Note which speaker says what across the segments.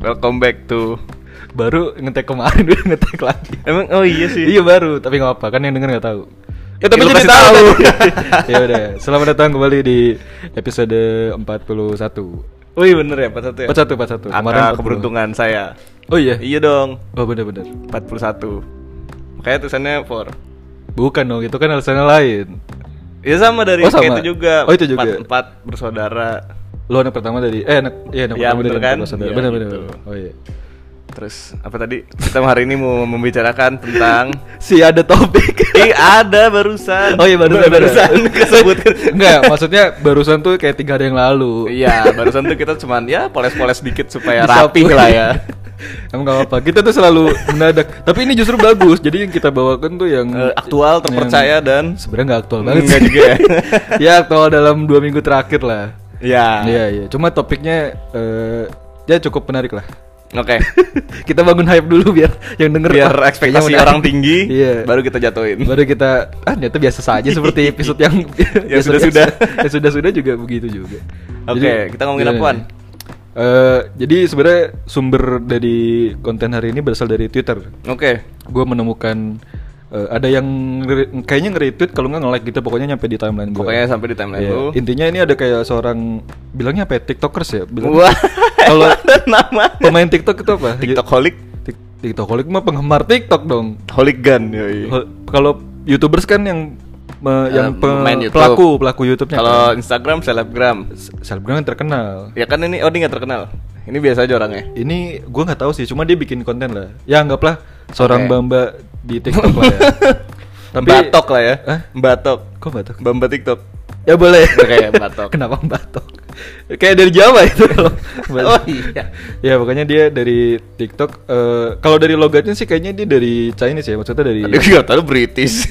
Speaker 1: Welcome back to
Speaker 2: baru ngetek kemarin udah ngetek lagi
Speaker 1: Emang oh iya sih.
Speaker 2: iya baru tapi nggak apa kan yang denger nggak tahu
Speaker 1: Ya,
Speaker 2: Iya,
Speaker 1: tapi
Speaker 2: Lu
Speaker 1: jadi
Speaker 2: kasih
Speaker 1: tahu.
Speaker 2: ya udah selamat datang kembali di episode 41
Speaker 1: Wih bener ya 41 ya.
Speaker 2: 41 41
Speaker 1: Angka
Speaker 2: 40.
Speaker 1: keberuntungan saya.
Speaker 2: oh iya
Speaker 1: Iya dong.
Speaker 2: oh bener bener
Speaker 1: 41. Makanya tulisannya 4.
Speaker 2: bukan dong itu kan alasannya lain
Speaker 1: Ya sama dari
Speaker 2: Oh, sama.
Speaker 1: kayak itu juga.
Speaker 2: Oh, itu juga.
Speaker 1: 44 bersaudara.
Speaker 2: lo anak pertama dari eh anak iya anak
Speaker 1: Iya,
Speaker 2: pertama
Speaker 1: bener
Speaker 2: dari
Speaker 1: kan?
Speaker 2: anak saudara.
Speaker 1: Iya,
Speaker 2: bener bener
Speaker 1: gitu.
Speaker 2: bener. oh iya
Speaker 1: Terus apa tadi? Kita hari ini mau membicarakan tentang
Speaker 2: si ada topik
Speaker 1: Ih ada barusan.
Speaker 2: Oh iya barusan
Speaker 1: Baru- barusan kesebutkan.
Speaker 2: Enggak, maksudnya barusan tuh kayak tiga hari yang lalu.
Speaker 1: Iya, barusan tuh kita cuman ya poles-poles dikit supaya
Speaker 2: Disapu.
Speaker 1: rapi lah ya.
Speaker 2: Emang gak apa-apa. Kita tuh selalu mendadak. Tapi ini justru bagus. Jadi yang kita bawakan tuh yang
Speaker 1: Eh, aktual, terpercaya dan
Speaker 2: sebenarnya nggak aktual banget.
Speaker 1: Nggak
Speaker 2: sih.
Speaker 1: juga ya.
Speaker 2: ya aktual dalam dua minggu terakhir lah.
Speaker 1: ya.
Speaker 2: Iya iya. Cuma topiknya eh, ya cukup menarik lah.
Speaker 1: Oke.
Speaker 2: kita bangun hype dulu biar yang denger
Speaker 1: Biar
Speaker 2: "Ah,
Speaker 1: ekspektasi
Speaker 2: kayaknya menarik."
Speaker 1: orang tinggi,
Speaker 2: Iya.
Speaker 1: baru kita jatuhin.
Speaker 2: Baru kita ah ternyata biasa saja seperti episode yang
Speaker 1: Ya,
Speaker 2: biasa-biasa.
Speaker 1: sudah-sudah.
Speaker 2: yang sudah-sudah juga begitu juga.
Speaker 1: Oke,
Speaker 2: Jadi,
Speaker 1: kita ngomongin
Speaker 2: gimana
Speaker 1: apaan?
Speaker 2: nih? Eh, jadi sebenarnya sumber dari konten hari ini berasal dari Twitter.
Speaker 1: Oke.
Speaker 2: Gue menemukan eh, ada yang nge- kayaknya nge-retweet kalau nggak nge-like gitu pokoknya nyampe di timeline gue.
Speaker 1: Pokoknya sampai di timeline
Speaker 2: Iya,
Speaker 1: lu.
Speaker 2: Intinya ini ada kayak seorang bilangnya apa ya? TikTokers ya? Bilang-
Speaker 1: Wah.
Speaker 2: Kalau
Speaker 1: ada nama.
Speaker 2: pemain TikTok itu apa?
Speaker 1: TikTok holic,
Speaker 2: Tik- TikTokolik mah penggemar TikTok dong.
Speaker 1: holigan yoi.
Speaker 2: Ho- Kalau YouTubers kan yang me-
Speaker 1: Eh,
Speaker 2: yang pe-
Speaker 1: main YouTube.
Speaker 2: pelaku pelaku YouTube-nya.
Speaker 1: Kalau Instagram selebgram.
Speaker 2: kan. Se- selebgram yang terkenal.
Speaker 1: Ya kan ini oh dia nggak terkenal. Ini biasa aja orangnya.
Speaker 2: Ini gua nggak tahu sih, cuma dia bikin konten lah. Ya anggaplah seorang
Speaker 1: Oke.
Speaker 2: bamba di TikTok lah ya. Tapi
Speaker 1: Batok lah ya.
Speaker 2: Hah?
Speaker 1: Batok.
Speaker 2: Kok batok?
Speaker 1: Bamba TikTok.
Speaker 2: Ya boleh.
Speaker 1: Kayak batok.
Speaker 2: Kenapa batok? Kayak dari Jawa itu kalau batok.
Speaker 1: Oh iya.
Speaker 2: Ya pokoknya dia dari TikTok. eh, kalau dari logatnya sih kayaknya dia dari Chinese ya, maksudnya dari.
Speaker 1: Tadi gue tahu British.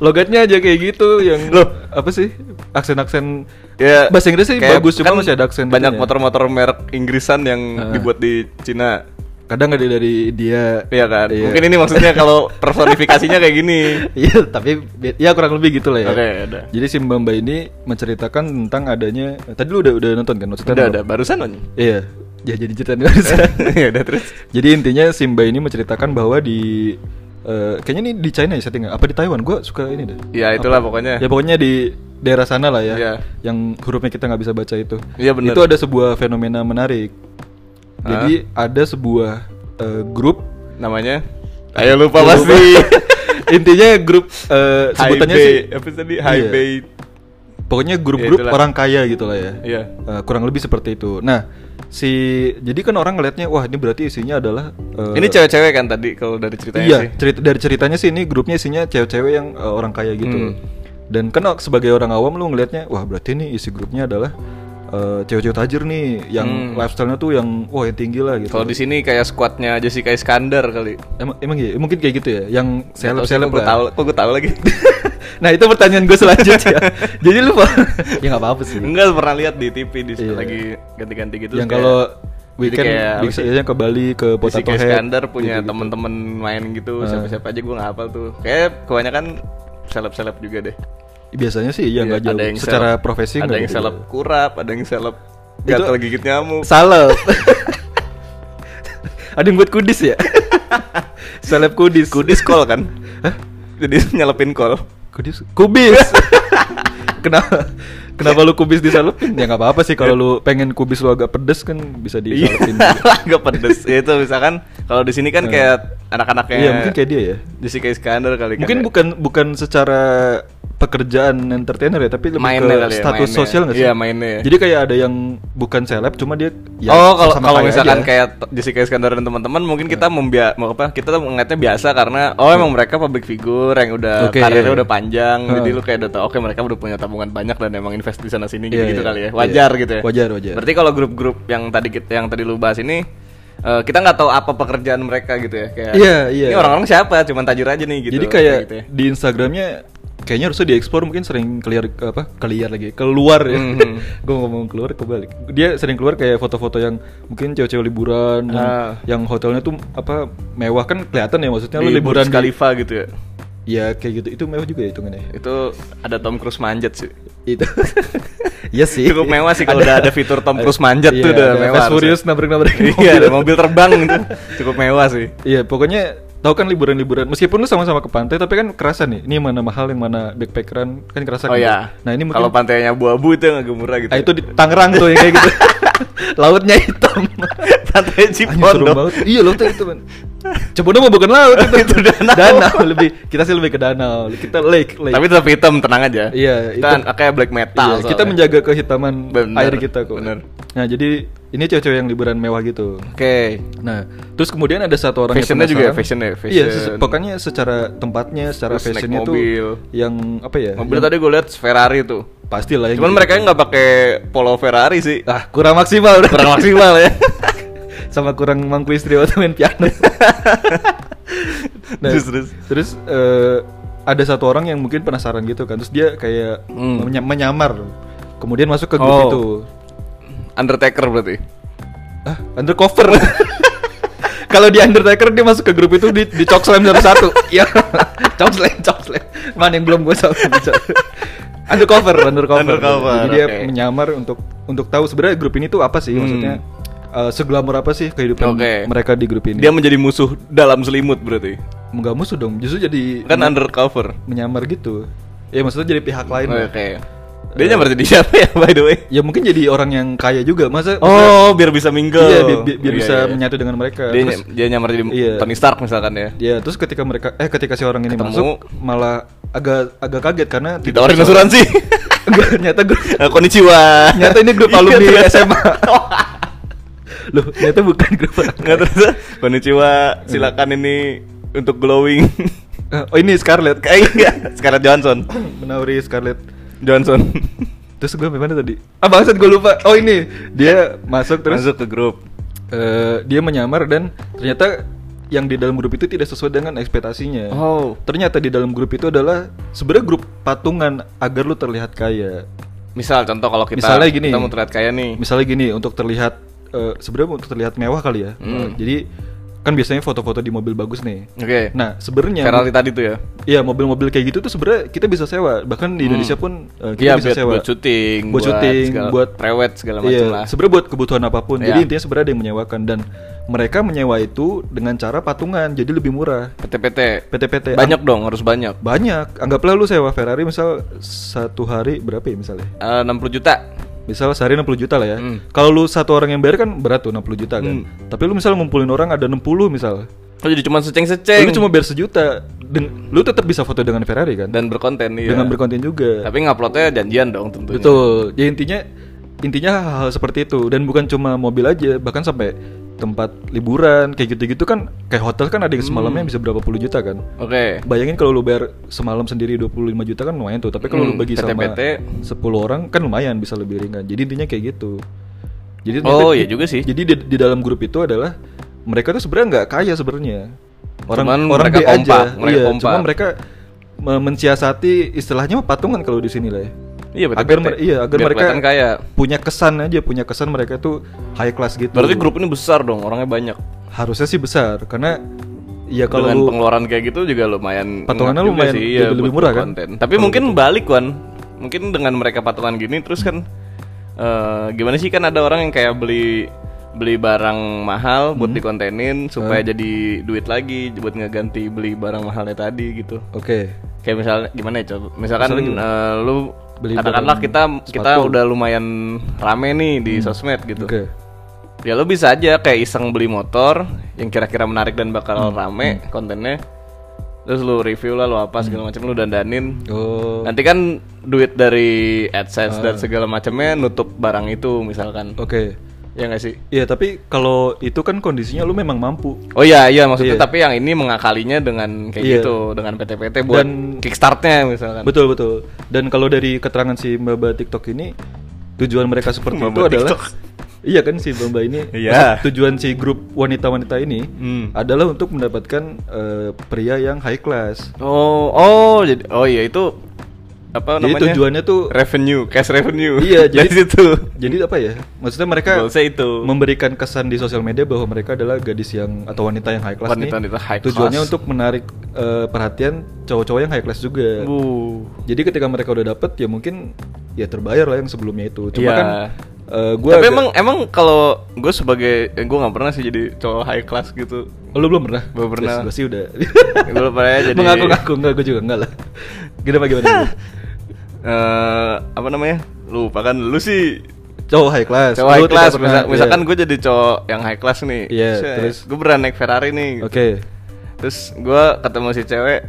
Speaker 2: logatnya aja kayak gitu yang
Speaker 1: Loh.
Speaker 2: apa sih aksen-aksen
Speaker 1: Ya,
Speaker 2: bahasa Inggris sih
Speaker 1: kayak
Speaker 2: bagus cuma
Speaker 1: kan
Speaker 2: masih ada aksen gitu ya.
Speaker 1: Banyak
Speaker 2: itunya.
Speaker 1: motor-motor merek Inggrisan yang
Speaker 2: Ah.
Speaker 1: dibuat di Cina.
Speaker 2: kadang ada dari dia
Speaker 1: Iya kan? Mungkin ini maksudnya kalau personifikasinya kayak gini.
Speaker 2: Iya, tapi bi- ya kurang lebih gitu lah ya.
Speaker 1: Oke, ada.
Speaker 2: Jadi si Mbak Mbak ini menceritakan tentang adanya tadi lu udah udah nonton kan maksudnya?
Speaker 1: Udah
Speaker 2: belum?
Speaker 1: ada barusan on.
Speaker 2: Iya. Ya jadi ceritain barusan.
Speaker 1: ya udah terus.
Speaker 2: Jadi intinya si Mbak ini menceritakan bahwa di eh, kayaknya ini di China ya settingnya apa di Taiwan? Gua suka ini deh.
Speaker 1: Ya itulah pokoknya.
Speaker 2: Ya pokoknya di daerah sana lah ya,
Speaker 1: Iya.
Speaker 2: yang hurufnya kita nggak bisa baca itu.
Speaker 1: Iya, bener.
Speaker 2: Itu ada sebuah fenomena menarik. Jadi ada sebuah eh, grup
Speaker 1: Namanya Ayo lupa
Speaker 2: Lupa.
Speaker 1: pasti.
Speaker 2: intinya grup eh, sebutannya
Speaker 1: High
Speaker 2: sih,
Speaker 1: Bay- apa tadi? High
Speaker 2: Iya.
Speaker 1: Bay.
Speaker 2: pokoknya grup-grup
Speaker 1: Ya, itulah.
Speaker 2: orang kaya gitu lah ya.
Speaker 1: Iya.
Speaker 2: Eh, kurang lebih seperti itu. Nah, si jadi kan orang ngelihatnya wah ini berarti isinya adalah eh,
Speaker 1: Ini cewek-cewek kan tadi kalau dari ceritanya
Speaker 2: iya,
Speaker 1: sih.
Speaker 2: cerita dari ceritanya sih ini grupnya isinya cewek-cewek yang eh, orang kaya gitu.
Speaker 1: Hmm.
Speaker 2: Dan kan sebagai orang awam lu ngelihatnya, wah berarti nih isi grupnya adalah eh, cewek-cewek tajir nih yang
Speaker 1: Hmm.
Speaker 2: lifestyle-nya tuh yang wah yang tinggi lah gitu.
Speaker 1: Kalau di sini kayak squadnya Jessica Iskandar kali.
Speaker 2: Emang emang iya, mungkin kayak gitu ya, yang seleb-seleb
Speaker 1: gue
Speaker 2: lah.
Speaker 1: tahu, kok gue tahu lagi.
Speaker 2: Nah, itu pertanyaan gue selanjutnya. Jadi lu ya nggak apa-apa sih.
Speaker 1: Enggak pernah lihat di TV di
Speaker 2: Iya.
Speaker 1: lagi ganti-ganti Hmm, gitu.
Speaker 2: yang
Speaker 1: kayak-
Speaker 2: kalau
Speaker 1: jadi
Speaker 2: weekend
Speaker 1: kayak apa
Speaker 2: bisa
Speaker 1: sih?
Speaker 2: aja ke Bali ke
Speaker 1: Potato
Speaker 2: Potato Head.
Speaker 1: Iskandar punya temen-temen main gitu
Speaker 2: Ah.
Speaker 1: siapa-siapa aja gue nggak hafal tuh kayak kebanyakan seleb-seleb juga deh
Speaker 2: Biasanya sih ya nggak
Speaker 1: Iya,
Speaker 2: jauh.
Speaker 1: yang
Speaker 2: Secara
Speaker 1: seleb-
Speaker 2: profesi
Speaker 1: ada
Speaker 2: nggak
Speaker 1: yang
Speaker 2: gitu.
Speaker 1: seleb kurap ada yang seleb
Speaker 2: Itu-
Speaker 1: gatal gigit nyamuk
Speaker 2: Salep. ada yang buat kudis ya? Seleb kudis.
Speaker 1: kudis kol kan jadi nyelepin kol
Speaker 2: Kudis. Kubis. kenapa? Kenapa lu kubis disalepin? Ya nggak apa-apa sih kalau lu pengen kubis lu agak pedes kan bisa
Speaker 1: Iya,
Speaker 2: disalepin.
Speaker 1: agak pedes Ya, itu misalkan kalau di sini kan kayak anak-anaknya
Speaker 2: Nah. Iya, mungkin kayak dia ya.
Speaker 1: Jessica Iskandar kali kan
Speaker 2: Mungkin
Speaker 1: ya.
Speaker 2: bukan bukan secara pekerjaan entertainer ya, tapi lebih
Speaker 1: Mainnya
Speaker 2: ke
Speaker 1: kali ya,
Speaker 2: status
Speaker 1: mainnya.
Speaker 2: sosial nggak sih?
Speaker 1: Iya, mainnya.
Speaker 2: Jadi kayak ada yang bukan seleb cuma dia ya
Speaker 1: oh kalau
Speaker 2: sama-sama
Speaker 1: kalau
Speaker 2: kaya
Speaker 1: misalkan
Speaker 2: aja.
Speaker 1: kayak t- Jessica Iskandar dan teman-teman mungkin
Speaker 2: Ya.
Speaker 1: kita membia mau apa kita tuh mengingatnya biasa karena oh emang mereka public figure yang udah
Speaker 2: Oke.
Speaker 1: karirnya udah panjang jadi
Speaker 2: Hmm.
Speaker 1: lu kayak udah tau oke mereka udah punya tabungan banyak dan emang invest di sana sini gitu,
Speaker 2: Iya,
Speaker 1: gitu
Speaker 2: iya.
Speaker 1: kali ya wajar
Speaker 2: Iya.
Speaker 1: gitu ya
Speaker 2: Wajar, wajar.
Speaker 1: berarti kalau grup-grup yang tadi kita yang tadi lu bahas ini eh, kita nggak tahu apa pekerjaan mereka gitu ya kayak
Speaker 2: Iya, iya.
Speaker 1: ini orang-orang siapa cuman tajir aja nih gitu
Speaker 2: Jadi kayak
Speaker 1: gitu ya.
Speaker 2: di Instagramnya kayaknya harusnya dieksplor mungkin sering keluar apa keluar lagi keluar ya
Speaker 1: Mhm.
Speaker 2: gue ngomong keluar kebalik dia sering keluar kayak foto-foto yang mungkin cewek-cewek liburan yang,
Speaker 1: Ah. Iya,
Speaker 2: yang hotelnya tuh apa mewah kan kelihatan ya maksudnya lu
Speaker 1: Di
Speaker 2: liburan
Speaker 1: Burj
Speaker 2: kali
Speaker 1: Khalifa gitu ya
Speaker 2: ya kayak gitu itu mewah juga ya hitungannya
Speaker 1: itu ada Tom Cruise manjat sih
Speaker 2: itu Iya sih Iya,
Speaker 1: Cukup mewah sih kalau udah ada fitur Tom Cruise manjat tuh udah
Speaker 2: ada
Speaker 1: mewah
Speaker 2: Fast
Speaker 1: harusnya.
Speaker 2: Furious nabrak-nabrak
Speaker 1: iya ada mobil terbang gitu cukup mewah sih
Speaker 2: Iya, pokoknya tahu kan liburan-liburan. Meskipun lu sama-sama ke pantai, tapi kan kerasa nih. Ini mana mahal, yang mana backpackeran kan
Speaker 1: oh
Speaker 2: kerasa. gitu.
Speaker 1: ya
Speaker 2: Nah ini mungkin.
Speaker 1: kalau pantainya abu-abu itu yang gemurah gitu
Speaker 2: Ah, itu di Tangerang tuh yang kayak gitu. Lautnya hitam.
Speaker 1: pantai
Speaker 2: Anjing, serem
Speaker 1: Cipondo
Speaker 2: banget. Iya lautnya itu man. Cipondo mah bukan laut itu.
Speaker 1: Itu danau.
Speaker 2: lebih. Kita sih lebih ke danau. Kita lake. lake.
Speaker 1: tapi tetap hitam tenang aja
Speaker 2: Iya,
Speaker 1: kita
Speaker 2: hitam.
Speaker 1: kayak black metal
Speaker 2: Iya, kita
Speaker 1: soalnya.
Speaker 2: menjaga kehitaman
Speaker 1: Bener,
Speaker 2: air kita kok.
Speaker 1: bener.
Speaker 2: Nah jadi ini cewek-cewek yang liburan mewah gitu.
Speaker 1: oke
Speaker 2: Nah, terus kemudian ada satu orang
Speaker 1: Fashionnya
Speaker 2: yang
Speaker 1: juga ya,
Speaker 2: penasaran.
Speaker 1: fashion ya,
Speaker 2: Iya,
Speaker 1: fashion.
Speaker 2: se- pokoknya secara tempatnya, secara
Speaker 1: Terus naik
Speaker 2: fashionnya tuh
Speaker 1: mobil.
Speaker 2: yang apa ya?
Speaker 1: mobil
Speaker 2: yang-
Speaker 1: tadi gue lihat Ferrari tuh
Speaker 2: pastilah yang
Speaker 1: cuman
Speaker 2: gitu.
Speaker 1: mereka nggak pakai polo Ferrari sih
Speaker 2: ah kurang maksimal udah.
Speaker 1: kurang maksimal ya
Speaker 2: sama kurang mangku istri waktu main piano. Nah,
Speaker 1: Terus, terus.
Speaker 2: terus, eh, ada satu orang yang mungkin penasaran gitu kan. Terus dia kayak
Speaker 1: Hmm.
Speaker 2: menya- menyamar. Kemudian masuk ke grup
Speaker 1: Oh.
Speaker 2: itu.
Speaker 1: Undertaker berarti
Speaker 2: Ah, undercover. Kalau di Undertaker dia masuk ke grup itu di, di cok slam satu-satu. Iya. cok slam, cok slam. Mana yang belum gue sama Undercover, undercover.
Speaker 1: Undercover,
Speaker 2: Jadi dia
Speaker 1: oke.
Speaker 2: menyamar untuk untuk tahu sebenarnya grup ini tuh apa sih
Speaker 1: Hmm.
Speaker 2: maksudnya eh, seglamor apa sih kehidupan
Speaker 1: Oke.
Speaker 2: mereka di grup ini?
Speaker 1: dia menjadi musuh dalam selimut berarti
Speaker 2: nggak musuh dong, justru jadi
Speaker 1: kan undercover Oh, iya,
Speaker 2: menyamar gitu. Ya maksudnya jadi pihak lain. Eh.
Speaker 1: oke dia nyamper jadi siapa ya by the way
Speaker 2: Ya mungkin jadi orang yang kaya juga. Masa masa-
Speaker 1: oh biar bisa mingle
Speaker 2: Iya, biar, biar
Speaker 1: Iya,
Speaker 2: bisa
Speaker 1: iya.
Speaker 2: menyatu dengan mereka.
Speaker 1: dia,
Speaker 2: Terus-
Speaker 1: ny- dia nyamar jadi
Speaker 2: Iya.
Speaker 1: Tony Stark misalkan ya
Speaker 2: Ya, terus ketika mereka eh ketika si orang ini
Speaker 1: Ketemu.
Speaker 2: masuk malah agak agak kaget karena
Speaker 1: ditawarin
Speaker 2: tiba-tiba seorang-
Speaker 1: asuransi
Speaker 2: Enggak, nyata grup
Speaker 1: Eh, Konnichiwa
Speaker 2: nyata ini grup
Speaker 1: Iya,
Speaker 2: alumni
Speaker 1: ternyata.
Speaker 2: SMA. Loh, nyata bukan grup.
Speaker 1: nggak terus Konnichiwa silakan ini untuk glowing
Speaker 2: Eh, Oh, ini Scarlett.
Speaker 1: kayak enggak Scarlett Johansson
Speaker 2: Menauri Scarlett.
Speaker 1: Johansson
Speaker 2: Terus gue mana tadi? Ah, bangsat gue lupa. Oh, ini. Dia masuk terus
Speaker 1: masuk ke grup
Speaker 2: eh, dia menyamar dan ternyata yang di dalam grup itu tidak sesuai dengan ekspektasinya.
Speaker 1: oh
Speaker 2: Ternyata di dalam grup itu adalah sebenarnya grup patungan agar lu terlihat kaya.
Speaker 1: misal contoh kalau kita
Speaker 2: Misalnya gini.
Speaker 1: kita mau terlihat kaya nih
Speaker 2: misalnya gini untuk terlihat eh, sebenarnya untuk terlihat mewah kali ya
Speaker 1: Hmm.
Speaker 2: jadi kan biasanya foto-foto di mobil bagus nih
Speaker 1: oke
Speaker 2: nah sebenarnya
Speaker 1: Eh, Ferrari tadi tuh ya
Speaker 2: Iya mobil-mobil kayak gitu tuh sebenarnya kita bisa sewa bahkan di Indonesia pun
Speaker 1: Hmm.
Speaker 2: eh, kita
Speaker 1: Iya,
Speaker 2: bisa
Speaker 1: buat-
Speaker 2: sewa
Speaker 1: buat syuting,
Speaker 2: buat
Speaker 1: buat
Speaker 2: syuting,
Speaker 1: segala-
Speaker 2: buat
Speaker 1: prewed segala
Speaker 2: Iya,
Speaker 1: macam lah.
Speaker 2: Sebenarnya buat kebutuhan apapun. Jadi
Speaker 1: Iya.
Speaker 2: intinya sebenarnya ada yang menyewakan dan mereka menyewa itu dengan cara patungan jadi lebih murah.
Speaker 1: PT-PT
Speaker 2: PT-PT
Speaker 1: banyak dong harus banyak
Speaker 2: Banyak. Anggaplah lu sewa Ferrari misal satu hari berapa ya misalnya?
Speaker 1: Eh, 60 juta
Speaker 2: Misal sehari 60 juta lah ya.
Speaker 1: Hmm.
Speaker 2: Kalau lu satu orang yang bayar kan berat tuh 60 juta kan.
Speaker 1: Hmm.
Speaker 2: Tapi lu misal ngumpulin orang ada 60 misal.
Speaker 1: oh jadi cuma seceng-seceng
Speaker 2: Lu Oh, cuma bayar sejuta. Den- lu tetap bisa foto dengan Ferrari kan?
Speaker 1: dan berkonten iya.
Speaker 2: Dengan berkonten juga.
Speaker 1: tapi nguploadnya janjian dong tentunya
Speaker 2: Betul. Ya intinya intinya hal-hal seperti itu dan bukan cuma mobil aja, bahkan sampai tempat liburan kayak gitu-gitu kan kayak hotel kan ada yang
Speaker 1: Hmm.
Speaker 2: semalamnya bisa berapa puluh juta kan.
Speaker 1: oke
Speaker 2: Bayangin kalau lu bayar semalam sendiri 25 juta kan lumayan tuh, tapi kalau lu
Speaker 1: Hmm,
Speaker 2: bagi sama
Speaker 1: PT-PT.
Speaker 2: 10 orang kan lumayan bisa lebih ringan. Jadi intinya kayak gitu. Jadi
Speaker 1: Oh,
Speaker 2: ternyata-
Speaker 1: iya juga sih.
Speaker 2: Jadi di, di dalam grup itu adalah mereka tuh sebenarnya nggak kaya sebenarnya. Orang
Speaker 1: Cuman
Speaker 2: orang
Speaker 1: mereka
Speaker 2: B
Speaker 1: kompak,
Speaker 2: aja.
Speaker 1: mereka
Speaker 2: iya,
Speaker 1: kompak.
Speaker 2: Cuma mereka me- mensiasati istilahnya patungan kalau di sini lah ya.
Speaker 1: iya betul
Speaker 2: Agar mer- iya, agar mereka-
Speaker 1: kaya
Speaker 2: Punya kesan aja, punya kesan mereka tuh high class gitu.
Speaker 1: berarti grup ini besar dong orangnya banyak
Speaker 2: harusnya sih besar karena ya kalau
Speaker 1: dengan
Speaker 2: lu-
Speaker 1: pengeluaran kayak gitu juga lumayan ngap
Speaker 2: Patungannya
Speaker 1: juga iya,
Speaker 2: lumayan jadi lebih
Speaker 1: buat
Speaker 2: murah kan?
Speaker 1: konten. tapi mungkin balik Wan mungkin dengan mereka patungan gini terus kan eh, gimana sih kan ada orang yang kayak beli beli barang mahal
Speaker 2: Hmm.
Speaker 1: buat dikontenin supaya jadi duit lagi buat ngeganti beli barang mahalnya tadi gitu
Speaker 2: Oke.
Speaker 1: kayak misalnya gimana ya coba misalkan eh, lu
Speaker 2: Beli
Speaker 1: katakanlah
Speaker 2: barang
Speaker 1: kita kita
Speaker 2: sepatu. Hmm.
Speaker 1: udah lumayan rame nih di sosmed gitu
Speaker 2: Oke.
Speaker 1: Ya lo bisa aja kayak iseng beli motor yang kira-kira menarik dan
Speaker 2: Hmm.
Speaker 1: bakal rame kontennya. Terus lu review lah lu apa segala macam lu dandanin.
Speaker 2: Hmm. Oh. Ah.
Speaker 1: Nanti kan duit dari AdSense dan segala macamnya nutup barang itu misalkan.
Speaker 2: Oke.
Speaker 1: Ya nggak sih?
Speaker 2: Iya tapi kalau itu kan kondisinya lu memang mampu
Speaker 1: Oh iya iya maksudnya tapi yang ini mengakalinya dengan kayak
Speaker 2: Iya.
Speaker 1: gitu dengan PT-PT buat
Speaker 2: Dan-
Speaker 1: kickstartnya misalkan.
Speaker 2: Betul betul Dan kalau dari keterangan si mbak TikTok ini Tujuan mereka seperti
Speaker 1: Mbak-mbak
Speaker 2: itu adalah
Speaker 1: TikTok.
Speaker 2: Iya kan si mbak ini
Speaker 1: Iya.
Speaker 2: maksud Tujuan si grup wanita-wanita ini
Speaker 1: Hmm.
Speaker 2: Adalah untuk mendapatkan eh, pria yang high class
Speaker 1: Oh oh jadi oh iya itu apa
Speaker 2: Jadi
Speaker 1: namanya?
Speaker 2: tujuannya tuh-
Speaker 1: revenue, cash revenue.
Speaker 2: Iya, jadi-
Speaker 1: dari situ.
Speaker 2: Jadi apa ya? Maksudnya mereka
Speaker 1: Goalsnya itu.
Speaker 2: memberikan kesan di sosial media bahwa mereka adalah gadis yang atau wanita yang high class nih.
Speaker 1: Wanita-wanita high
Speaker 2: Tujuannya
Speaker 1: class.
Speaker 2: untuk menarik eh, perhatian cowok-cowok yang high class juga.
Speaker 1: Bu.
Speaker 2: Jadi ketika mereka udah dapet ya mungkin ya terbayar lah yang sebelumnya itu.
Speaker 1: Iya.
Speaker 2: Cuma kan eh, gua
Speaker 1: Tapi
Speaker 2: agak-
Speaker 1: emang emang kalau gue sebagai eh, gue nggak pernah sih jadi cowok high class gitu.
Speaker 2: Oh, lu belum pernah?
Speaker 1: Belum pernah.
Speaker 2: Gue sih udah.
Speaker 1: Gua belum pernah, ya, jadi-
Speaker 2: Mengaku-ngaku enggak gue juga enggak lah. Gimana gimana? gimana?
Speaker 1: eh apa namanya? Lupa kan lu sih
Speaker 2: cowok high class.
Speaker 1: cowok
Speaker 2: Lu
Speaker 1: high
Speaker 2: tidak
Speaker 1: class.
Speaker 2: pernah,
Speaker 1: Misal-
Speaker 2: iya.
Speaker 1: misalkan gue jadi cowok yang high class nih.
Speaker 2: Iya, terus?
Speaker 1: gue pernah naik Ferrari nih.
Speaker 2: Oke.
Speaker 1: Terus gua ketemu si cewek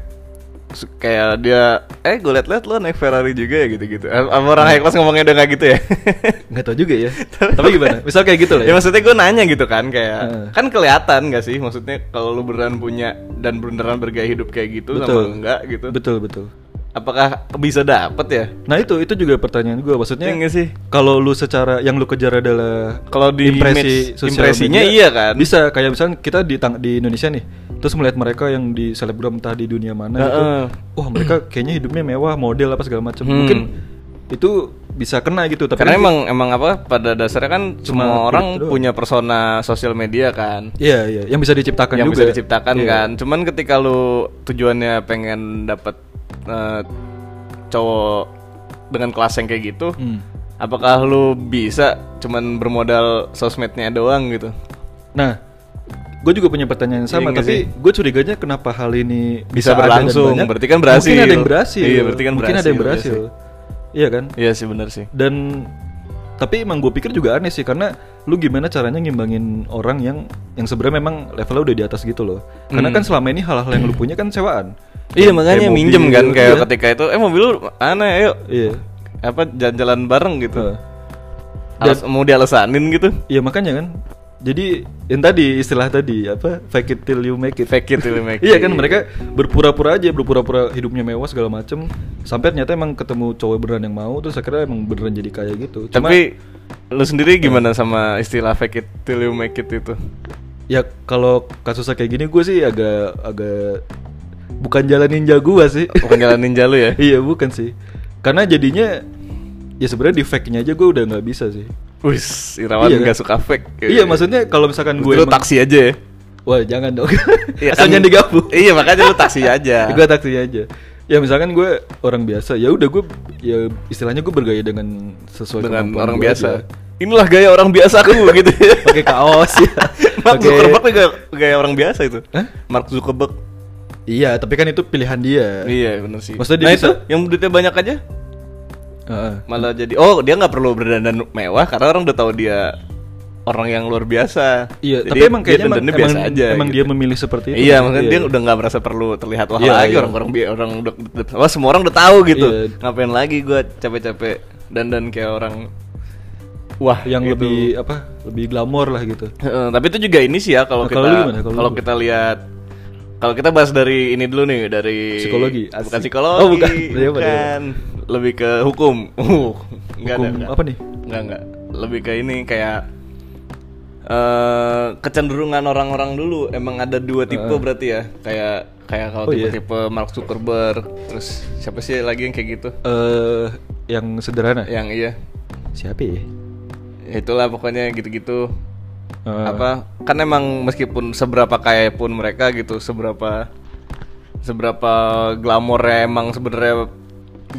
Speaker 1: su- kayak dia eh gue liat-liat lo naik Ferrari juga ya gitu-gitu. Eh, Sama orang high class ngomongnya udah nggak gitu ya.
Speaker 2: Enggak tahu juga ya. Tapi gimana? Misal kayak gitu lah.
Speaker 1: ya maksudnya gue nanya gitu kan kayak
Speaker 2: Heeh.
Speaker 1: kan kelihatan gak sih maksudnya kalau lu beneran punya dan beneran bergaya hidup kayak gitu sama enggak gitu.
Speaker 2: Betul, betul.
Speaker 1: Apakah bisa dapet ya?
Speaker 2: Nah, itu itu juga pertanyaan gue maksudnya.
Speaker 1: Iya nggak sih?
Speaker 2: Kalau lu secara yang lu kejar adalah
Speaker 1: Kalau di
Speaker 2: impresi
Speaker 1: image-
Speaker 2: sosial
Speaker 1: impresinya
Speaker 2: media,
Speaker 1: iya kan?
Speaker 2: Bisa kayak misalnya kita di tang- di Indonesia nih, terus melihat mereka yang di selebgram entah di dunia mana gitu.
Speaker 1: Heeh.
Speaker 2: Wah, mereka kayaknya hidupnya mewah, model apa segala macam.
Speaker 1: Hmm.
Speaker 2: Mungkin itu bisa kena gitu, tapi
Speaker 1: Karena
Speaker 2: nanti-
Speaker 1: emang emang apa pada dasarnya kan
Speaker 2: Cuma
Speaker 1: semua
Speaker 2: kulit
Speaker 1: orang
Speaker 2: doang.
Speaker 1: punya persona sosial media kan.
Speaker 2: Iya, iya, yang bisa diciptakan
Speaker 1: yang
Speaker 2: juga.
Speaker 1: bisa diciptakan
Speaker 2: Iya.
Speaker 1: kan. Cuman ketika lu tujuannya pengen dapet eh, cowok dengan kelas yang kayak gitu,
Speaker 2: Hmm.
Speaker 1: apakah lu bisa cuman bermodal sosmednya doang gitu?
Speaker 2: Nah, gue juga punya pertanyaan yang
Speaker 1: Iya
Speaker 2: sama,
Speaker 1: nggak
Speaker 2: tapi gue curiganya kenapa hal ini
Speaker 1: Bisa
Speaker 2: bisa, ada dan
Speaker 1: berlangsung,
Speaker 2: banyak.
Speaker 1: berarti kan berhasil.
Speaker 2: Mungkin ada yang berhasil.
Speaker 1: Iya, berarti kan
Speaker 2: Mungkin ada yang
Speaker 1: berhasil,
Speaker 2: berhasil. Iya kan?
Speaker 1: Iya sih bener sih.
Speaker 2: Dan tapi emang gue pikir juga aneh sih karena lu gimana caranya ngimbangin orang yang yang sebenarnya memang levelnya udah di atas gitu loh. Karena
Speaker 1: Hmm.
Speaker 2: kan selama ini hal-hal yang lu punya kan sewaan.
Speaker 1: Iya
Speaker 2: Kayak
Speaker 1: makanya
Speaker 2: mobil,
Speaker 1: minjem kan kayak
Speaker 2: iya.
Speaker 1: ketika itu eh mobil lu aneh ayo
Speaker 2: Iya.
Speaker 1: apa jalan-jalan bareng gitu.
Speaker 2: Heeh.
Speaker 1: Alas- mau dialasanin gitu.
Speaker 2: Iya makanya kan. Jadi yang tadi istilah tadi apa fake it till you make it.
Speaker 1: Fake it till you make
Speaker 2: iya
Speaker 1: it.
Speaker 2: kan mereka berpura-pura aja berpura-pura hidupnya mewah segala macem sampai ternyata emang ketemu cowok beneran yang mau terus akhirnya emang beneran jadi kaya gitu. Cuma
Speaker 1: Iya.
Speaker 2: Iya.
Speaker 1: Tapi lu sendiri gimana sama istilah fake it till you make it itu?
Speaker 2: ya kalau kasusnya kayak gini gue sih agak agak bukan jalan ninja gue sih.
Speaker 1: Bukan jalan ninja lu ya?
Speaker 2: iya bukan sih. Karena jadinya ya sebenarnya di fake-nya aja gue udah nggak bisa sih.
Speaker 1: Wis, Irawan
Speaker 2: Iya,
Speaker 1: nggak
Speaker 2: kan?
Speaker 1: suka fake.
Speaker 2: Iya maksudnya kalau misalkan
Speaker 1: lu
Speaker 2: gue emang-
Speaker 1: taksi aja ya.
Speaker 2: Wah jangan dong.
Speaker 1: Iya,
Speaker 2: Asal
Speaker 1: kan-
Speaker 2: jangan digabung.
Speaker 1: Iya, makanya lu taksi aja.
Speaker 2: gue taksi aja ya misalkan gue orang biasa ya udah gue ya istilahnya gue bergaya dengan sesuai
Speaker 1: dengan
Speaker 2: kemampuan
Speaker 1: orang
Speaker 2: gue
Speaker 1: biasa.
Speaker 2: aja.
Speaker 1: Inilah gaya orang biasa aku gitu.
Speaker 2: pakai kaos ya
Speaker 1: Mark
Speaker 2: Pakai-
Speaker 1: Zuckerberg juga gaya orang biasa itu.
Speaker 2: Hah?
Speaker 1: Mark Zuckerberg.
Speaker 2: iya tapi kan itu pilihan dia
Speaker 1: Iya, bener sih.
Speaker 2: Maksudnya dia
Speaker 1: nah
Speaker 2: bisa-
Speaker 1: itu yang duitnya banyak aja
Speaker 2: Heeh.
Speaker 1: malah jadi oh, dia nggak perlu berdandan mewah karena orang udah tahu dia orang yang luar biasa.
Speaker 2: iya
Speaker 1: Jadi
Speaker 2: tapi emang
Speaker 1: dia
Speaker 2: kayaknya emang,
Speaker 1: dandannya
Speaker 2: emang,
Speaker 1: biasa aja.
Speaker 2: emang
Speaker 1: gitu.
Speaker 2: dia memilih seperti itu
Speaker 1: Iya, maksudnya dia udah nggak merasa perlu terlihat wah
Speaker 2: Iya,
Speaker 1: lagi
Speaker 2: iya.
Speaker 1: orang-orang bi- orang udah wah semua orang udah tahu gitu.
Speaker 2: Iya.
Speaker 1: Ngapain lagi gua capek-capek dandan kayak orang wah
Speaker 2: yang
Speaker 1: gitu.
Speaker 2: lebih apa lebih glamor lah gitu
Speaker 1: Heeh, tapi itu juga ini sih ya kalau
Speaker 2: Nah,
Speaker 1: kita
Speaker 2: kalau lu gimana? Kalau
Speaker 1: kalau
Speaker 2: lu?
Speaker 1: kita lihat kalau kita bahas dari ini dulu nih dari
Speaker 2: Psikologi,
Speaker 1: bukan
Speaker 2: asik.
Speaker 1: psikologi
Speaker 2: Oh, bukan. Iya, apa, iya.
Speaker 1: bukan. lebih ke hukum uh enggak
Speaker 2: Hukum
Speaker 1: ada, enggak.
Speaker 2: apa nih?
Speaker 1: enggak enggak lebih ke ini kayak eh kecenderungan orang-orang dulu emang ada dua tipe berarti ya kayak kayak kalau
Speaker 2: Oh, iya.
Speaker 1: tipe-tipe Mark Zuckerberg terus siapa sih lagi yang kayak gitu
Speaker 2: eh yang sederhana
Speaker 1: yang iya
Speaker 2: siapa ya
Speaker 1: itulah pokoknya gitu-gitu
Speaker 2: Heeh.
Speaker 1: apa kan emang meskipun seberapa kaya pun mereka gitu seberapa seberapa glamornya emang sebenarnya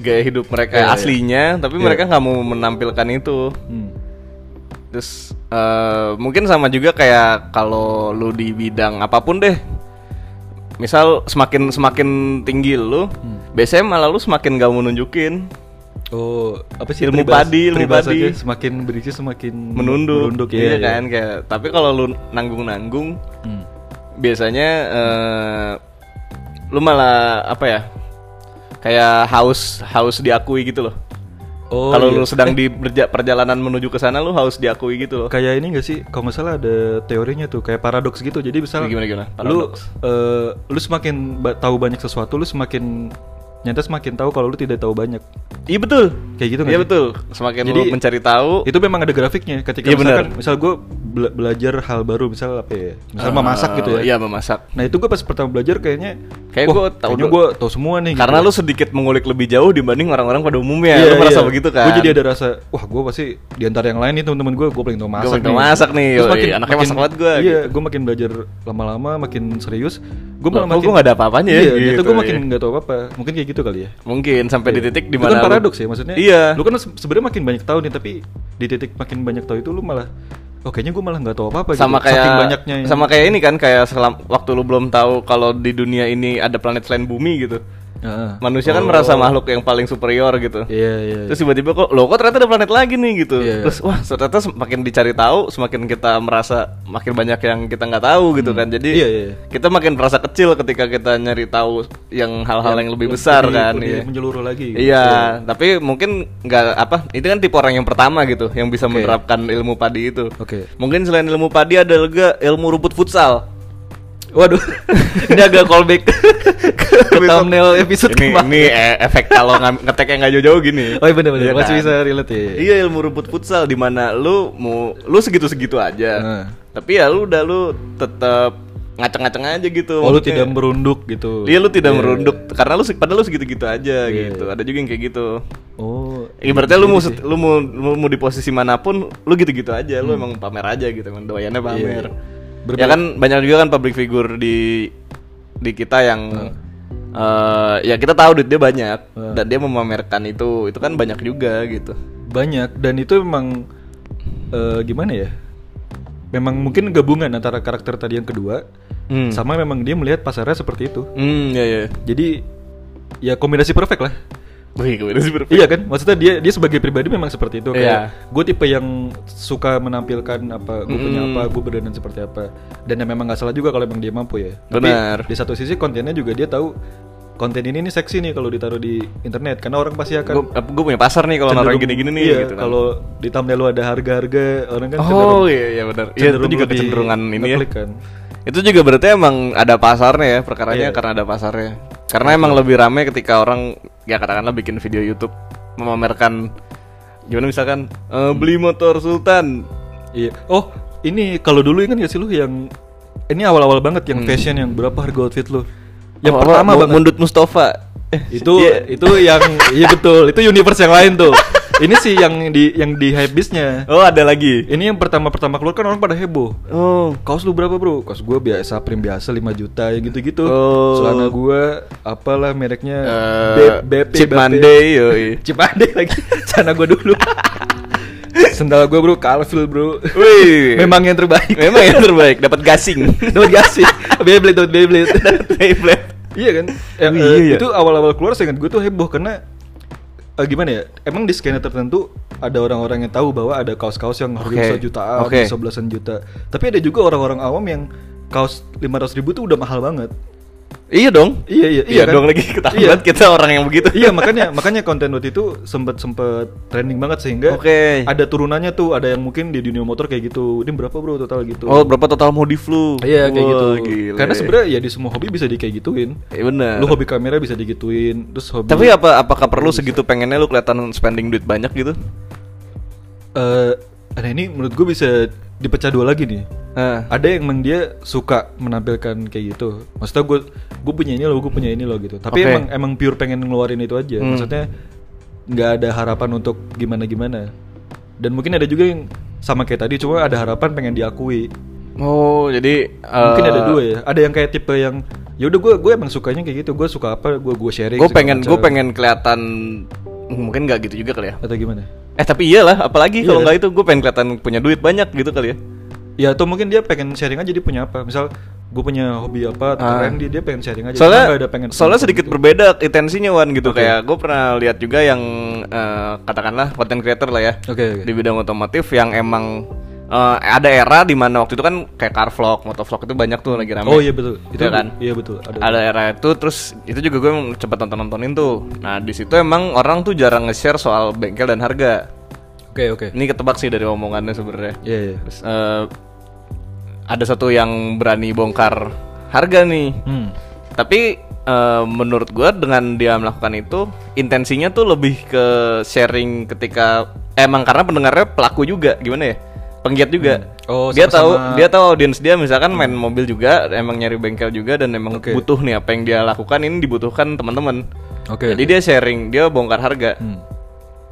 Speaker 1: gaya hidup mereka
Speaker 2: Iya,
Speaker 1: aslinya tapi mereka nggak mau menampilkan itu
Speaker 2: Hmm.
Speaker 1: terus eh, mungkin sama juga kayak kalau lu di bidang apapun deh misal semakin semakin tinggi lu
Speaker 2: Hmm.
Speaker 1: biasanya malah lu semakin gak mau nunjukin
Speaker 2: Oh, apa sih
Speaker 1: Ilmu
Speaker 2: peribahasa-
Speaker 1: padi, ilmu
Speaker 2: peribahasanya
Speaker 1: padi.
Speaker 2: Semakin berisi semakin
Speaker 1: menunduk,
Speaker 2: menunduk
Speaker 1: iya
Speaker 2: ya,
Speaker 1: kan kayak tapi kalau lu nanggung nanggung
Speaker 2: Hmm.
Speaker 1: biasanya eh, lu malah apa ya kayak haus haus diakui gitu loh
Speaker 2: Oh,
Speaker 1: kalau
Speaker 2: iya.
Speaker 1: lu sedang di berja- perjalanan menuju ke sana lu haus diakui gitu loh
Speaker 2: kayak ini gak sih kalau nggak salah ada teorinya tuh kayak paradoks gitu jadi misal
Speaker 1: Gimana, gimana?
Speaker 2: lu eh, lu semakin ba- tahu banyak sesuatu lu semakin nyata semakin tahu kalau lu tidak tahu banyak
Speaker 1: iya betul
Speaker 2: kayak gitu nggak
Speaker 1: iya
Speaker 2: sih?
Speaker 1: betul semakin
Speaker 2: Jadi,
Speaker 1: lu mencari tahu
Speaker 2: itu memang ada grafiknya ketika
Speaker 1: Iya,
Speaker 2: misalkan
Speaker 1: benar.
Speaker 2: misal gue bela- belajar hal baru misal apa ya misal
Speaker 1: Eh,
Speaker 2: memasak gitu ya
Speaker 1: Iya memasak.
Speaker 2: nah itu gue pas pertama belajar kayaknya
Speaker 1: Kayak
Speaker 2: wah,
Speaker 1: gua tahu
Speaker 2: kayaknya
Speaker 1: dulu.
Speaker 2: gue tahu semua nih
Speaker 1: Karena
Speaker 2: gitu.
Speaker 1: lu sedikit mengulik lebih jauh dibanding orang-orang pada umumnya. lu
Speaker 2: Iya,
Speaker 1: merasa
Speaker 2: iya.
Speaker 1: begitu kan?
Speaker 2: Gue jadi ada rasa, wah gue pasti di antara yang lain nih teman-teman gue, gue paling tau masak.
Speaker 1: paling tau masak nih,
Speaker 2: Terus
Speaker 1: yoi. Anaknya masak banget gua,
Speaker 2: Iya,
Speaker 1: gitu.
Speaker 2: gue makin belajar lama-lama, makin serius. Gue
Speaker 1: Loh, kok gua nggak ada apa-apanya ya?
Speaker 2: Iya, gitu,
Speaker 1: Gitu,
Speaker 2: gue makin
Speaker 1: iya.
Speaker 2: nggak tahu apa-apa. Mungkin kayak gitu kali ya.
Speaker 1: Mungkin sampai di titik di
Speaker 2: Itu kan
Speaker 1: mana lu-
Speaker 2: paradoks ya maksudnya.
Speaker 1: Iya.
Speaker 2: Lu kan se- sebenarnya makin banyak tahu nih, tapi di titik makin banyak tahu itu lu malah, oh kayaknya gue malah nggak tahu apa-apa.
Speaker 1: sama
Speaker 2: gitu. Saking
Speaker 1: kayak
Speaker 2: banyaknya. yang-
Speaker 1: sama kayak ini kan kayak selam, waktu lu belum tahu kalau di dunia ini ada planet selain bumi gitu.
Speaker 2: Heeh.
Speaker 1: Manusia kan merasa makhluk yang paling superior gitu.
Speaker 2: Nah. Oh. Iya, iya.
Speaker 1: Terus tiba-tiba kok loh kok ternyata ada planet lagi nih gitu.
Speaker 2: Iya.
Speaker 1: Terus wah ternyata semakin dicari tahu semakin kita merasa makin banyak yang kita nggak tahu gitu kan. Jadi
Speaker 2: Iya, iya.
Speaker 1: kita makin merasa kecil ketika kita nyari tahu yang hal-hal yang lebih besar kan.
Speaker 2: lebih
Speaker 1: iya.
Speaker 2: menyeluruh lagi. gitu.
Speaker 1: Iya, tapi mungkin nggak apa itu kan tipe orang yang pertama gitu yang bisa
Speaker 2: Oke.
Speaker 1: menerapkan ilmu padi itu.
Speaker 2: Oke.
Speaker 1: Mungkin selain ilmu padi ada juga ilmu rumput futsal.
Speaker 2: Waduh, ini agak callback ke thumbnail episode
Speaker 1: ini
Speaker 2: kemarin.
Speaker 1: ini eh, efek kalau ngam- ngetek yang nggak jauh-jauh gini.
Speaker 2: Oh iya bener-bener,
Speaker 1: Iya
Speaker 2: masih
Speaker 1: kan?
Speaker 2: bisa relate ya.
Speaker 1: Iya ilmu rumput futsal di mana lu mau lu segitu-segitu aja.
Speaker 2: Heeh.
Speaker 1: Tapi ya lu udah lu tetap ngaceng-ngaceng aja gitu.
Speaker 2: Oh lu
Speaker 1: maksudnya.
Speaker 2: tidak merunduk gitu.
Speaker 1: Iya lu tidak
Speaker 2: Iya.
Speaker 1: merunduk karena lu se- padahal lu segitu-gitu aja
Speaker 2: Iya.
Speaker 1: gitu. Ada juga yang kayak gitu.
Speaker 2: Oh.
Speaker 1: Ibaratnya lu mau set- lu mau lu mau di posisi manapun lu gitu-gitu aja,
Speaker 2: Hmm.
Speaker 1: lu emang pamer aja gitu emang doyannya
Speaker 2: Iya,
Speaker 1: pamer.
Speaker 2: Berbeda-
Speaker 1: Ya kan banyak juga kan public figure di di kita yang
Speaker 2: Hmm.
Speaker 1: eh, ya kita tahu duit dia banyak dan dia memamerkan itu. Itu kan banyak juga gitu.
Speaker 2: Banyak dan itu memang eh, gimana ya? Memang mungkin gabungan antara karakter tadi yang kedua
Speaker 1: Hmm.
Speaker 2: sama memang dia melihat pasarnya seperti itu.
Speaker 1: Hmm, ya ya.
Speaker 2: Jadi ya kombinasi perfect lah.
Speaker 1: Wih, gue sih berpikir.
Speaker 2: Iya kan? Maksudnya dia dia sebagai pribadi memang seperti itu
Speaker 1: Iya. Hmm.
Speaker 2: kayak gue tipe yang suka menampilkan apa gue punya apa, gue berdandan seperti apa. Dan ya memang nggak salah juga kalau emang dia mampu ya.
Speaker 1: Benar.
Speaker 2: Di satu sisi kontennya juga dia tahu konten ini nih seksi nih kalau ditaruh di internet karena orang pasti akan
Speaker 1: Gue gue eh, punya pasar nih kalau orang
Speaker 2: kan cenderung-
Speaker 1: gini-gini nih
Speaker 2: iya,
Speaker 1: gitu. kan.
Speaker 2: Kalau di thumbnail lu ada harga-harga orang kan
Speaker 1: Oh iya iya benar. Iya itu juga
Speaker 2: lebih
Speaker 1: kecenderungan ini ya.
Speaker 2: ngeklik kan.
Speaker 1: Itu juga berarti emang ada pasarnya ya perkaranya
Speaker 2: Iya.
Speaker 1: karena ada pasarnya. Karena emang lebih rame ketika orang ya katakanlah bikin video YouTube memamerkan gimana misalkan eh, beli motor Sultan.
Speaker 2: Iya. Oh, ini kalau dulu ingat gak sih lu yang ini awal-awal banget
Speaker 1: Hmm.
Speaker 2: yang fashion yang berapa harga outfit lu? Yang
Speaker 1: Apa- apa,
Speaker 2: pertama
Speaker 1: mu-
Speaker 2: banget
Speaker 1: Mundut Mustafa. Eh,
Speaker 2: Oh, itu
Speaker 1: iya.
Speaker 2: itu yang iya betul itu universe yang lain tuh ini sih yang di yang di hypebeastnya
Speaker 1: Oh ada lagi.
Speaker 2: ini yang pertama pertama keluar kan orang pada heboh
Speaker 1: Oh.
Speaker 2: kaos lu berapa bro kaos gua biasa prim biasa 5 juta ya gitu gitu
Speaker 1: Oh.
Speaker 2: celana gua apalah mereknya
Speaker 1: eh,
Speaker 2: B- BP,
Speaker 1: Cheap
Speaker 2: BP.
Speaker 1: Monday, yoi.
Speaker 2: Chip Monday lagi celana gua dulu sendal gua bro Calvin bro
Speaker 1: Wih.
Speaker 2: memang ya? yang terbaik
Speaker 1: Memang yang terbaik dapat gasing.
Speaker 2: dapat gak sih Beyblade dapat Beyblade
Speaker 1: Beyblade.
Speaker 2: Iya kan? Eh,
Speaker 1: Oh,
Speaker 2: eh,
Speaker 1: iya, iya.
Speaker 2: Itu awal-awal keluar seingat gue tuh heboh karena eh, gimana ya? Emang di skena tertentu ada orang-orang yang tahu bahwa ada kaos-kaos yang harga
Speaker 1: Oke.
Speaker 2: bisa jutaan,
Speaker 1: Oke.
Speaker 2: bisa belasan juta. Tapi ada juga orang-orang awam yang kaos 500 ribu tuh udah mahal banget.
Speaker 1: Iya dong.
Speaker 2: Iya iya
Speaker 1: Iya,
Speaker 2: kan?
Speaker 1: dong lagi ketahuan
Speaker 2: Iya.
Speaker 1: banget kita orang yang begitu.
Speaker 2: iya makanya makanya konten waktu itu sempet sempet trending banget sehingga
Speaker 1: Oke.
Speaker 2: ada turunannya tuh ada yang mungkin di dunia motor kayak gitu ini berapa bro total gitu
Speaker 1: Oh, berapa total modif lu?
Speaker 2: iya kayak
Speaker 1: Wah,
Speaker 2: gitu
Speaker 1: gile.
Speaker 2: karena sebenarnya ya di semua hobi bisa di kayak gituin
Speaker 1: Iya benar.
Speaker 2: lu hobi kamera bisa digituin terus hobi
Speaker 1: Tapi apa apakah perlu segitu pengennya lu kelihatan spending duit banyak gitu?
Speaker 2: Eh, nah ini menurut gue bisa dipecah dua lagi nih.
Speaker 1: Nah,
Speaker 2: Ada yang emang dia suka menampilkan kayak gitu. Maksudnya gue gue punya ini loh, gue punya ini loh gitu. Tapi
Speaker 1: Oke.
Speaker 2: emang emang pure pengen ngeluarin itu aja.
Speaker 1: Hmm.
Speaker 2: Maksudnya nggak ada harapan untuk gimana gimana. Dan mungkin ada juga yang sama kayak tadi, cuma ada harapan pengen diakui.
Speaker 1: oh, jadi
Speaker 2: mungkin
Speaker 1: Eh,
Speaker 2: ada dua ya. Ada yang kayak tipe yang ya udah gue gue emang sukanya kayak gitu. Gue suka apa, gue gue sharing.
Speaker 1: Gue
Speaker 2: segala
Speaker 1: pengen gue
Speaker 2: macam.
Speaker 1: pengen kelihatan mungkin nggak gitu juga kali ya.
Speaker 2: atau gimana?
Speaker 1: Eh tapi iyalah, apalagi
Speaker 2: Iya
Speaker 1: kalau
Speaker 2: dah.
Speaker 1: nggak itu gue pengen kelihatan punya duit banyak gitu kali ya.
Speaker 2: Ya atau mungkin dia pengen sharing aja dia punya apa. Misal gue punya hobi apa,
Speaker 1: Ah.
Speaker 2: keren dia dia pengen sharing aja.
Speaker 1: soalnya
Speaker 2: Dia nggak ada pengen. gitu.
Speaker 1: soalnya sedikit berbeda intensinya Wan gitu
Speaker 2: Oke.
Speaker 1: kayak gue pernah lihat juga yang eh, katakanlah content creator lah ya
Speaker 2: Oke, oke.
Speaker 1: di bidang otomotif yang emang eh, ada era di mana waktu itu kan kayak car vlog, motovlog itu banyak tuh lagi rame.
Speaker 2: Oh iya betul. Itu
Speaker 1: Iya kan?
Speaker 2: Iya betul. Ada.
Speaker 1: Ada era itu terus itu juga gue emang cepet nonton nontonin tuh. Nah di situ emang orang tuh jarang nge-share soal bengkel dan harga.
Speaker 2: Oke oke.
Speaker 1: Ini ketebak sih dari omongannya sebenarnya.
Speaker 2: Iya iya.
Speaker 1: Terus, eh, ada satu yang berani bongkar harga nih.
Speaker 2: Hmm.
Speaker 1: Tapi eh, menurut gua dengan dia melakukan itu intensinya tuh lebih ke eh, sharing ketika emang karena pendengarnya pelaku juga gimana ya penggiat juga.
Speaker 2: Oh,
Speaker 1: dia tahu
Speaker 2: sama-sama.
Speaker 1: dia tahu audiens dia misalkan main mobil juga emang nyari bengkel juga dan emang
Speaker 2: Oke.
Speaker 1: butuh nih apa yang dia lakukan ini dibutuhkan teman-teman
Speaker 2: Oke.
Speaker 1: jadi dia sharing dia bongkar harga
Speaker 2: Hmm.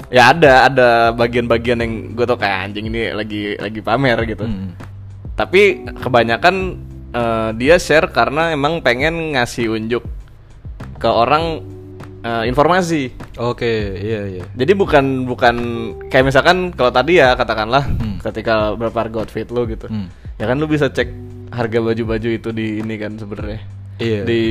Speaker 1: ya ada ada bagian-bagian yang gue tau kayak anjing ini lagi lagi pamer gitu
Speaker 2: Hmm.
Speaker 1: tapi kebanyakan eh, dia share karena emang pengen ngasih unjuk ke orang eh, informasi
Speaker 2: Oke, iya iya.
Speaker 1: jadi bukan bukan kayak misalkan kalau tadi ya katakanlah
Speaker 2: Hmm.
Speaker 1: ketika berapa harga outfit lo gitu.
Speaker 2: Hmm.
Speaker 1: Ya kan lu bisa cek harga baju-baju itu di ini kan sebenarnya.
Speaker 2: Iya.
Speaker 1: Di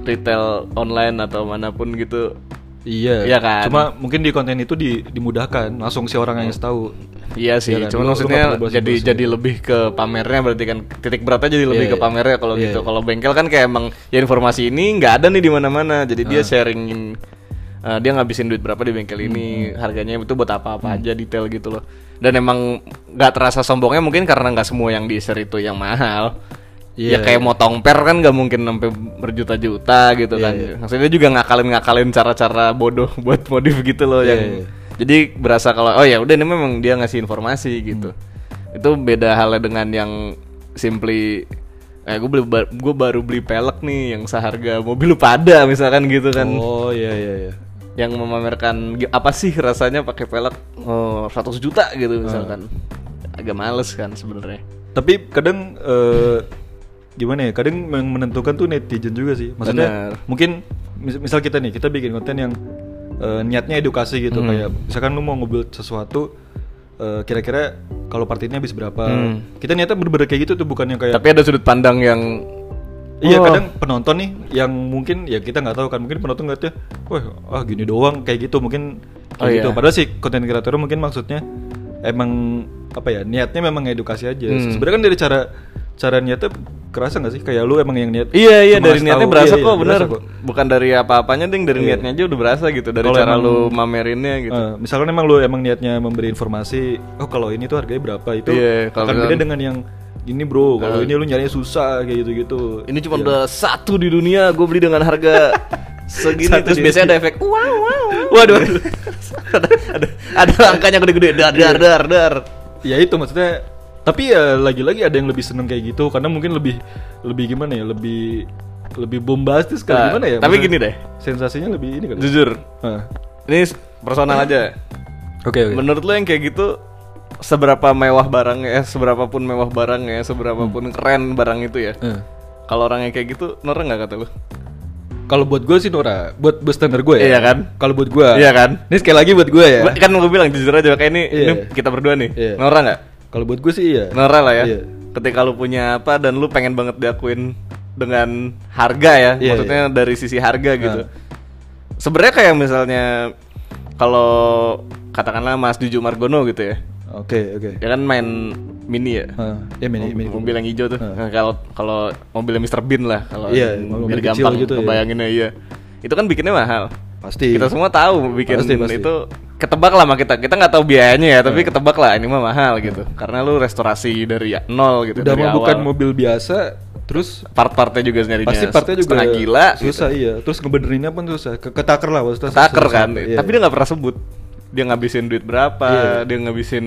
Speaker 1: retail online atau manapun gitu.
Speaker 2: Iya.
Speaker 1: Iya kan?
Speaker 2: Cuma mungkin di konten itu di, dimudahkan langsung si orang yang tahu.
Speaker 1: Iya sih, cuman
Speaker 2: Iya kan, lu- lu nggak
Speaker 1: maksudnya
Speaker 2: perlu browsing-
Speaker 1: jadi
Speaker 2: browsing.
Speaker 1: jadi lebih ke pamernya berarti kan titik beratnya jadi lebih
Speaker 2: Iya,
Speaker 1: ke
Speaker 2: iya.
Speaker 1: pamernya kalau
Speaker 2: Iya,
Speaker 1: gitu.
Speaker 2: iya.
Speaker 1: Kalau bengkel kan kayak emang ya informasi ini nggak ada nih di mana-mana. Jadi
Speaker 2: Ah.
Speaker 1: dia sharingin eh, dia ngabisin duit berapa di bengkel
Speaker 2: Hmm,
Speaker 1: ini, harganya itu buat apa-apa aja detail gitu loh. Dan emang nggak terasa sombongnya mungkin karena nggak semua yang di share itu yang mahal. Ya
Speaker 2: Iya.
Speaker 1: kayak motong per kan nggak mungkin sampai berjuta-juta gitu
Speaker 2: Iya,
Speaker 1: kan.
Speaker 2: iya.
Speaker 1: Maksudnya dia juga ngakalin-ngakalin cara-cara bodoh buat modif gitu loh
Speaker 2: Iya,
Speaker 1: yang
Speaker 2: iya.
Speaker 1: jadi berasa kalau oh ya udah ini memang dia ngasih informasi gitu
Speaker 2: Hmm.
Speaker 1: itu beda halnya dengan yang simply eh gue beli gue baru beli pelek nih yang seharga mobil lu pada misalkan gitu kan
Speaker 2: Oh, iya iya iya.
Speaker 1: yang memamerkan "Gi- apa sih rasanya pakai pelek oh, 100 juta
Speaker 2: Ah.
Speaker 1: gitu misalkan agak males kan sebenarnya
Speaker 2: Tapi kadang eh, gimana ya? Kadang yang menentukan tuh netizen juga sih. Maksudnya
Speaker 1: Benar.
Speaker 2: mungkin mis- misal kita nih, kita bikin konten yang eh, niatnya edukasi gitu
Speaker 1: Hmm.
Speaker 2: kayak misalkan lu mau ngebuild sesuatu eh, kira-kira kalau partitnya habis berapa.
Speaker 1: Hmm.
Speaker 2: Kita niatnya bener-bener kayak gitu tuh bukan yang kayak
Speaker 1: tapi ada sudut pandang yang
Speaker 2: Iya
Speaker 1: "Oh,
Speaker 2: kadang penonton nih yang mungkin ya kita nggak tahu kan mungkin penonton ngeliatnya, wah ah gini doang kayak gitu mungkin
Speaker 1: Oh,
Speaker 2: kayak gitu.
Speaker 1: iya.
Speaker 2: Padahal si konten kreator mungkin maksudnya emang apa ya niatnya memang edukasi aja.
Speaker 1: Hmm.
Speaker 2: Sebenarnya kan dari cara cara niatnya kerasa nggak sih kayak lu emang yang niat?
Speaker 1: Iya iya
Speaker 2: cuma
Speaker 1: dari
Speaker 2: ngasih
Speaker 1: niatnya
Speaker 2: tahu.
Speaker 1: berasa
Speaker 2: Iya,
Speaker 1: kok
Speaker 2: iya,
Speaker 1: bener
Speaker 2: berasa kok. Iya.
Speaker 1: bukan dari apa-apanya ding dari niatnya aja udah berasa gitu dari
Speaker 2: Kalau
Speaker 1: cara
Speaker 2: emang-
Speaker 1: lu mamerinnya gitu
Speaker 2: Eh, misalkan emang lu emang niatnya memberi informasi, oh kalau ini tuh harganya berapa itu
Speaker 1: Iya, kalau
Speaker 2: akan
Speaker 1: misalkan- Nah.
Speaker 2: beda dengan yang ini bro, kalau ini lu nyarinya susah kayak gitu-gitu.
Speaker 1: Ini cuma udah satu di dunia, gue beli dengan harga segini. Terus
Speaker 2: Satu di
Speaker 1: biasanya ada efek wow wow. Waduh, ada, ada, ada angkanya gede-gede dar
Speaker 2: Iya.
Speaker 1: dar dar dar.
Speaker 2: ya itu maksudnya tapi ya lagi-lagi ada yang lebih seneng kayak gitu karena mungkin lebih lebih gimana ya lebih lebih bombastis kali
Speaker 1: Nah,
Speaker 2: gimana ya
Speaker 1: tapi
Speaker 2: maksudnya
Speaker 1: gini deh. Nah.
Speaker 2: sensasinya lebih ini kan
Speaker 1: Jujur, ini personal aja.
Speaker 2: oke
Speaker 1: Menurut lo yang kayak gitu seberapa mewah barangnya, eh, seberapa pun mewah barangnya, seberapa
Speaker 2: Hmm.
Speaker 1: pun keren barang itu ya. Kalau orangnya kayak gitu, norak nggak kata lo?
Speaker 2: kalau buat gue sih Nora buat buat standar gue ya
Speaker 1: Iya kan?
Speaker 2: kalau buat gue
Speaker 1: Iya kan?
Speaker 2: ini sekali lagi buat gue ya
Speaker 1: Ba- Kan gue bilang jujur aja kayak ini,
Speaker 2: Iya.
Speaker 1: ini kita berdua nih,
Speaker 2: Iya.
Speaker 1: norak nggak?
Speaker 2: kalau buat gue sih iya
Speaker 1: Nora lah ya.
Speaker 2: Iya.
Speaker 1: Ketika lu punya apa dan lu pengen banget diakuin dengan harga ya,
Speaker 2: Iya, Nah.
Speaker 1: maksudnya dari sisi harga gitu. Sebenarnya kayak misalnya kalau katakanlah Mas Duju Margono gitu ya,
Speaker 2: oke oke
Speaker 1: dia kan main mini ya.
Speaker 2: Heeh. ya mini mini
Speaker 1: mobil yang hijau tuh Nah, kalau kalau mobilnya Mr Bean lah kalau
Speaker 2: Iya,
Speaker 1: yang
Speaker 2: mobil
Speaker 1: biar
Speaker 2: kecil
Speaker 1: gampang
Speaker 2: gitu ya.
Speaker 1: kebayanginnya iya itu kan bikinnya mahal
Speaker 2: pasti
Speaker 1: kita semua tahu bikin
Speaker 2: Iya. Pasti, pasti. Iya.
Speaker 1: itu ketebak lah sama kita kita nggak tahu biayanya ya tapi ketebak lah ini mah mahal gitu karena lu restorasi dari ya- nol gitu
Speaker 2: udah
Speaker 1: dari
Speaker 2: mau bukan
Speaker 1: awal
Speaker 2: mobil biasa terus
Speaker 1: part-partnya juga nyarinya
Speaker 2: pasti partnya juga
Speaker 1: setengah gila gitu.
Speaker 2: susah iya terus ngebenerinnya pun susah Ke- ketaker lah maksudnya
Speaker 1: taker
Speaker 2: susah-susah.
Speaker 1: kan
Speaker 2: Iya.
Speaker 1: tapi dia nggak pernah sebut dia ngabisin duit berapa dia ngabisin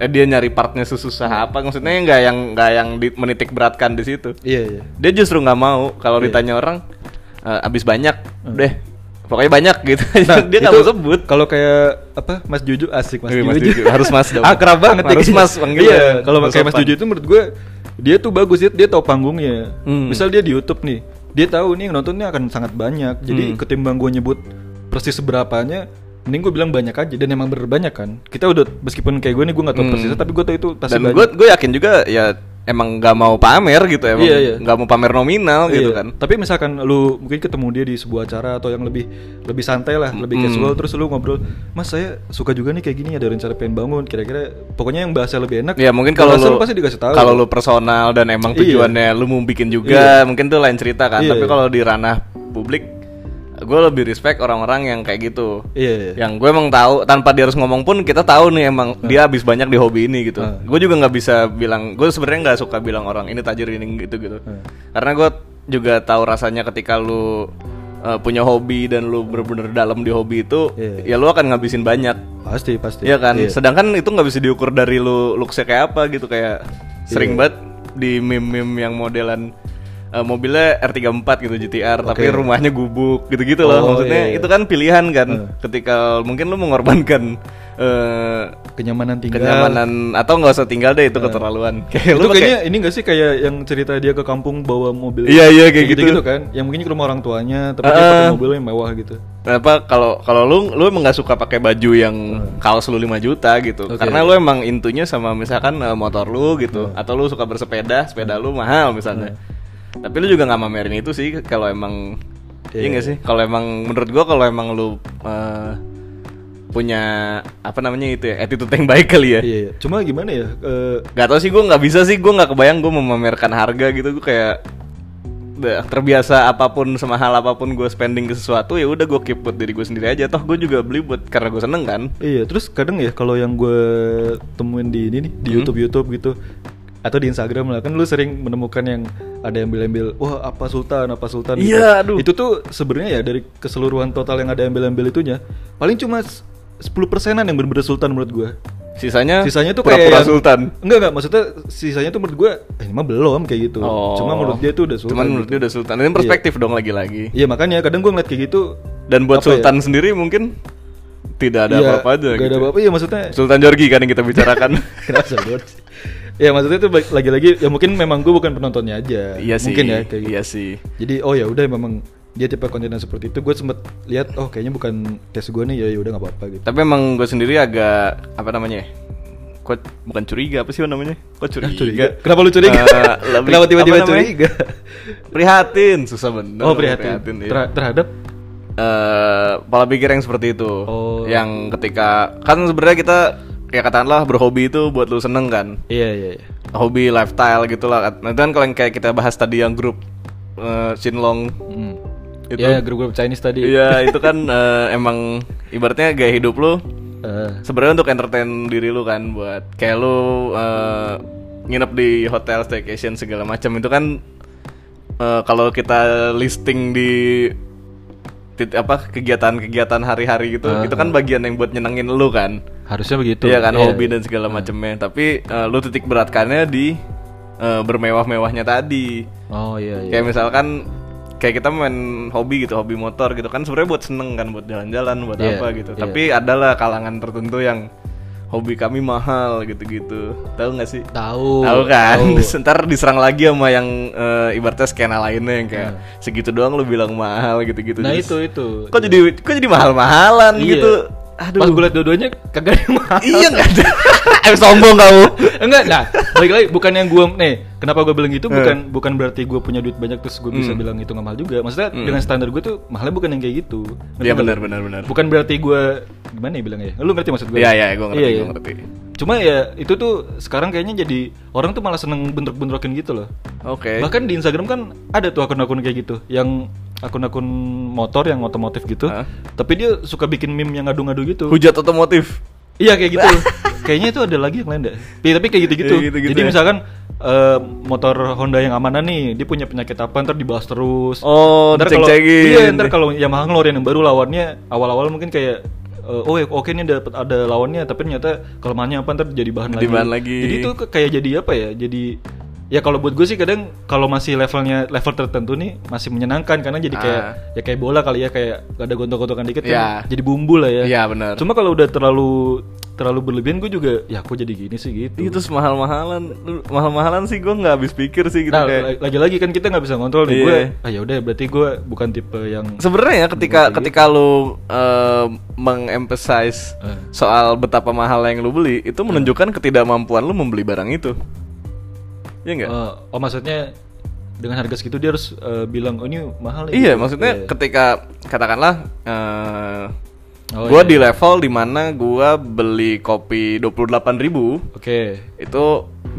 Speaker 1: eh dia nyari partnya sesusah apa maksudnya nggak yang nggak yang di, menitik beratkan di situ
Speaker 2: iya iya
Speaker 1: dia justru nggak mau kalau ditanya orang "Eh, abis banyak deh pokoknya banyak gitu dia nggak
Speaker 2: Hmm. Nah, itu
Speaker 1: mau sebut
Speaker 2: Kalau kayak apa Mas Juju asik Mas,
Speaker 1: Iya,
Speaker 2: Juju.
Speaker 1: Mas Juju. Harus Mas dong.
Speaker 2: Akrab banget ya,
Speaker 1: Harus
Speaker 2: kayaknya.
Speaker 1: Mas, panggil
Speaker 2: Iya,
Speaker 1: ya.
Speaker 2: kalau
Speaker 1: Harus
Speaker 2: kayak Mas
Speaker 1: sopan.
Speaker 2: Juju itu menurut gue dia tuh bagus dia, dia tahu panggungnya.
Speaker 1: Hmm.
Speaker 2: Misal dia di YouTube nih, dia tahu nih yang nontonnya akan sangat banyak. Jadi
Speaker 1: Hmm.
Speaker 2: ketimbang gue nyebut persis seberapanya Mending gue bilang banyak aja dan emang bener banyak kan. Kita udah meskipun kayak gue nih gue nggak tahu persisnya tapi gue tahu itu pasti
Speaker 1: Hmm. dan
Speaker 2: banyak.
Speaker 1: gue gue yakin juga ya emang nggak mau pamer gitu emang
Speaker 2: Iya, iya.
Speaker 1: nggak mau pamer nominal gitu
Speaker 2: Iya,
Speaker 1: kan
Speaker 2: Tapi misalkan lu mungkin ketemu dia di sebuah acara atau yang lebih lebih santai lah, lebih casual terus lu ngobrol, "Mas, saya suka juga nih kayak gini ada rencana pengen bangun." Kira-kira pokoknya yang bahasa lebih enak.
Speaker 1: ya mungkin kalau
Speaker 2: bahasa
Speaker 1: lu
Speaker 2: pasti dikasih tahu.
Speaker 1: kalau lu personal dan emang
Speaker 2: Iya.
Speaker 1: tujuannya lu mau bikin juga mungkin tuh lain cerita kan
Speaker 2: Iya,
Speaker 1: tapi
Speaker 2: iya.
Speaker 1: kalau di ranah publik gue lebih respect orang-orang yang kayak gitu
Speaker 2: Iya, iya.
Speaker 1: yang gue emang tahu tanpa dia harus ngomong pun kita tahu nih emang dia habis banyak di hobi ini gitu
Speaker 2: Hmm.
Speaker 1: gue juga nggak bisa bilang gue sebenarnya nggak suka bilang orang ini tajir ini gitu gitu
Speaker 2: Hmm.
Speaker 1: karena gue juga tahu rasanya ketika lu uh, punya hobi dan lu bener-bener dalam di hobi itu ya
Speaker 2: Iya.
Speaker 1: lu akan ngabisin banyak
Speaker 2: Pasti, pasti.
Speaker 1: Iya kan,
Speaker 2: Iya.
Speaker 1: sedangkan itu nggak bisa diukur dari lu looksnya kayak apa gitu kayak
Speaker 2: Iya.
Speaker 1: sering banget di meme-meme yang modelan eh, mobilnya R34 gitu GTR tapi
Speaker 2: Oke.
Speaker 1: rumahnya gubuk gitu-gitu loh
Speaker 2: Oh,
Speaker 1: maksudnya
Speaker 2: iya, iya.
Speaker 1: itu kan pilihan kan
Speaker 2: Eh.
Speaker 1: ketika mungkin lu mengorbankan eh,
Speaker 2: Iya. kenyamanan tinggal
Speaker 1: kenyamanan atau nggak usah tinggal deh itu keterlaluan kayak
Speaker 2: itu
Speaker 1: Iya, lu pakai-
Speaker 2: kayaknya ini gak sih kayak yang cerita dia ke kampung bawa mobil
Speaker 1: Iya, iya, kayak gitu.
Speaker 2: gitu kan yang mungkin ke rumah orang tuanya tapi dia
Speaker 1: Ah.
Speaker 2: pakai mobil yang mewah gitu
Speaker 1: Kenapa kalau kalau lu lu emang nggak suka pakai baju yang kaos lu 5 juta gitu.
Speaker 2: Oke.
Speaker 1: Karena lu emang intunya sama misalkan eh, motor lu gitu atau lu suka bersepeda, sepeda lu mahal misalnya. Tapi lu juga nggak mamerin itu sih kalau emang Iya nggak sih? Kalau emang menurut gua kalau emang lu eh, punya apa namanya itu ya, attitude yang baik kali ya.
Speaker 2: iya, iya. cuma gimana ya eh,
Speaker 1: Gak tau sih gua nggak bisa sih gua nggak kebayang gua memamerkan harga gitu gua kayak udah terbiasa apapun semahal apapun gue spending ke sesuatu ya udah gue keep buat diri gue sendiri aja toh gue juga beli buat karena gue seneng kan
Speaker 2: Iya, terus kadang ya kalau yang gue temuin di ini nih di
Speaker 1: Hmm.
Speaker 2: YouTube YouTube gitu atau di Instagram lah kan lu sering menemukan yang ada yang ambil-ambil wah apa Sultan apa Sultan gitu.
Speaker 1: Iya, aduh.
Speaker 2: itu tuh sebenarnya ya dari keseluruhan total yang ada ambil-ambil itunya paling cuma s- 10 persenan yang bener-bener Sultan menurut gue
Speaker 1: sisanya
Speaker 2: sisanya tuh kayak
Speaker 1: pura-pura
Speaker 2: yang-
Speaker 1: sultan
Speaker 2: enggak enggak maksudnya sisanya tuh menurut gue eh, ini mah belum kayak gitu
Speaker 1: Oh.
Speaker 2: cuma menurut dia tuh udah Sultan gitu.
Speaker 1: cuman menurut dia udah sultan ini perspektif dong lagi-lagi
Speaker 2: iya makanya kadang gue ngeliat kayak gitu
Speaker 1: dan buat
Speaker 2: Apa ya?
Speaker 1: sultan sendiri mungkin tidak ada
Speaker 2: iya,
Speaker 1: apa-apa aja
Speaker 2: nggak ada
Speaker 1: gitu
Speaker 2: apa-apa iya maksudnya
Speaker 1: sultan Jorgi kan yang kita bicarakan
Speaker 2: Kenapa sebut? ya maksudnya itu baik- lagi-lagi ya mungkin memang gue bukan penontonnya aja.
Speaker 1: iya sih
Speaker 2: Mungkin ya kayak gitu.
Speaker 1: iya sih
Speaker 2: Jadi oh ya udah memang dia tipe konten yang seperti itu. Gue sempet lihat oh kayaknya bukan tes gue nih ya ya udah nggak apa-apa gitu.
Speaker 1: Tapi emang gue sendiri agak apa namanya? ya? Kok bukan curiga apa sih namanya? Kok curiga?
Speaker 2: Ah, curiga. Kenapa lu curiga?
Speaker 1: Eh, lebih-
Speaker 2: Kenapa tiba-tiba
Speaker 1: apa namanya?
Speaker 2: curiga?
Speaker 1: Prihatin, susah bener.
Speaker 2: oh prihatin.
Speaker 1: iya.
Speaker 2: Ter- terhadap
Speaker 1: Eh, pola pikir yang seperti itu.
Speaker 2: Oh.
Speaker 1: Yang ketika kan sebenarnya kita ya katakanlah berhobi itu buat lu seneng kan.
Speaker 2: Iya iya iya.
Speaker 1: Hobi lifestyle gitu lah. Nah, itu kan kalau yang kayak kita bahas tadi yang grup eh, Shinlong
Speaker 2: Hmm.
Speaker 1: Itu-
Speaker 2: Iya grup-grup Chinese tadi.
Speaker 1: Iya, itu kan eh, emang ibaratnya gaya hidup lu
Speaker 2: Eh,
Speaker 1: sebenarnya untuk entertain diri lu kan buat kayak lu eh, nginep di hotel staycation segala macam itu kan eh, kalau kita listing di tit- apa kegiatan-kegiatan hari-hari gitu itu kan bagian yang buat nyenengin lu kan
Speaker 2: harusnya begitu.
Speaker 1: iya kan hobi dan segala macamnya tapi eh, lu titik beratkannya di eh, bermewah-mewahnya tadi
Speaker 2: Oh iya iya.
Speaker 1: kayak misalkan kayak kita main hobi gitu hobi motor gitu kan sebenarnya buat seneng kan buat jalan-jalan buat
Speaker 2: Iya,
Speaker 1: apa gitu
Speaker 2: iya.
Speaker 1: tapi adalah kalangan tertentu yang hobi kami mahal gitu-gitu tahu nggak sih
Speaker 2: Oh, Tahu.
Speaker 1: tahu kan ntar diserang lagi sama yang eh, ibaratnya skena lainnya yang kayak segitu doang lu bilang mahal gitu-gitu
Speaker 2: Iya. Nah
Speaker 1: Terus,
Speaker 2: itu itu.
Speaker 1: kok jadi kok jadi mahal-mahalan
Speaker 2: Iya.
Speaker 1: gitu
Speaker 2: Pas
Speaker 1: aduh
Speaker 2: gue liat dua-duanya kagak ada yang mahal.
Speaker 1: iya nggak ada
Speaker 2: Eh,
Speaker 1: em sombong kamu
Speaker 2: enggak nah balik lagi bukan yang gue nih kenapa gue bilang
Speaker 1: Eh.
Speaker 2: gitu bukan bukan berarti gue punya duit banyak terus gue
Speaker 1: Hmm.
Speaker 2: bisa bilang itu nggak mahal juga maksudnya dengan standar gue tuh mahalnya bukan yang kayak gitu Ngerti
Speaker 1: iya
Speaker 2: nggak?
Speaker 1: benar benar benar
Speaker 2: bukan berarti gue gimana ya bilangnya lu ngerti maksud gue
Speaker 1: iya iya gue ngerti
Speaker 2: Iya,
Speaker 1: gue
Speaker 2: iya.
Speaker 1: ngerti
Speaker 2: cuma ya itu tuh sekarang kayaknya jadi orang tuh malah seneng bentrok-bentrokin gitu loh
Speaker 1: oke
Speaker 2: bahkan di Instagram kan ada tuh akun-akun kayak gitu yang akun-akun motor yang otomotif gitu
Speaker 1: Hah?
Speaker 2: tapi dia suka bikin meme yang ngadu-ngadu gitu
Speaker 1: hujat otomotif
Speaker 2: Iya kayak gitu. Kayaknya itu ada lagi yang lain deh. Tapi, tapi kayak gitu-gitu.
Speaker 1: Kayak gitu-gitu
Speaker 2: Jadi
Speaker 1: ya.
Speaker 2: misalkan eh, motor Honda yang amanah nih, dia punya penyakit apa ntar dibahas terus.
Speaker 1: Oh,
Speaker 2: ntar kalau
Speaker 1: diceng-cengin.
Speaker 2: iya ntar kalau Yamaha ngeluarin yang baru lawannya awal-awal mungkin kayak eh, oh ya, oke ini dapat ada lawannya tapi ternyata kelemahannya apa ntar jadi bahan
Speaker 1: Jadi
Speaker 2: lagi.
Speaker 1: bahan lagi.
Speaker 2: Jadi itu ke- kayak jadi apa ya? Jadi ya kalau buat gue sih kadang kalau masih levelnya level tertentu nih masih menyenangkan karena jadi kayak
Speaker 1: Ah.
Speaker 2: ya kayak bola kali ya kayak ada gontok-gontokan dikit
Speaker 1: Ya.
Speaker 2: kan jadi bumbu lah ya.
Speaker 1: iya benar
Speaker 2: Cuma kalau udah terlalu terlalu berlebihan gue juga ya aku jadi gini sih gitu.
Speaker 1: Itu terus mahal-mahalan, Lu- mahal-mahalan sih gue nggak habis pikir sih gitu
Speaker 2: Nah,
Speaker 1: kayak.
Speaker 2: la- lagi-lagi kan kita nggak bisa ngontrol nih
Speaker 1: Iya.
Speaker 2: gue. Ah ya udah berarti gue bukan tipe yang
Speaker 1: Sebenarnya ya ketika ketika lu eh, mengemphasize
Speaker 2: Eh.
Speaker 1: soal betapa mahal yang lu beli, itu
Speaker 2: Iya.
Speaker 1: menunjukkan ketidakmampuan lu membeli barang itu. Iya enggak?
Speaker 2: eh, oh maksudnya dengan harga segitu dia harus eh, bilang oh ini mahal ya.
Speaker 1: iya, maksudnya ketika katakanlah eh
Speaker 2: Oh,
Speaker 1: gua di level dimana gua beli kopi 28.000 ribu
Speaker 2: Oke.
Speaker 1: itu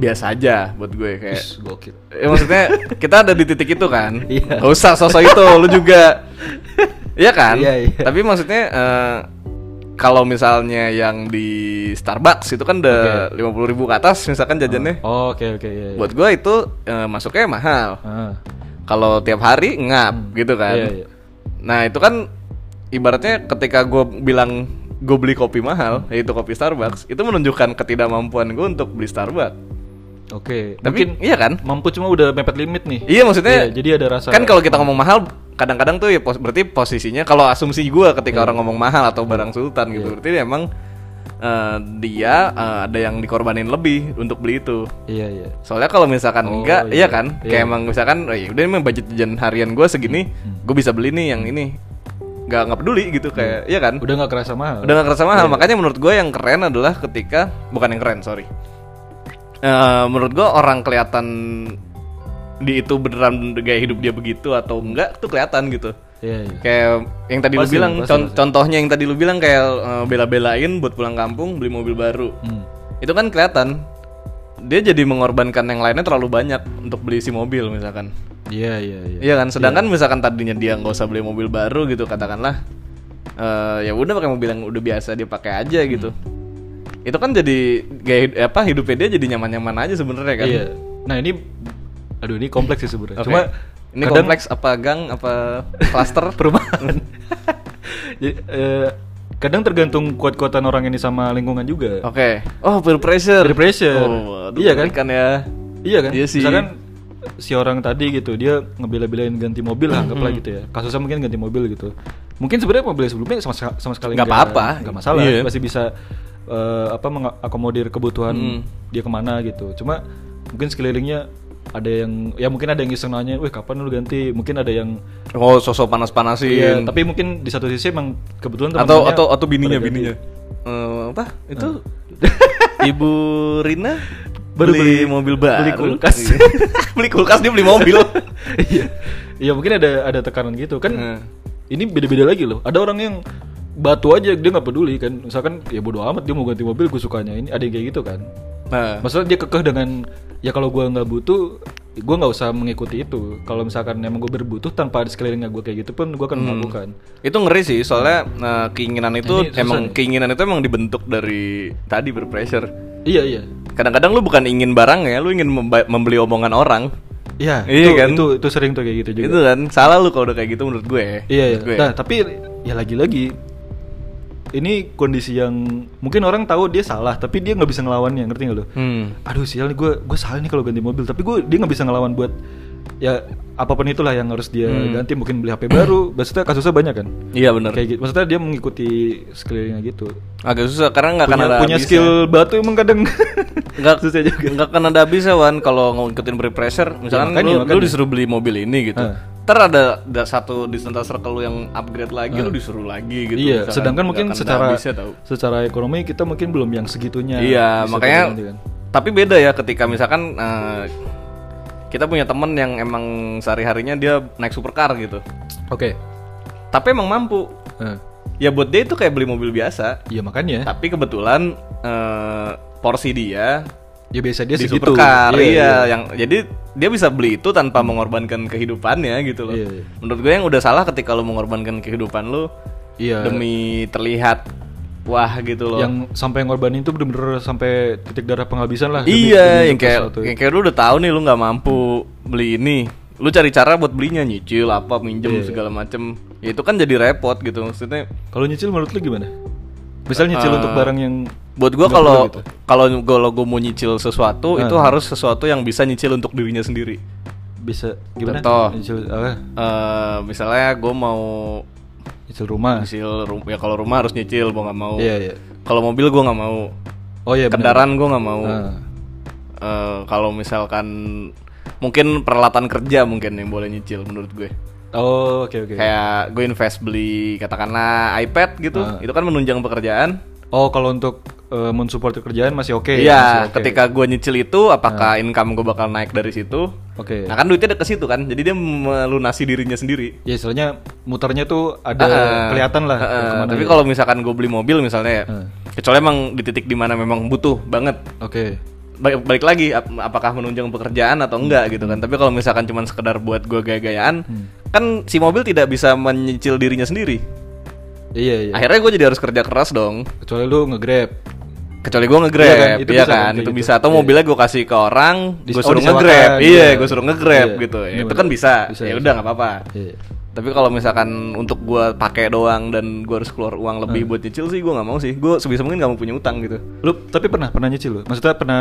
Speaker 1: biasa aja buat gue kayak
Speaker 2: Ih, Gokil.
Speaker 1: Ya maksudnya kita ada di titik itu kan.
Speaker 2: Iya.
Speaker 1: Gak usah sosok itu, lu juga. Iya kan?
Speaker 2: Iya, iya.
Speaker 1: Tapi maksudnya eh, kalau misalnya yang di Starbucks itu kan udah 50.000 ribu ke atas misalkan jajannya.
Speaker 2: Oh, Oke oke iya, iya.
Speaker 1: Buat gua itu eh, masuknya mahal.
Speaker 2: Ah,
Speaker 1: Kalau tiap hari ngap gitu kan.
Speaker 2: Iya, iya.
Speaker 1: Nah, itu kan ibaratnya ketika gua bilang gue beli kopi mahal, yaitu kopi Starbucks, itu menunjukkan ketidakmampuan gue untuk beli Starbucks.
Speaker 2: Oke.
Speaker 1: Tapi
Speaker 2: Mungkin
Speaker 1: iya kan?
Speaker 2: mampu cuma udah mepet limit nih.
Speaker 1: Iya maksudnya
Speaker 2: Iya, jadi ada rasa
Speaker 1: kan kalau kita ngomong mahal kadang-kadang tuh ya pos- berarti posisinya kalau asumsi gua
Speaker 2: Hmm.
Speaker 1: ketika orang ngomong mahal atau barang sultan
Speaker 2: Iya.
Speaker 1: gitu berarti emang eh, dia eh, ada yang dikorbanin lebih untuk beli itu.
Speaker 2: Iya iya.
Speaker 1: Soalnya kalau misalkan
Speaker 2: Oh,
Speaker 1: enggak,
Speaker 2: iya.
Speaker 1: iya kan?
Speaker 2: Iya.
Speaker 1: Kayak emang misalkan, oh, udah emang budget jajan harian gue segini,
Speaker 2: Hmm.
Speaker 1: gue bisa beli nih yang ini. Nggak nggak peduli gitu kayak,
Speaker 2: Hmm.
Speaker 1: iya kan?
Speaker 2: Udah nggak kerasa mahal.
Speaker 1: Udah nggak kerasa mahal.
Speaker 2: Iya.
Speaker 1: Makanya menurut gue yang keren adalah ketika bukan yang keren, sorry. Eh, menurut gue orang kelihatan di itu beneran gaya hidup dia begitu atau enggak tuh kelihatan gitu.
Speaker 2: Iya iya.
Speaker 1: Kayak yang tadi lu
Speaker 2: Pasti,
Speaker 1: bilang,
Speaker 2: pasti,
Speaker 1: con-
Speaker 2: pasti.
Speaker 1: contohnya yang tadi lu bilang kayak eh, bela-belain buat pulang kampung beli mobil baru
Speaker 2: Hmm.
Speaker 1: itu kan kelihatan dia jadi mengorbankan yang lainnya terlalu banyak untuk beli si mobil misalkan
Speaker 2: Iya iya iya.
Speaker 1: iya kan sedangkan misalkan tadinya dia nggak usah beli mobil baru gitu katakanlah eh, ya udah pakai mobil yang udah biasa dia pakai aja
Speaker 2: Hmm.
Speaker 1: gitu itu kan jadi gaya hid- apa hidupnya dia jadi nyaman-nyaman aja sebenarnya kan
Speaker 2: Iya. Nah ini, aduh ini kompleks sih sebenarnya.
Speaker 1: Oke.
Speaker 2: Cuma
Speaker 1: ini
Speaker 2: kadang
Speaker 1: kompleks apa gang apa klaster
Speaker 2: perumahan. Jadi, eh, kadang tergantung kuat-kuatan orang ini sama lingkungan juga.
Speaker 1: oke oh peer pressure
Speaker 2: Peer pressure.
Speaker 1: oh, aduh,
Speaker 2: Iya kan?
Speaker 1: mengerikan ya
Speaker 2: Iya kan?
Speaker 1: Iya sih.
Speaker 2: Misalkan si orang tadi gitu dia ngebela-belain ganti mobil lah anggaplah
Speaker 1: Hmm.
Speaker 2: gitu ya. Kasusnya mungkin ganti mobil gitu. Mungkin sebenarnya mobil sebelumnya sama seka- sama sekali
Speaker 1: Nggak apa-apa.
Speaker 2: nggak masalah,
Speaker 1: Iya.
Speaker 2: masih bisa eh, apa mengakomodir kebutuhan
Speaker 1: Hmm.
Speaker 2: dia kemana gitu. Cuma mungkin sekelilingnya ada yang ya mungkin ada yang iseng nanya, "Wih, kapan lu ganti?" Mungkin ada yang
Speaker 1: oh sosok panas-panasin
Speaker 2: Iya, tapi mungkin di satu sisi emang kebetulan
Speaker 1: atau
Speaker 2: teman-temannya
Speaker 1: atau atau bininya
Speaker 2: pada ganti.
Speaker 1: bininya Eh, apa itu ibu Rina
Speaker 2: Baru
Speaker 1: beli,
Speaker 2: beli-
Speaker 1: mobil
Speaker 2: beli
Speaker 1: baru
Speaker 2: kulkas.
Speaker 1: Iya. beli kulkas dia beli mobil
Speaker 2: Iya. Iya, mungkin ada ada tekanan gitu kan.
Speaker 1: Hmm.
Speaker 2: Ini beda-beda lagi loh. Ada orang yang batu aja dia nggak peduli kan. Misalkan ya bodo amat dia mau ganti mobil gue sukanya ini. Ada yang kayak gitu kan.
Speaker 1: nah
Speaker 2: Maksudnya dia kekeh dengan ya kalau gua nggak butuh gue nggak usah mengikuti itu. Kalau misalkan emang gue berbutuh tanpa ada sekelilingnya gue kayak gitu pun gue
Speaker 1: Hmm.
Speaker 2: akan melakukan.
Speaker 1: itu ngeri sih soalnya eh, keinginan itu
Speaker 2: Ini susah
Speaker 1: emang
Speaker 2: nih.
Speaker 1: keinginan itu emang dibentuk dari tadi berpressure
Speaker 2: Iya iya.
Speaker 1: kadang-kadang lu bukan ingin barang ya lu ingin memba- membeli omongan orang
Speaker 2: Iya,
Speaker 1: Iya
Speaker 2: itu,
Speaker 1: kan?
Speaker 2: itu itu sering tuh kayak gitu juga.
Speaker 1: itu kan salah lu kalau udah kayak gitu menurut gue
Speaker 2: Iya, iya.
Speaker 1: Menurut gue.
Speaker 2: Nah, tapi ya lagi-lagi ini kondisi yang mungkin orang tahu dia salah, tapi dia nggak bisa ngelawannya, ngerti nggak lo?
Speaker 1: hmm.
Speaker 2: Aduh sial nih gue gue salah nih kalau ganti mobil, tapi gue dia nggak bisa ngelawan buat ya apapun itulah yang harus dia ganti, mungkin beli HP baru. Maksudnya kasusnya banyak kan?
Speaker 1: iya bener
Speaker 2: Kayak gitu. Maksudnya dia mengikuti sekelilingnya gitu.
Speaker 1: agak susah karena nggak akan
Speaker 2: punya
Speaker 1: ada
Speaker 2: punya
Speaker 1: habisnya.
Speaker 2: skill batu emang kadang
Speaker 1: Enggak
Speaker 2: susah juga. Ya,
Speaker 1: Enggak kan ada habisnya Wan kalau ngikutin peer pressure misalkan
Speaker 2: makanya,
Speaker 1: lu, lu
Speaker 2: makanya.
Speaker 1: disuruh beli mobil ini gitu.
Speaker 2: Ah.
Speaker 1: Ntar ada, ada satu di center circle lu yang upgrade lagi lu disuruh lagi gitu.
Speaker 2: iya,
Speaker 1: misalkan.
Speaker 2: sedangkan
Speaker 1: Nggak
Speaker 2: mungkin
Speaker 1: akan ada
Speaker 2: secara
Speaker 1: habisnya tau.
Speaker 2: secara ekonomi kita mungkin belum yang segitunya.
Speaker 1: Iya,
Speaker 2: bisa
Speaker 1: makanya
Speaker 2: ganti kan.
Speaker 1: tapi beda ya ketika misalkan eh, kita punya temen yang emang sehari-harinya dia naik supercar gitu.
Speaker 2: Oke.
Speaker 1: Tapi emang mampu.
Speaker 2: Eh.
Speaker 1: Ya buat dia itu kayak beli mobil biasa.
Speaker 2: Iya makanya.
Speaker 1: Tapi kebetulan eh, porsi dia
Speaker 2: Ya biasa dia
Speaker 1: di
Speaker 2: segitu.
Speaker 1: supercar iya,
Speaker 2: iya.
Speaker 1: yang jadi dia bisa beli itu tanpa mengorbankan kehidupannya gitu loh
Speaker 2: Iya, iya.
Speaker 1: menurut gue yang udah salah ketika lo mengorbankan kehidupan lo
Speaker 2: Iya.
Speaker 1: demi terlihat wah gitu loh
Speaker 2: Yang sampai ngorbanin itu bener-bener sampai titik darah penghabisan lah. demi-
Speaker 1: iya
Speaker 2: demi
Speaker 1: yang kayak
Speaker 2: sesuatu.
Speaker 1: yang kayak lu udah tahu nih lu nggak mampu beli ini lu cari cara buat belinya nyicil apa
Speaker 2: Iya,
Speaker 1: minjem segala macem Ya, itu kan jadi repot gitu maksudnya
Speaker 2: Kalau nyicil menurut lu gimana? Misal nyicil
Speaker 1: Eh,
Speaker 2: untuk barang yang
Speaker 1: buat gue kalau
Speaker 2: gitu.
Speaker 1: kalau kalau gue mau nyicil
Speaker 2: Ah.
Speaker 1: sesuatu itu harus sesuatu yang bisa nyicil untuk dirinya sendiri
Speaker 2: bisa gimana?
Speaker 1: Contoh.
Speaker 2: Nyicil apa?
Speaker 1: Eh, misalnya gue mau
Speaker 2: Nyicil rumah.
Speaker 1: nyicil ru- ya kalau rumah harus nyicil gua nggak mau
Speaker 2: Iya, iya.
Speaker 1: kalau mobil gua nggak mau
Speaker 2: Oh iya benar.
Speaker 1: kendaraan gua nggak mau
Speaker 2: Ah.
Speaker 1: Eh, kalau misalkan mungkin peralatan kerja mungkin yang boleh nyicil menurut gue
Speaker 2: Oh, oke oke.
Speaker 1: kayak gue invest beli katakanlah iPad gitu
Speaker 2: Nah.
Speaker 1: itu kan menunjang pekerjaan
Speaker 2: Oh, kalau untuk eh, mensupport kerjaan masih oke. ya?
Speaker 1: Iya,
Speaker 2: masih oke. Nah.
Speaker 1: ketika gua nyicil itu apakah income gua bakal naik dari situ?
Speaker 2: Oke.
Speaker 1: Nah, kan duitnya ada ke situ kan. Jadi dia melunasi dirinya sendiri.
Speaker 2: Ya istilahnya muternya tuh ada
Speaker 1: Ah,
Speaker 2: kelihatan lah.
Speaker 1: ah, ah.
Speaker 2: kemana
Speaker 1: tapi
Speaker 2: ya.
Speaker 1: kalau misalkan gue beli mobil misalnya ya,
Speaker 2: Ah.
Speaker 1: kecuali emang di titik dimana memang butuh banget
Speaker 2: Oke.
Speaker 1: balik, balik lagi ap- apakah menunjang pekerjaan atau enggak gitu
Speaker 2: Hmm.
Speaker 1: kan tapi kalau misalkan cuma sekedar buat gua gaya-gayaan kan si mobil tidak bisa menyicil dirinya sendiri
Speaker 2: Iya iya.
Speaker 1: akhirnya gue jadi harus kerja keras dong
Speaker 2: Kecuali lu nge-grab.
Speaker 1: kecuali gua ngegrab
Speaker 2: Iya
Speaker 1: iya kan,
Speaker 2: kan,
Speaker 1: itu,
Speaker 2: itu bisa
Speaker 1: bisa,
Speaker 2: kan, kayak gitu.
Speaker 1: atau mobilnya gua kasih ke orang
Speaker 2: Dis-
Speaker 1: gue
Speaker 2: oh,
Speaker 1: suruh
Speaker 2: disewakan,
Speaker 1: ngegrab
Speaker 2: iya.
Speaker 1: iya gue suruh ngegrab
Speaker 2: Iya.
Speaker 1: gitu
Speaker 2: Bener-bener.
Speaker 1: itu kan bisa,
Speaker 2: Bisa,
Speaker 1: ya
Speaker 2: bisa.
Speaker 1: udah nggak apa-apa
Speaker 2: Iya.
Speaker 1: tapi kalau misalkan untuk gua pakai doang dan gua harus keluar uang lebih
Speaker 2: Hmm.
Speaker 1: buat nyicil sih gua nggak mau sih gua sebisa mungkin nggak mau punya utang gitu
Speaker 2: Lu tapi pernah pernah nyicil lu? Maksudnya pernah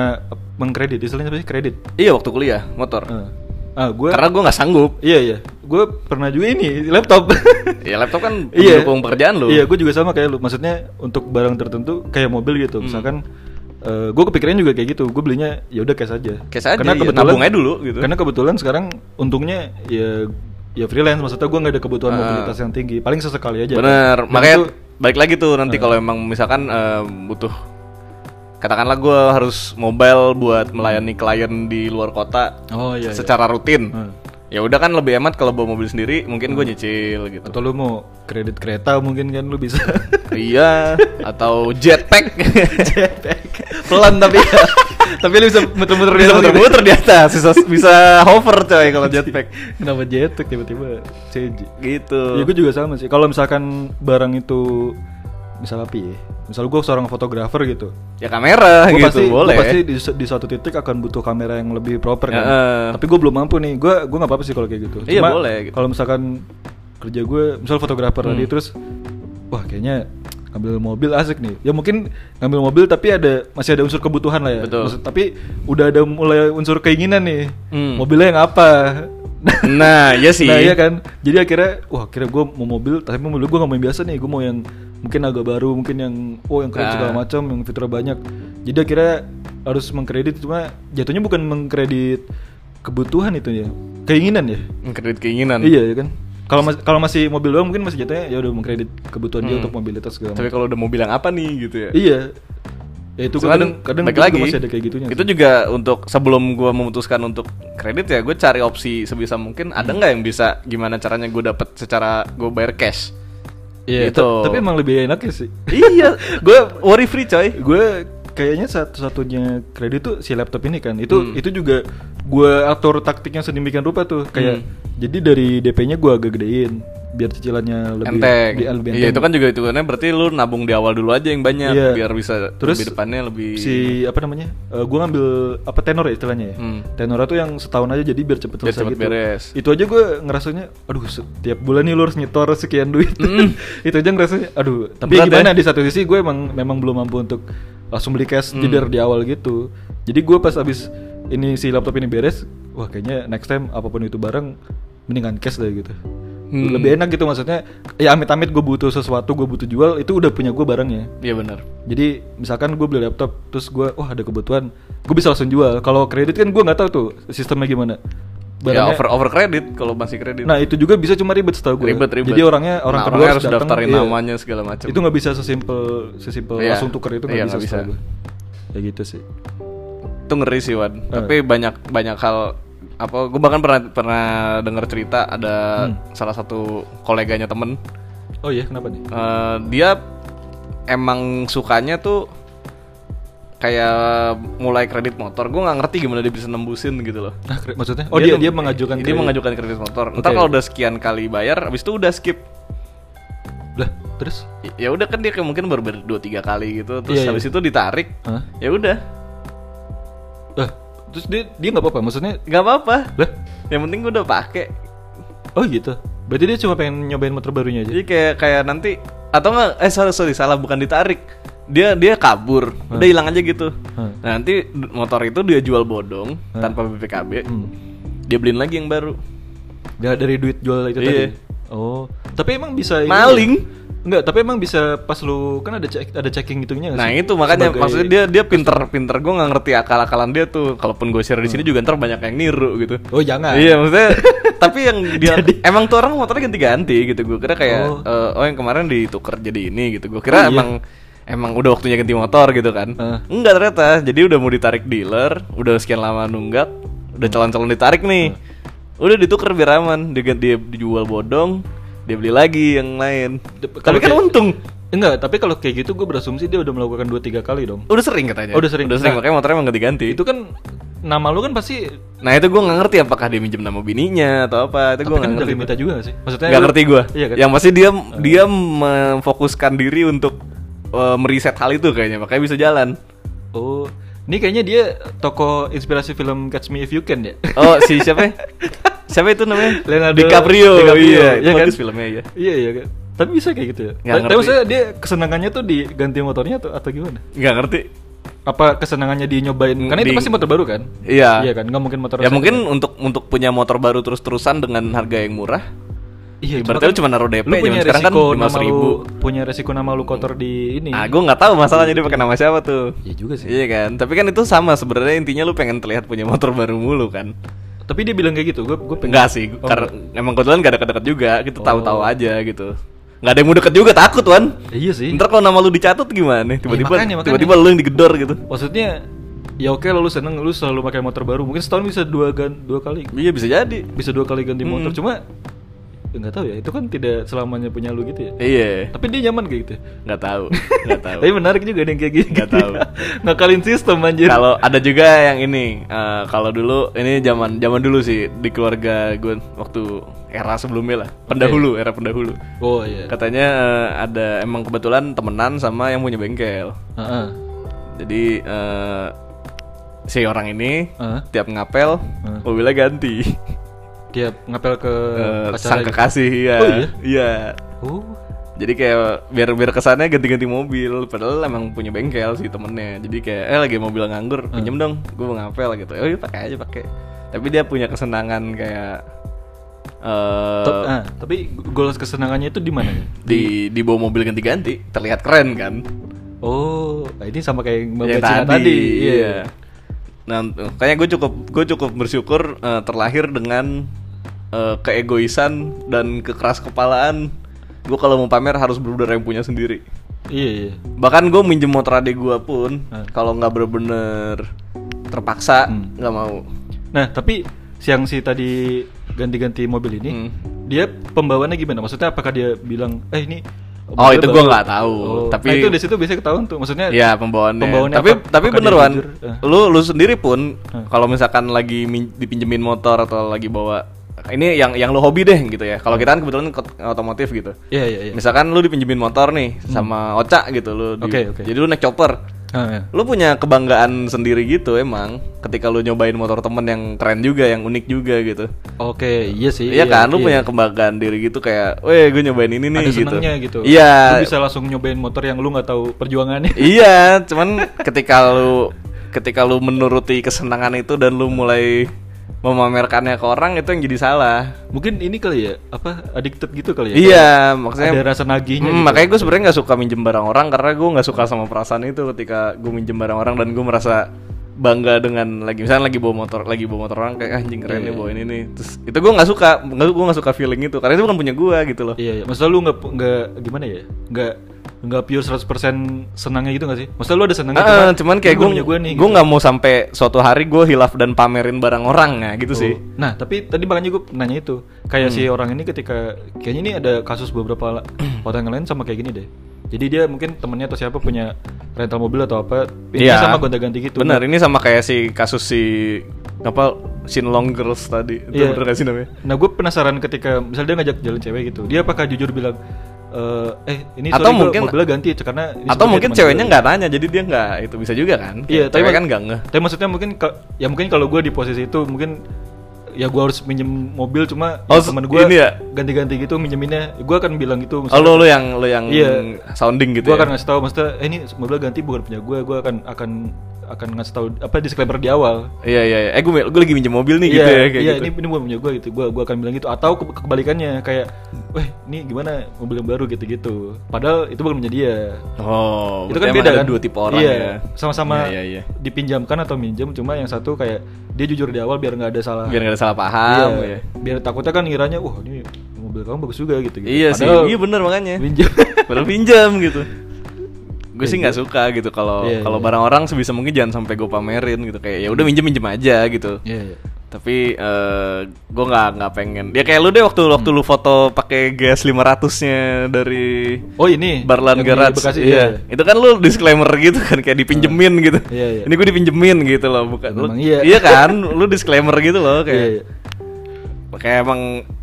Speaker 2: mengkredit istilahnya apa sih kredit
Speaker 1: Iya waktu kuliah motor.
Speaker 2: Eh. ah gue
Speaker 1: Karena gue nggak sanggup.
Speaker 2: iya iya gue pernah juga ini laptop
Speaker 1: Ya laptop kan pendukung pekerjaan lu.
Speaker 2: Iya, gue juga sama kayak lu. Maksudnya untuk barang tertentu kayak mobil
Speaker 1: Hmm.
Speaker 2: gitu. Misalkan eh, gue kepikiran juga kayak gitu. Gue belinya ya udah cash aja.
Speaker 1: Cash aja, iya, nabung aja dulu gitu.
Speaker 2: Karena kebetulan sekarang untungnya ya ya freelance maksudnya gue nggak ada kebutuhan
Speaker 1: Ah.
Speaker 2: mobilitas yang tinggi. Paling sesekali aja.
Speaker 1: Bener.
Speaker 2: Dan
Speaker 1: Makanya
Speaker 2: Iya, itu-
Speaker 1: balik lagi tuh nanti kalau emang misalkan eh, butuh katakanlah gue harus mobile buat melayani klien di luar kota
Speaker 2: oh iya. iya.
Speaker 1: secara rutin.
Speaker 2: Hmm.
Speaker 1: Ya udah kan lebih hemat kalau bawa mobil sendiri, mungkin gue nyicil gitu.
Speaker 2: iya. Atau lu mau kredit kereta mungkin kan lu bisa.
Speaker 1: iya, atau jetpack.
Speaker 2: Pelan tapi ya. tapi lu bisa muter-muter di
Speaker 1: bisa
Speaker 2: atas gitu.
Speaker 1: muter-muter di atas, bisa, bisa hover coy kalau jetpack.
Speaker 2: Kenapa jetek tiba-tiba? CJ. Ya
Speaker 1: Gitu.
Speaker 2: gue juga sama sih. Kalau misalkan barang itu misal apa ya? Misal gue seorang fotografer gitu.
Speaker 1: Ya kamera
Speaker 2: Gue
Speaker 1: gitu
Speaker 2: pasti, gua
Speaker 1: boleh.
Speaker 2: pasti di, su- di suatu titik akan butuh kamera yang lebih proper kan.
Speaker 1: Ya, eh.
Speaker 2: Tapi gue belum mampu nih. Gue gue nggak apa-apa sih kalau kayak gitu.
Speaker 1: Iya, boleh gitu. Hmm.
Speaker 2: Kalau misalkan kerja gue misal fotografer tadi terus wah kayaknya ngambil mobil asik nih. Ya mungkin ngambil mobil tapi ada masih ada unsur kebutuhan lah ya.
Speaker 1: Betul.
Speaker 2: tapi udah ada mulai unsur keinginan nih.
Speaker 1: Hmm.
Speaker 2: Mobilnya yang apa?
Speaker 1: Nah, iya sih.
Speaker 2: Nah iya kan. Jadi akhirnya wah akhirnya gue mau mobil tapi mobil gue gak mau yang biasa nih. Gue mau yang mungkin agak baru, mungkin yang oh yang keren
Speaker 1: Nah.
Speaker 2: segala macam, yang fitur banyak. Jadi akhirnya harus mengkredit cuma jatuhnya bukan mengkredit kebutuhan itu ya. Keinginan ya.
Speaker 1: Kredit keinginan.
Speaker 2: Iya ya kan. Kalau mas- kalau masih mobil doang mungkin masih jatuhnya ya udah mengkredit kebutuhan
Speaker 1: Hmm.
Speaker 2: dia untuk mobilitas segala
Speaker 1: Tapi
Speaker 2: macam.
Speaker 1: kalau udah mau bilang apa nih gitu ya.
Speaker 2: Iya. Ya itu
Speaker 1: Cuman
Speaker 2: kadang kadang
Speaker 1: balik
Speaker 2: gua juga
Speaker 1: lagi,
Speaker 2: masih ada kayak gitunya.
Speaker 1: Itu juga untuk sebelum gua memutuskan untuk kredit ya, gue cari opsi sebisa mungkin. Ada
Speaker 2: Hmm.
Speaker 1: nggak yang bisa gimana caranya gue dapat secara gue bayar cash?
Speaker 2: Iya,
Speaker 1: gitu.
Speaker 2: ta- tapi emang lebih enaknya sih.
Speaker 1: iya, gue worry free coy.
Speaker 2: gue kayaknya satu-satunya kredit tuh si laptop ini kan itu
Speaker 1: Hmm.
Speaker 2: itu juga gue atur taktiknya sedemikian rupa tuh kayak
Speaker 1: Hmm.
Speaker 2: jadi dari DP-nya gue agak gedein biar cicilannya lebih
Speaker 1: enteng.
Speaker 2: di- lebih
Speaker 1: Iya
Speaker 2: enteng.
Speaker 1: itu kan juga hitungannya berarti lu nabung di awal dulu aja yang banyak
Speaker 2: Iya.
Speaker 1: biar bisa
Speaker 2: Terus
Speaker 1: lebih depannya lebih
Speaker 2: si apa namanya gue ngambil apa tenor ya istilahnya ya
Speaker 1: Hmm.
Speaker 2: tenor tuh yang setahun aja jadi biar cepet
Speaker 1: Biar
Speaker 2: selesai
Speaker 1: cepet
Speaker 2: gitu
Speaker 1: beres.
Speaker 2: itu aja gue ngerasanya aduh setiap bulan nih lu harus nyetor sekian duit itu aja ngerasanya aduh tapi
Speaker 1: Hmm. Berat ya.
Speaker 2: gimana di satu sisi gue emang memang belum mampu untuk langsung beli cash
Speaker 1: Hmm.
Speaker 2: jeder di awal gitu jadi gue pas abis ini si laptop ini beres wah kayaknya next time apapun itu barang mendingan cash deh gitu
Speaker 1: Hmm.
Speaker 2: lebih enak gitu maksudnya ya amit-amit gue butuh sesuatu gue butuh jual itu udah punya ya. gue barangnya
Speaker 1: Iya benar.
Speaker 2: jadi misalkan gue beli laptop, terus gue, wah ada kebutuhan, gue bisa langsung jual. Kalau kredit kan gue nggak tahu tuh sistemnya gimana.
Speaker 1: Ya
Speaker 2: Barangnya-
Speaker 1: over over kredit kalau masih kredit.
Speaker 2: Nah itu juga bisa cuma ribet setahu gue.
Speaker 1: ribet ribet.
Speaker 2: Jadi orangnya orang
Speaker 1: Nah,
Speaker 2: kedua
Speaker 1: orangnya harus
Speaker 2: datang,
Speaker 1: daftarin
Speaker 2: iya.
Speaker 1: namanya segala macam.
Speaker 2: Itu nggak bisa sesimpel sesimpel
Speaker 1: Iya.
Speaker 2: langsung tuker itu nggak
Speaker 1: Iya,
Speaker 2: bisa,
Speaker 1: nggak bisa.
Speaker 2: setahu gue. Ya gitu sih.
Speaker 1: itu ngeri sih Wan
Speaker 2: Hmm.
Speaker 1: tapi banyak banyak hal apa gue bahkan pernah pernah dengar cerita ada
Speaker 2: Hmm.
Speaker 1: salah satu koleganya temen
Speaker 2: Oh iya kenapa nih?
Speaker 1: Eh, dia emang sukanya tuh kayak mulai kredit motor gue nggak ngerti gimana dia bisa nembusin gitu loh
Speaker 2: Nah, kre- maksudnya? Oh dia dia, mengajukan
Speaker 1: dia
Speaker 2: kredit.
Speaker 1: mengajukan kredit motor entar
Speaker 2: Oke.
Speaker 1: kalau udah sekian kali bayar abis itu udah skip
Speaker 2: Lah terus?
Speaker 1: Y- ya udah kan dia kayak mungkin baru bayar dua tiga kali gitu terus
Speaker 2: Iya, iya.
Speaker 1: habis itu ditarik
Speaker 2: Hah?
Speaker 1: ya udah
Speaker 2: Lah terus dia dia nggak apa-apa maksudnya?
Speaker 1: nggak apa-apa
Speaker 2: Lah
Speaker 1: yang penting gue udah pakai
Speaker 2: oh gitu. Berarti dia cuma pengen nyobain motor barunya aja.
Speaker 1: Jadi kayak kayak nanti atau enggak eh sorry sorry salah bukan ditarik. Dia dia kabur. Udah hilang aja gitu.
Speaker 2: Hmm.
Speaker 1: Nah, nanti d- motor itu dia jual bodong tanpa BPKB.
Speaker 2: Hmm.
Speaker 1: Dia beliin lagi yang baru.
Speaker 2: Gak dari duit jual itu
Speaker 1: Iya.
Speaker 2: tadi. Oh, tapi emang bisa ini
Speaker 1: Maling.
Speaker 2: ya? Enggak, tapi emang bisa pas lu kan ada cek ada checking gitunya nggak
Speaker 1: Nah,
Speaker 2: Iya sih?
Speaker 1: itu makanya
Speaker 2: Sebagai-
Speaker 1: maksudnya dia dia pinter-pinter gue nggak ngerti akal-akalan dia tuh. Kalaupun gue share di sini juga ntar banyak yang niru gitu.
Speaker 2: Oh, jangan.
Speaker 1: Iya maksudnya tapi yang dia emang tuh orang motornya ganti-ganti gitu gue kira kayak
Speaker 2: Oh. iya.
Speaker 1: eh, oh, yang kemarin ditukar jadi ini gitu gue kira emang emang udah waktunya ganti motor gitu kan
Speaker 2: Heeh.
Speaker 1: enggak ternyata jadi udah mau ditarik dealer udah sekian lama nunggak udah calon-calon ditarik nih udah ditukar biar aman dia, dia dijual bodong dia beli lagi yang lain
Speaker 2: Dep-
Speaker 1: tapi
Speaker 2: kalau
Speaker 1: kan
Speaker 2: kayak-
Speaker 1: untung
Speaker 2: Enggak, tapi kalau kayak gitu gue berasumsi dia udah melakukan 2 3 kali dong.
Speaker 1: udah sering katanya
Speaker 2: Oh, udah sering.
Speaker 1: udah sering
Speaker 2: Nah.
Speaker 1: makanya motornya emang ganti-ganti
Speaker 2: Itu kan nama lu kan pasti
Speaker 1: nah itu gue nggak ngerti apakah dia minjem nama bininya atau apa itu gue
Speaker 2: tapi
Speaker 1: nggak
Speaker 2: kan udah
Speaker 1: ngerti
Speaker 2: minta juga nggak sih? Maksudnya
Speaker 1: nggak
Speaker 2: lu-
Speaker 1: ngerti gue
Speaker 2: Iya kan?
Speaker 1: yang pasti dia dia memfokuskan diri untuk eh, meriset hal itu kayaknya makanya bisa jalan
Speaker 2: Oh, ini kayaknya dia toko inspirasi film Catch Me If You Can ya.
Speaker 1: oh si siapa ya? siapa itu namanya
Speaker 2: Leonardo
Speaker 1: DiCaprio,
Speaker 2: DiCaprio,
Speaker 1: iya
Speaker 2: iya
Speaker 1: itu
Speaker 2: kan?
Speaker 1: bagus filmnya ya
Speaker 2: iya iya kan. Tapi bisa kayak gitu ya.
Speaker 1: Nggak
Speaker 2: Tapi
Speaker 1: ngerti.
Speaker 2: maksudnya dia kesenangannya tuh diganti motornya atau atau gimana?
Speaker 1: nggak ngerti
Speaker 2: apa kesenangannya dia nyobain
Speaker 1: Mm,
Speaker 2: karena itu
Speaker 1: di-
Speaker 2: pasti motor baru kan
Speaker 1: Iya.
Speaker 2: iya kan nggak mungkin motor
Speaker 1: ya
Speaker 2: second.
Speaker 1: mungkin untuk untuk punya motor baru terus-terusan dengan harga yang murah.
Speaker 2: iya
Speaker 1: ibaratnya lu cuma naruh DP,
Speaker 2: lu punya
Speaker 1: zaman sekarang kan
Speaker 2: resiko nama lu
Speaker 1: 15.000.
Speaker 2: punya resiko nama lu kotor di ini
Speaker 1: Ah, gue nggak tahu masalahnya dia pakai nama siapa tuh.
Speaker 2: iya juga sih
Speaker 1: Iya kan, tapi kan itu sama sebenarnya intinya lu pengen terlihat punya motor baru mulu kan?
Speaker 2: tapi dia bilang kayak gitu gue gue pengen
Speaker 1: Enggak sih, karena
Speaker 2: Oh.
Speaker 1: emang kebetulan gak deket-deket juga, gitu tahu-tahu aja gitu. Gak ada yang mau deket juga takut wan.
Speaker 2: Ya, iya sih
Speaker 1: Ntar kalau nama lu dicatat gimana? nih? Tiba-tiba,
Speaker 2: Iya, makanya, makanya.
Speaker 1: tiba-tiba lu yang digedor gitu.
Speaker 2: maksudnya ya oke lo lu seneng lu selalu pakai motor baru mungkin setahun bisa dua gan dua kali
Speaker 1: Iya bisa jadi.
Speaker 2: bisa dua kali ganti
Speaker 1: Hmm.
Speaker 2: motor cuma ya nggak tahu ya itu kan tidak selamanya punya lu gitu ya
Speaker 1: Iya,
Speaker 2: tapi dia nyaman kayak gitu
Speaker 1: nggak tahu, nggak tahu.
Speaker 2: tapi menarik juga ada yang kayak gini
Speaker 1: Nggak
Speaker 2: gitu
Speaker 1: tahu.
Speaker 2: ya. ngakalin sistem anjir
Speaker 1: Kalau ada juga yang ini, eh, kalau dulu ini zaman zaman dulu sih di keluarga gue waktu era sebelumnya lah, pendahulu era pendahulu.
Speaker 2: oh iya
Speaker 1: Katanya eh, ada emang kebetulan temenan sama yang punya bengkel.
Speaker 2: Heeh.
Speaker 1: Jadi eh, si orang ini
Speaker 2: Heeh.
Speaker 1: tiap ngapel mobilnya ganti.
Speaker 2: dia ngapel ke
Speaker 1: Eh,
Speaker 2: acara
Speaker 1: sang
Speaker 2: gitu.
Speaker 1: kekasih ya.
Speaker 2: Oh, iya?
Speaker 1: iya.
Speaker 2: oh
Speaker 1: Jadi kayak biar biar kesannya ganti-ganti mobil padahal emang punya bengkel sih temennya. Jadi kayak eh lagi mobil nganggur, pinjem dong, gue mau ngapel gitu. Oh iya pakai aja pakai. Tapi dia punya kesenangan kayak eh
Speaker 2: Tep- ah, tapi goals kesenangannya itu di mana ya?
Speaker 1: di di bawa mobil ganti-ganti terlihat keren kan.
Speaker 2: Oh, nah ini sama kayak yang Mbak
Speaker 1: yang
Speaker 2: Cina
Speaker 1: tadi,
Speaker 2: tadi.
Speaker 1: iya. Nah, kayaknya gue cukup gue cukup bersyukur eh, terlahir dengan eh, keegoisan dan kekeras kepalaan. Gue kalau mau pamer harus bener-bener yang punya sendiri.
Speaker 2: Iya, iya.
Speaker 1: Bahkan gue minjem motor adik gue pun
Speaker 2: Hmm.
Speaker 1: kalau nggak bener-bener terpaksa nggak mau.
Speaker 2: Nah, tapi siang si tadi ganti-ganti mobil ini,
Speaker 1: Hmm.
Speaker 2: dia pembawaannya gimana? Maksudnya apakah dia bilang, "Eh, ini
Speaker 1: Oh, itu gue
Speaker 2: baru."
Speaker 1: nggak tahu.
Speaker 2: Oh,
Speaker 1: Tapi
Speaker 2: nah, itu di situ biasanya ketahuan tuh. Maksudnya
Speaker 1: Ya pembawaannya.
Speaker 2: Pembawaannya
Speaker 1: tapi
Speaker 2: apa-
Speaker 1: tapi
Speaker 2: apakah
Speaker 1: bener
Speaker 2: dia
Speaker 1: Wan.
Speaker 2: jujur? Eh. Hmm.
Speaker 1: Lu lu sendiri pun kalau misalkan lagi min- dipinjemin motor atau lagi bawa ini yang yang lu hobi deh gitu ya. Kalau kita kan kebetulan kot- otomotif gitu.
Speaker 2: Iya, Hmm. iya, iya.
Speaker 1: Misalkan lu dipinjemin motor nih sama Oca gitu lu. di-
Speaker 2: Oke, oke.
Speaker 1: Jadi lu naik chopper.
Speaker 2: Ah, iya.
Speaker 1: Lu punya kebanggaan sendiri gitu emang ketika lu nyobain motor temen yang keren juga, yang unik juga gitu.
Speaker 2: Oke, iya sih.
Speaker 1: Iya, kan, lu
Speaker 2: iya.
Speaker 1: punya kebanggaan diri gitu kayak, "Weh, gue nyobain ini nih."
Speaker 2: ada
Speaker 1: gitu.
Speaker 2: senangnya gitu.
Speaker 1: Iya.
Speaker 2: Lu bisa langsung nyobain motor yang lu nggak tahu perjuangannya.
Speaker 1: iya, cuman ketika lu ketika lu menuruti kesenangan itu dan lu mulai memamerkannya ke orang itu yang jadi salah.
Speaker 2: Mungkin ini kali ya, apa addicted gitu kali ya.
Speaker 1: Iya, maksudnya
Speaker 2: Ada rasa nagihnya
Speaker 1: Hmm,
Speaker 2: gitu.
Speaker 1: makanya gue sebenarnya nggak suka minjem barang orang karena gue nggak suka sama perasaan itu ketika gue minjem barang orang dan gue merasa bangga dengan lagi misalnya lagi bawa motor lagi bawa motor orang kayak "Ah, anjing keren nih
Speaker 2: Iya.
Speaker 1: bawa ini nih terus itu gue nggak suka nggak gue nggak suka feeling itu karena itu bukan punya gue gitu loh
Speaker 2: Iya, iya. Maksudnya lu nggak nggak gimana ya? Nggak nggak pure 100% senangnya gitu nggak sih? Maksudnya lu ada senangnya
Speaker 1: Ah, cuman, kayak gue
Speaker 2: gue nih. gitu.
Speaker 1: gue nggak mau sampai suatu hari gue hilaf dan pamerin barang orang ya gitu sih
Speaker 2: Nah, tapi tadi makanya gue nanya itu. Kayak si
Speaker 1: Hmm.
Speaker 2: orang ini ketika kayaknya ini ada kasus beberapa la- orang yang lain sama kayak gini deh. Jadi dia mungkin temennya atau siapa punya rental mobil atau apa, ini
Speaker 1: Iya.
Speaker 2: sama gonta-ganti gitu.
Speaker 1: Benar, ini sama kayak si kasus si apa Sinlong Girls tadi. Itu
Speaker 2: Iya.
Speaker 1: bener gak sih namanya?
Speaker 2: Nah, gue penasaran ketika misalnya dia ngajak jalan cewek gitu. Dia apakah jujur bilang "Eh, eh ini
Speaker 1: Atau
Speaker 2: sorry, gua
Speaker 1: mungkin-
Speaker 2: mobilnya ganti ya, karena ini
Speaker 1: Atau
Speaker 2: sebenarnya
Speaker 1: mungkin
Speaker 2: teman gue."
Speaker 1: ceweknya nggak nanya, jadi dia nggak itu bisa juga kan?
Speaker 2: Iya, tapi
Speaker 1: Cewek
Speaker 2: mak-
Speaker 1: kan nggak ngeh.
Speaker 2: Tapi maksudnya mungkin ka- ya mungkin kalau gue di posisi itu mungkin ya gue harus minjem mobil cuma
Speaker 1: Oh,
Speaker 2: ya temen gue
Speaker 1: ini ya?
Speaker 2: ganti-ganti gitu minjeminnya gue akan bilang gitu
Speaker 1: Oh, lu, lu yang lu yang
Speaker 2: Iya.
Speaker 1: sounding gitu
Speaker 2: gue
Speaker 1: ya?
Speaker 2: akan ngasih tahu maksudnya eh, ini mobil ganti bukan punya gue gue akan akan akan ngasih tahu apa disclaimer di awal
Speaker 1: Iya iya, iya. eh gue gue lagi minjem mobil nih gitu
Speaker 2: Iya,
Speaker 1: ya kayak
Speaker 2: iya,
Speaker 1: gitu.
Speaker 2: ini, ini bukan punya gue gitu. Gue gua akan bilang gitu atau ke- kebalikannya kayak, "Weh, ini gimana mobil yang baru gitu-gitu." Padahal itu bukan punya dia.
Speaker 1: Oh, berarti
Speaker 2: itu kan
Speaker 1: emang
Speaker 2: beda
Speaker 1: ada
Speaker 2: kan
Speaker 1: dua tipe orang
Speaker 2: iya,
Speaker 1: ya. Iya
Speaker 2: sama-sama
Speaker 1: iya. iya.
Speaker 2: dipinjamkan atau minjem cuma yang satu kayak dia jujur di awal biar nggak ada salah
Speaker 1: Biar nggak ada salah paham
Speaker 2: iya,
Speaker 1: ya.
Speaker 2: biar takutnya kan ngiranya wah ini mobil kamu bagus juga gitu
Speaker 1: Iya sih, iya bener makanya.
Speaker 2: minjem
Speaker 1: Padahal pinjam gitu. Gue sih nggak suka gitu kalau
Speaker 2: Iya,
Speaker 1: kalau
Speaker 2: iya.
Speaker 1: barang orang sebisa mungkin jangan sampai gue pamerin gitu kayak ya udah minjem minjem aja gitu.
Speaker 2: iya iya
Speaker 1: tapi eh gue nggak nggak pengen ya kayak lu deh waktu waktu lu foto pakai gas 500 nya dari
Speaker 2: oh ini
Speaker 1: Barlan
Speaker 2: yang di
Speaker 1: Garage
Speaker 2: Bekasi, ya?
Speaker 1: iya. itu kan lu disclaimer gitu kan kayak dipinjemin gitu
Speaker 2: Iya, iya.
Speaker 1: ini gue dipinjemin gitu loh bukan lu,
Speaker 2: Memang iya.
Speaker 1: kan lu disclaimer gitu loh
Speaker 2: iya iya
Speaker 1: kayak kayak emang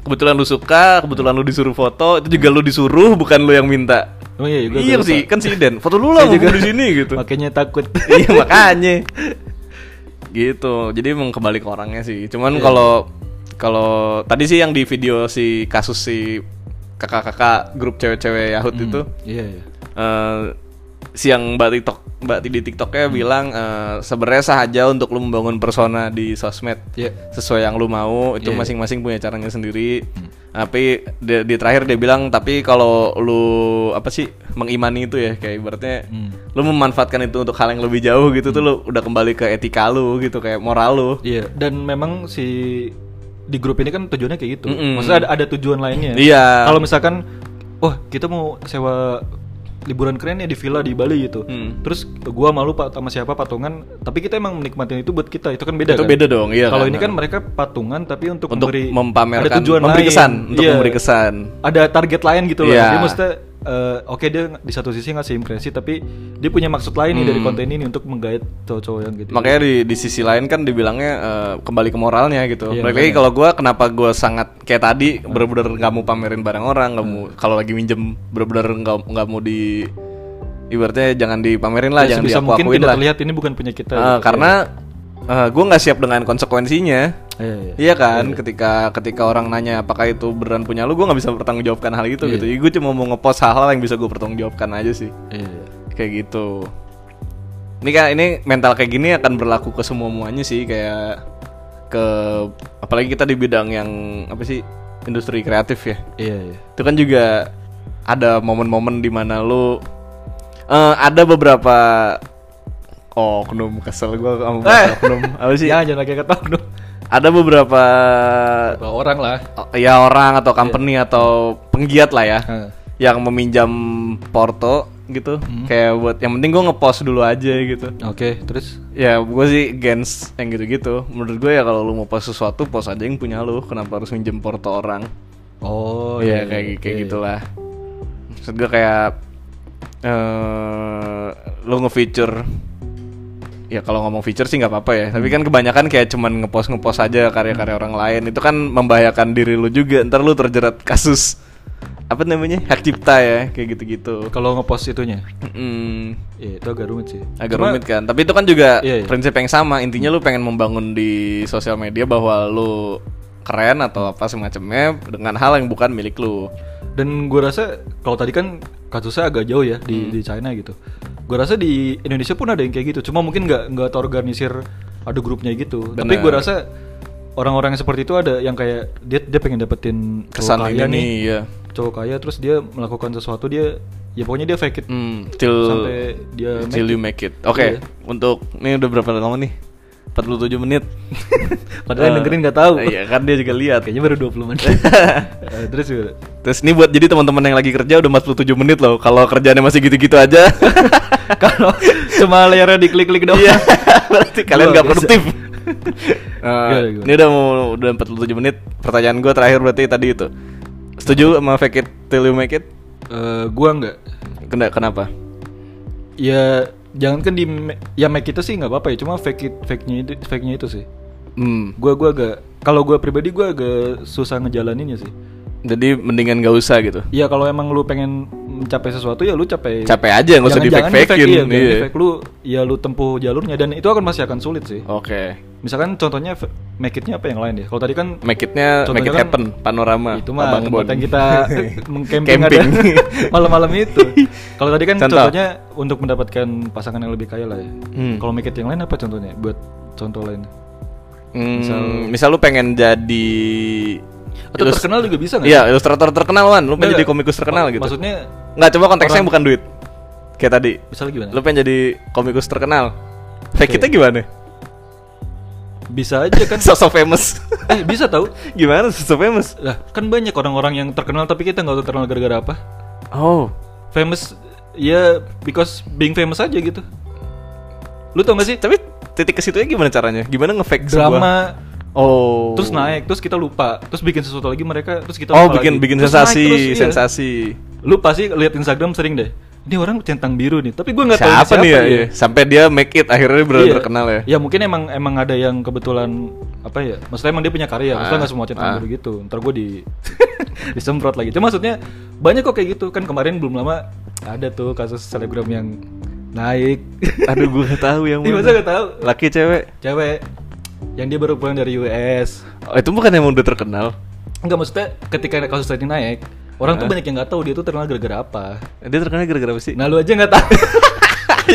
Speaker 1: kebetulan lu suka kebetulan lu disuruh foto itu juga lu disuruh bukan lu yang minta
Speaker 2: Emang iya, gua-
Speaker 1: iya
Speaker 2: gua
Speaker 1: sih
Speaker 2: lupa.
Speaker 1: kan si Den foto lu lah mau
Speaker 2: Saya juga-
Speaker 1: di sini gitu
Speaker 2: makanya takut
Speaker 1: iya makanya gitu jadi emang kembali ke orangnya sih cuman
Speaker 2: Iya.
Speaker 1: kalau kalau tadi sih yang di video si
Speaker 2: Hmm.
Speaker 1: kasus si kakak-kakak grup cewek-cewek Yahut itu
Speaker 2: iya iya
Speaker 1: eh, siang mbak TikTok mbak di TikToknya
Speaker 2: Hmm.
Speaker 1: bilang eh, sebenarnya sah aja untuk lu membangun persona di sosmed
Speaker 2: Iya.
Speaker 1: sesuai yang lu mau itu
Speaker 2: Iya, Hmm. iya.
Speaker 1: masing-masing punya caranya sendiri tapi di, di terakhir dia bilang tapi kalau lu apa sih mengimani itu ya kayak ibaratnya
Speaker 2: Hmm.
Speaker 1: lu memanfaatkan itu untuk hal yang lebih jauh gitu tuh lu udah kembali ke etika lu gitu kayak moral lu
Speaker 2: Iya, dan memang si di grup ini kan tujuannya kayak gitu.
Speaker 1: Mm-mm.
Speaker 2: Maksudnya ada, ada tujuan lainnya.
Speaker 1: Iya.
Speaker 2: Kalau misalkan, wah kita mau sewa liburan keren ya di villa di Bali gitu.
Speaker 1: Mm.
Speaker 2: Terus gua malu pak sama siapa patungan, tapi kita emang menikmatin itu buat kita. Itu kan beda.
Speaker 1: Itu
Speaker 2: kan?
Speaker 1: beda dong, iya
Speaker 2: Kalau
Speaker 1: kan?
Speaker 2: ini kan mereka patungan tapi untuk,
Speaker 1: untuk
Speaker 2: memberi
Speaker 1: mempamerkan
Speaker 2: ada tujuan
Speaker 1: memberi
Speaker 2: lain.
Speaker 1: kesan untuk
Speaker 2: Iya.
Speaker 1: memberi kesan
Speaker 2: Ada target lain gitu loh.
Speaker 1: Iya.
Speaker 2: Dia maksudnya eh, oke dia di satu sisi ngasih impresi tapi dia punya maksud lain nih dari
Speaker 1: Mm.
Speaker 2: konten ini untuk menggait cowok-cowok yang gitu.
Speaker 1: Makanya di, di sisi lain kan dibilangnya eh, kembali ke moralnya gitu.
Speaker 2: Iya,
Speaker 1: Balik lagi kalau gua kenapa gua sangat kayak tadi bener-bener nggak mau pamerin barang orang, nggak mau
Speaker 2: Hmm.
Speaker 1: kalau lagi minjem bener-bener nggak nggak mau di ibaratnya jangan dipamerin lah,
Speaker 2: Ya,
Speaker 1: jangan
Speaker 2: sebisa mungkin Iya.
Speaker 1: diaku-akuin
Speaker 2: tidak
Speaker 1: lah.
Speaker 2: terlihat ini bukan punya kita.
Speaker 1: Eh, karena eh, gua nggak siap dengan konsekuensinya.
Speaker 2: Iya, iya.
Speaker 1: Iya kan, ketika ketika orang nanya apakah itu beneran punya lu, gua nggak bisa pertanggungjawabkan hal itu
Speaker 2: Iya.
Speaker 1: gitu. Jadi gua cuma mau ngepost hal-hal yang bisa gua pertanggungjawabkan aja sih kayak gitu ini kan ini mental kayak gini akan berlaku ke semua muanya sih kayak ke apalagi kita di bidang yang apa sih industri kreatif ya
Speaker 2: Iya,
Speaker 1: itu kan juga ada momen-momen dimana lu eh, ada beberapa oh oknum kesel gua sama bahasa oknum apa sih
Speaker 2: Ya, Jangan jangan pakai kata oknum.
Speaker 1: ada beberapa
Speaker 2: Bahwa orang lah.
Speaker 1: oh, ya orang atau company atau penggiat lah
Speaker 2: Ah.
Speaker 1: ya yang meminjam porto gitu kayak buat yang penting gue ngepost dulu aja gitu
Speaker 2: Oke, terus
Speaker 1: ya gue sih gens yang gitu-gitu menurut gue ya kalau lu mau post sesuatu post aja yang punya lu kenapa harus minjem porto orang
Speaker 2: Oh,
Speaker 1: ya kayak kayak gitulah maksud gue kayak eh lu nge-feature ya kalau ngomong feature sih nggak apa-apa ya tapi
Speaker 2: Hmm.
Speaker 1: kan kebanyakan kayak cuman ngepost ngepost aja karya-karya orang lain itu kan membahayakan diri lu juga ntar lu terjerat kasus apa namanya hak cipta ya kayak gitu-gitu
Speaker 2: Kalau ngepost itunya,
Speaker 1: Mm,
Speaker 2: iya itu agak rumit sih.
Speaker 1: agak rumit kan. Tapi itu kan juga
Speaker 2: Iya, iya.
Speaker 1: prinsip yang sama. Intinya lu pengen membangun di sosial media bahwa lu keren atau apa semacamnya dengan hal yang bukan milik lu.
Speaker 2: Dan gue rasa kalau tadi kan kasusnya agak jauh ya
Speaker 1: Hmm.
Speaker 2: di di China gitu. Gue rasa di Indonesia pun ada yang kayak gitu. Cuma mungkin nggak nggak terorganisir ada grupnya gitu. Tapi gue
Speaker 1: Bener.
Speaker 2: rasa orang-orang yang seperti itu ada yang kayak dia dia pengen dapetin cowok
Speaker 1: Kesan
Speaker 2: kaya
Speaker 1: ini nih, ya.
Speaker 2: cowok kaya terus dia melakukan sesuatu dia ya pokoknya dia fake it
Speaker 1: Hmm, till
Speaker 2: sampai dia
Speaker 1: till you make it. Oke,
Speaker 2: Iya.
Speaker 1: untuk ini udah berapa lama nih? 47 menit.
Speaker 2: Padahal yang
Speaker 1: Eh,
Speaker 2: dengerin nggak tahu.
Speaker 1: Iya, kan dia juga lihat.
Speaker 2: Kayaknya baru 20 menit. Eh, terus gimana?
Speaker 1: Terus ini buat jadi teman-teman yang lagi kerja udah 47 menit loh. Kalau kerjaannya masih gitu-gitu aja,
Speaker 2: Kalau cuma layarnya diklik-klik doang.
Speaker 1: Iya, berarti kalian
Speaker 2: Luar
Speaker 1: nggak
Speaker 2: biasa.
Speaker 1: produktif. Eh,
Speaker 2: Gimana, gimana?
Speaker 1: ini udah mau udah 47 menit. Pertanyaan gue terakhir berarti tadi itu. Setuju sama fake it till you make it?
Speaker 2: Eh, gua nggak.
Speaker 1: Kena- Kenapa?
Speaker 2: Ya jangankan di ya make itu sih nggak apa-apa ya. Cuma fake it fake-nya itu fake-nya itu sih.
Speaker 1: Hmm.
Speaker 2: Gua gua agak kalau gua pribadi gua agak susah ngejalaninnya sih.
Speaker 1: Jadi mendingan gak usah gitu.
Speaker 2: Ya kalau emang lu pengen mencapai sesuatu ya lu capek.
Speaker 1: Capek aja nggak usah di
Speaker 2: Jangan- jangan
Speaker 1: fake-fakein.
Speaker 2: di-fake, iya, jangan
Speaker 1: Iya.
Speaker 2: di-fake. lu ya lu tempuh jalurnya dan itu akan masih akan sulit sih.
Speaker 1: Oke.
Speaker 2: Misalkan contohnya f- make it-nya apa yang lain ya? Kalau tadi kan
Speaker 1: Make it-nya
Speaker 2: Contohnya
Speaker 1: make it
Speaker 2: kan-
Speaker 1: happen panorama
Speaker 2: itu mah
Speaker 1: Abang
Speaker 2: tempat
Speaker 1: Bon.
Speaker 2: yang kita mengcamping
Speaker 1: Camping.
Speaker 2: ada malam-malam itu. Kalau tadi kan
Speaker 1: Contoh.
Speaker 2: contohnya untuk mendapatkan pasangan yang lebih kaya lah ya.
Speaker 1: Hmm.
Speaker 2: Kalau make it yang lain apa contohnya? Buat contoh lain.
Speaker 1: Hmm, misal,
Speaker 2: Misal-
Speaker 1: lu pengen jadi
Speaker 2: Atau
Speaker 1: ilus-
Speaker 2: terkenal juga bisa nggak?
Speaker 1: Iya, ilustrator terkenal Wan, lu pengen
Speaker 2: Nggak,
Speaker 1: jadi komikus terkenal
Speaker 2: mak-
Speaker 1: gitu.
Speaker 2: Maksudnya
Speaker 1: Nggak, coba konteksnya
Speaker 2: orang-
Speaker 1: bukan duit. Kayak tadi.
Speaker 2: misalnya gimana?
Speaker 1: Lu pengen jadi komikus terkenal. Fake
Speaker 2: Oke.
Speaker 1: kita gimana?
Speaker 2: Bisa aja kan?
Speaker 1: So, so famous.
Speaker 2: eh bisa tahu?
Speaker 1: gimana so, so famous?
Speaker 2: Lah kan banyak orang-orang yang terkenal tapi kita nggak tahu terkenal gara-gara apa.
Speaker 1: Oh.
Speaker 2: Famous ya because being famous aja gitu. Lu tau gak sih?
Speaker 1: Tapi titik ke situnya gimana caranya? Gimana nge-fake sebuah
Speaker 2: Drama
Speaker 1: Oh.
Speaker 2: terus naik terus kita lupa terus bikin sesuatu lagi mereka terus kita
Speaker 1: Oh,
Speaker 2: lupa
Speaker 1: bikin
Speaker 2: lagi.
Speaker 1: bikin
Speaker 2: Terus
Speaker 1: sensasi,
Speaker 2: naik terus, iya.
Speaker 1: sensasi.
Speaker 2: lu pasti lihat Instagram sering deh ini orang centang biru nih tapi gue nggak tahu ini
Speaker 1: Siapa nih ya?
Speaker 2: iya.
Speaker 1: iya. Sampai dia make it akhirnya benar
Speaker 2: Iya.
Speaker 1: terkenal ya.
Speaker 2: ya mungkin emang emang ada yang kebetulan apa ya maksudnya emang dia punya karya
Speaker 1: Ah.
Speaker 2: maksudnya nggak semua centang biru gitu ntar gue di disemprot lagi cuma maksudnya banyak kok kayak gitu kan kemarin belum lama ada tuh kasus selebgram yang naik
Speaker 1: Aduh, gue gak tahu yang
Speaker 2: Ih, Iya, masa
Speaker 1: mana.
Speaker 2: nggak tahu
Speaker 1: Laki cewek.
Speaker 2: cewek yang dia baru pulang dari US
Speaker 1: Oh, itu bukan emang udah terkenal. Hmm.
Speaker 2: Enggak maksudnya ketika kasus tadi naik Orang tuh banyak yang nggak tahu dia tuh terkenal gara-gara apa.
Speaker 1: Dia terkenal gara-gara apa sih?
Speaker 2: Nah lu aja nggak tahu.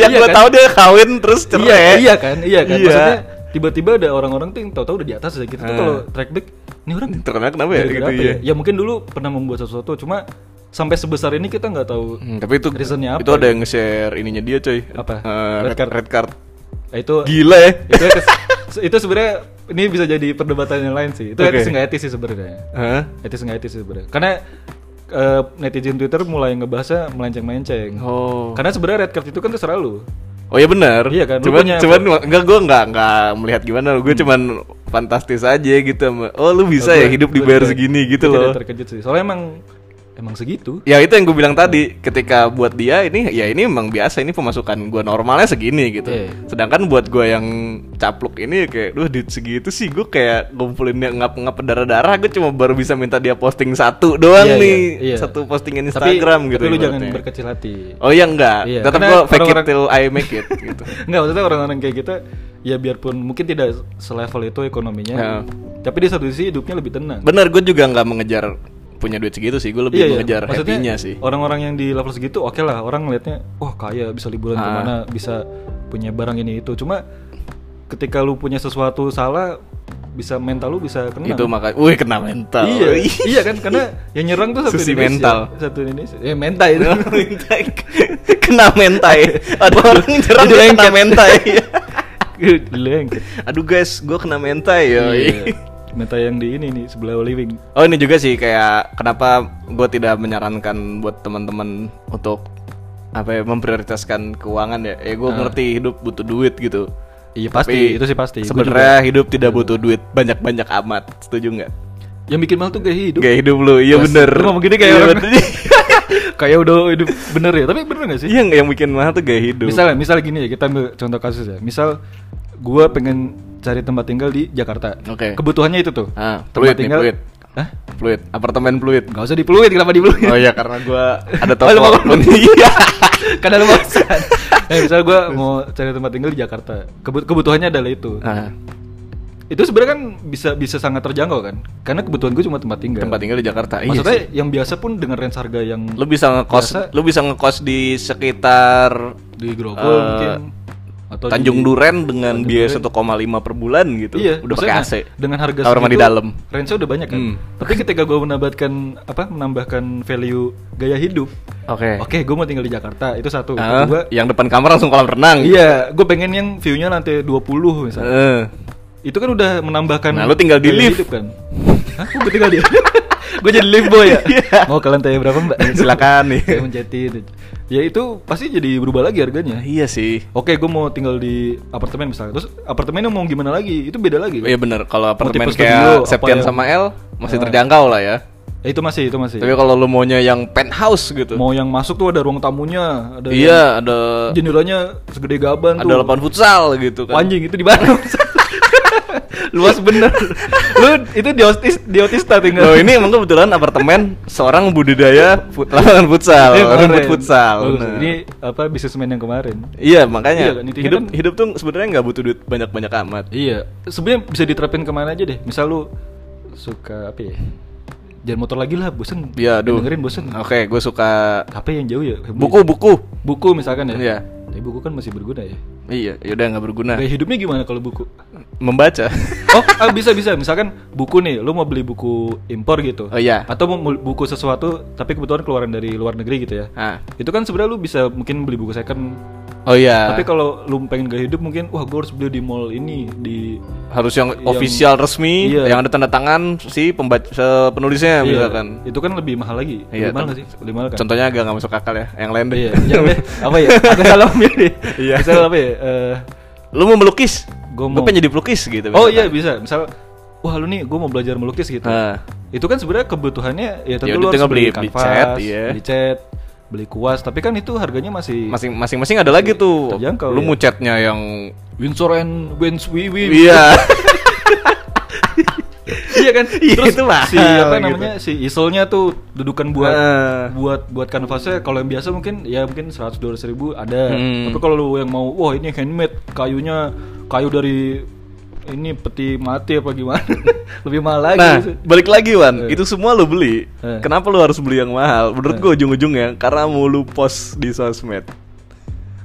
Speaker 1: yang
Speaker 2: Iya
Speaker 1: gue
Speaker 2: kan?
Speaker 1: tahu dia kawin terus cerai.
Speaker 2: iya, iya kan, iya kan.
Speaker 1: Iya.
Speaker 2: Maksudnya tiba-tiba ada orang-orang tuh yang tahu-tahu udah di atas ya gitu. Tuh
Speaker 1: Ah.
Speaker 2: kalau track back, ini orang
Speaker 1: Terkenal kenapa ya
Speaker 2: gara-gara
Speaker 1: gitu
Speaker 2: apa
Speaker 1: ya?
Speaker 2: ya? mungkin dulu pernah membuat sesuatu, cuma sampai sebesar ini kita nggak tahu.
Speaker 1: Hmm, tapi itu
Speaker 2: Reasonnya apa?
Speaker 1: itu ada yang nge-share ininya dia coy.
Speaker 2: Apa?
Speaker 1: Eh,
Speaker 2: Red
Speaker 1: red,
Speaker 2: card.
Speaker 1: red card.
Speaker 2: Nah, itu
Speaker 1: Gila ya.
Speaker 2: itu itu sebenarnya ini bisa jadi perdebatan yang lain sih. Itu
Speaker 1: Oke.
Speaker 2: etis nggak etis sih sebenarnya.
Speaker 1: Hah?
Speaker 2: Etis nggak etis sih sebenarnya. Karena eh, netizen Twitter mulai ngebahasnya melenceng-melenceng.
Speaker 1: Oh.
Speaker 2: Karena sebenarnya red card itu kan terserah lu.
Speaker 1: Oh iya benar.
Speaker 2: Iya kan, lu
Speaker 1: Cuman
Speaker 2: punya-
Speaker 1: cuman enggak gua enggak enggak melihat gimana, gue
Speaker 2: Hmm.
Speaker 1: cuman fantastis aja gitu sama, Oh, lu bisa ya
Speaker 2: Gua-
Speaker 1: hidup
Speaker 2: gua
Speaker 1: dibayar
Speaker 2: tidak-
Speaker 1: segini
Speaker 2: gua
Speaker 1: gitu
Speaker 2: tidak
Speaker 1: loh.
Speaker 2: terkejut sih. Soalnya emang emang segitu.
Speaker 1: Ya itu yang gue bilang tadi, ketika buat dia ini ya ini emang biasa ini pemasukan gua normalnya segini gitu.
Speaker 2: Iya.
Speaker 1: Sedangkan buat gua yang capluk ini ya kayak duh duit segitu sih gue kayak ngumpulin yang ngap-ngap darah-darah gue cuma baru bisa minta dia posting satu doang
Speaker 2: Iya, iya,
Speaker 1: nih.
Speaker 2: iya.
Speaker 1: Satu postingan
Speaker 2: Tapi-
Speaker 1: Instagram gitu.
Speaker 2: Tapi lu jangan
Speaker 1: ibaratnya.
Speaker 2: berkecil hati.
Speaker 1: Oh iya enggak,
Speaker 2: Iya,
Speaker 1: tetap
Speaker 2: karena
Speaker 1: gua fake it
Speaker 2: orang-orang-
Speaker 1: till I make it gitu.
Speaker 2: Enggak, maksudnya orang-orang kayak kita ya biarpun mungkin tidak selevel itu ekonominya.
Speaker 1: Ya.
Speaker 2: Tapi di satu sisi hidupnya lebih tenang.
Speaker 1: Bener, gue juga nggak mengejar punya duit segitu sih. Gue lebih
Speaker 2: Iya, iya.
Speaker 1: mengejar
Speaker 2: Maksudnya,
Speaker 1: happy-nya sih.
Speaker 2: Orang-orang yang di level segitu oke lah, orang ngelihatnya wah kaya, bisa liburan
Speaker 1: Ah.
Speaker 2: kemana, bisa punya barang ini itu. Cuma ketika lu punya sesuatu salah bisa mental lu bisa kena.
Speaker 1: Itu makanya, wih kena mental.
Speaker 2: Iya, iya kan karena yang nyerang tuh satu
Speaker 1: Susi
Speaker 2: Indonesia.
Speaker 1: mental.
Speaker 2: Satu Indonesia. Ya mental itu.
Speaker 1: Mentai. kena mentai. Ada orang nyerang
Speaker 2: Jadi
Speaker 1: dia kena
Speaker 2: lengket.
Speaker 1: mentai.
Speaker 2: Lengket.
Speaker 1: Aduh guys, gue kena mentai. yoi.
Speaker 2: Iya. Mental yang di ini nih sebelah living.
Speaker 1: Oh ini juga sih kayak kenapa gue tidak menyarankan buat teman-teman untuk apa ya memprioritaskan keuangan ya. Ya gue ngerti hidup butuh duit gitu.
Speaker 2: Iya Ah. pasti,
Speaker 1: Tapi
Speaker 2: itu sih pasti. Gua juga- Iya.
Speaker 1: Sebenarnya hidup tidak butuh duit banyak-banyak amat. Setuju nggak?
Speaker 2: yang bikin mahal tuh gaya hidup.
Speaker 1: Gaya hidup lu, iya
Speaker 2: Mas,
Speaker 1: bener
Speaker 2: Lu ngomong gini kayak
Speaker 1: Iya
Speaker 2: orang-
Speaker 1: bener.
Speaker 2: kayak udah hidup bener ya, tapi bener gak sih?
Speaker 1: Iya, yang bikin mahal tuh gaya hidup
Speaker 2: Misalnya, misal gini ya, kita ambil contoh kasus ya. Misal gua pengen cari tempat tinggal di Jakarta.
Speaker 1: Oke.
Speaker 2: Kebutuhannya itu tuh.
Speaker 1: Ah, fluid nih, fluid
Speaker 2: Hah?
Speaker 1: Fluid, apartemen fluid
Speaker 2: Gak usah di Pluit, kenapa di Pluit?
Speaker 1: Oh iya, karena gua ada
Speaker 2: Oh,
Speaker 1: toko
Speaker 2: lu mau
Speaker 1: pun Iya
Speaker 2: Karena lu bosan. Eh, misal gue mau cari tempat tinggal di Jakarta. Kebut- kebutuhannya adalah itu.
Speaker 1: Ah,
Speaker 2: Itu sebenarnya kan bisa bisa sangat terjangkau kan? Karena kebutuhan gue cuma tempat tinggal.
Speaker 1: Tempat tinggal di Jakarta iya
Speaker 2: Maksudnya
Speaker 1: sih.
Speaker 2: yang biasa pun dengan range harga yang
Speaker 1: Lu bisa ngekos
Speaker 2: Biasa.
Speaker 1: Lu bisa ngekos di sekitar
Speaker 2: di Grogol
Speaker 1: eh,
Speaker 2: mungkin
Speaker 1: Tanjung
Speaker 2: di-
Speaker 1: Duren dengan
Speaker 2: Tanjung
Speaker 1: biaya
Speaker 2: Duren.
Speaker 1: 1,5 per bulan gitu
Speaker 2: Iya,
Speaker 1: Udah pakai AC
Speaker 2: maksudnya Dengan harga
Speaker 1: Kamar mandi
Speaker 2: segitu,
Speaker 1: dalam
Speaker 2: Range-nya udah banyak kan.
Speaker 1: Hmm.
Speaker 2: Tapi ketika gue menambahkan apa menambahkan value gaya hidup.
Speaker 1: Oke
Speaker 2: Oke, gue mau tinggal di Jakarta. Itu satu.
Speaker 1: Eh. Ah,
Speaker 2: Kedua,
Speaker 1: Yang depan kamar langsung kolam renang
Speaker 2: iya, gue pengen yang view-nya lantai 20 misalnya.
Speaker 1: Eh,
Speaker 2: Itu kan udah menambahkan
Speaker 1: Nah, lu tinggal di
Speaker 2: gaya
Speaker 1: lift.
Speaker 2: hidup kan. Hah, gue tinggal di Gue jadi lift boy ya.
Speaker 1: Iya.
Speaker 2: Mau ke lantai berapa, Mbak?
Speaker 1: Silakan nih.
Speaker 2: Saya menjadi Ya itu pasti jadi berubah lagi harganya.
Speaker 1: Iya sih
Speaker 2: Oke, gue mau tinggal di apartemen misalnya. Terus apartemennya mau gimana lagi? Itu beda lagi.
Speaker 1: Iya bener, kalau apartemen
Speaker 2: tipe
Speaker 1: kayak
Speaker 2: studio, apa
Speaker 1: Septian
Speaker 2: yang-
Speaker 1: sama L masih
Speaker 2: Ah.
Speaker 1: terjangkau lah ya.
Speaker 2: Ya, itu masih, itu masih.
Speaker 1: Tapi kalau lu maunya yang penthouse gitu.
Speaker 2: Mau yang masuk tuh ada ruang tamunya, ada
Speaker 1: iya, ada
Speaker 2: yang jendelanya segede gaban
Speaker 1: ada
Speaker 2: tuh.
Speaker 1: lapangan futsal gitu kan.
Speaker 2: Anjing itu di Bandung. Luas bener. Lu itu di otis di otista tinggal.
Speaker 1: Loh, ini emang kebetulan apartemen seorang budidaya fut- lapangan futsal,
Speaker 2: Ini Iya, kemarin.
Speaker 1: rumput futsal.
Speaker 2: Bagus.
Speaker 1: Nah.
Speaker 2: Ini apa bisnismen yang kemarin?
Speaker 1: Iya, makanya
Speaker 2: Iya kan, intinya
Speaker 1: hidup
Speaker 2: kan-
Speaker 1: hidup tuh sebenarnya nggak butuh duit banyak-banyak amat.
Speaker 2: Iya, sebenarnya bisa diterapin kemana aja deh. Misal lu suka apa ya? Jangan motor lagi lah, bosen.
Speaker 1: Iya, aduh.
Speaker 2: Dengerin bosen.
Speaker 1: Oke, gue suka
Speaker 2: HP yang jauh ya.
Speaker 1: buku-buku.
Speaker 2: buku misalkan ya.
Speaker 1: Iya.
Speaker 2: Tapi buku kan masih berguna ya.
Speaker 1: Iya, yaudah nggak berguna.
Speaker 2: Gaya hidupnya gimana kalau buku?
Speaker 1: Membaca.
Speaker 2: Oh, ah, bisa bisa. Misalkan buku nih, lu mau beli buku impor gitu.
Speaker 1: Oh, iya.
Speaker 2: Atau mau mul- buku sesuatu tapi kebetulan keluaran dari luar negeri gitu ya.
Speaker 1: Ah.
Speaker 2: Itu kan sebenarnya lu bisa mungkin beli buku second.
Speaker 1: Oh iya.
Speaker 2: Tapi kalau lu pengen gaya hidup mungkin wah gua harus beli di mall ini di
Speaker 1: harus yang,
Speaker 2: Yang-
Speaker 1: official resmi
Speaker 2: Iya.
Speaker 1: yang ada tanda tangan si pembaca penulisnya
Speaker 2: Iya,
Speaker 1: misalkan
Speaker 2: Itu kan lebih mahal lagi.
Speaker 1: Eh, Iya,
Speaker 2: lebih mahal
Speaker 1: tapi-
Speaker 2: nggak sih? Lebih mahal kan?
Speaker 1: contohnya agak nggak masuk akal ya yang lain deh
Speaker 2: Iya, yang deh, apa ya? Aku salah milih.
Speaker 1: Iya.
Speaker 2: Misal apa ya? Eh,
Speaker 1: lu mau melukis
Speaker 2: Gua
Speaker 1: Lu
Speaker 2: mau.
Speaker 1: pengen jadi pelukis gitu
Speaker 2: oh
Speaker 1: misalkan.
Speaker 2: iya bisa. Misal wah lu nih gua mau belajar melukis gitu.
Speaker 1: Nah,
Speaker 2: itu kan sebenarnya kebutuhannya ya
Speaker 1: Ya
Speaker 2: tentu
Speaker 1: udah,
Speaker 2: lu harus
Speaker 1: tinggal
Speaker 2: beli,
Speaker 1: beli-
Speaker 2: kanvas,
Speaker 1: beli cat, iya.
Speaker 2: beli cat, beli kuas, tapi kan itu harganya masih
Speaker 1: masing- masing-masing ada lagi tuh
Speaker 2: Terjangkau,
Speaker 1: lu
Speaker 2: ya.
Speaker 1: mau catnya yang
Speaker 2: Windsor and Wens Wiwi.
Speaker 1: iya
Speaker 2: iya kan?
Speaker 1: Iya,
Speaker 2: Terus
Speaker 1: itu mahal
Speaker 2: si apa
Speaker 1: gitu.
Speaker 2: namanya? Si isolnya tuh dudukan buat
Speaker 1: Eh.
Speaker 2: buat buat kanvasnya kalau yang biasa mungkin ya mungkin 100 200 ribu ada.
Speaker 1: Hmm.
Speaker 2: Tapi kalau lu yang mau wah ini handmade, kayunya kayu dari ini peti mati apa gimana lebih mahal lagi
Speaker 1: Nah,
Speaker 2: sih.
Speaker 1: balik lagi Wan,
Speaker 2: Eh.
Speaker 1: itu semua lo beli.
Speaker 2: Eh.
Speaker 1: Kenapa lo harus beli yang mahal? Menurut
Speaker 2: Eh.
Speaker 1: gua ujung-ujungnya karena mau lu post di sosmed.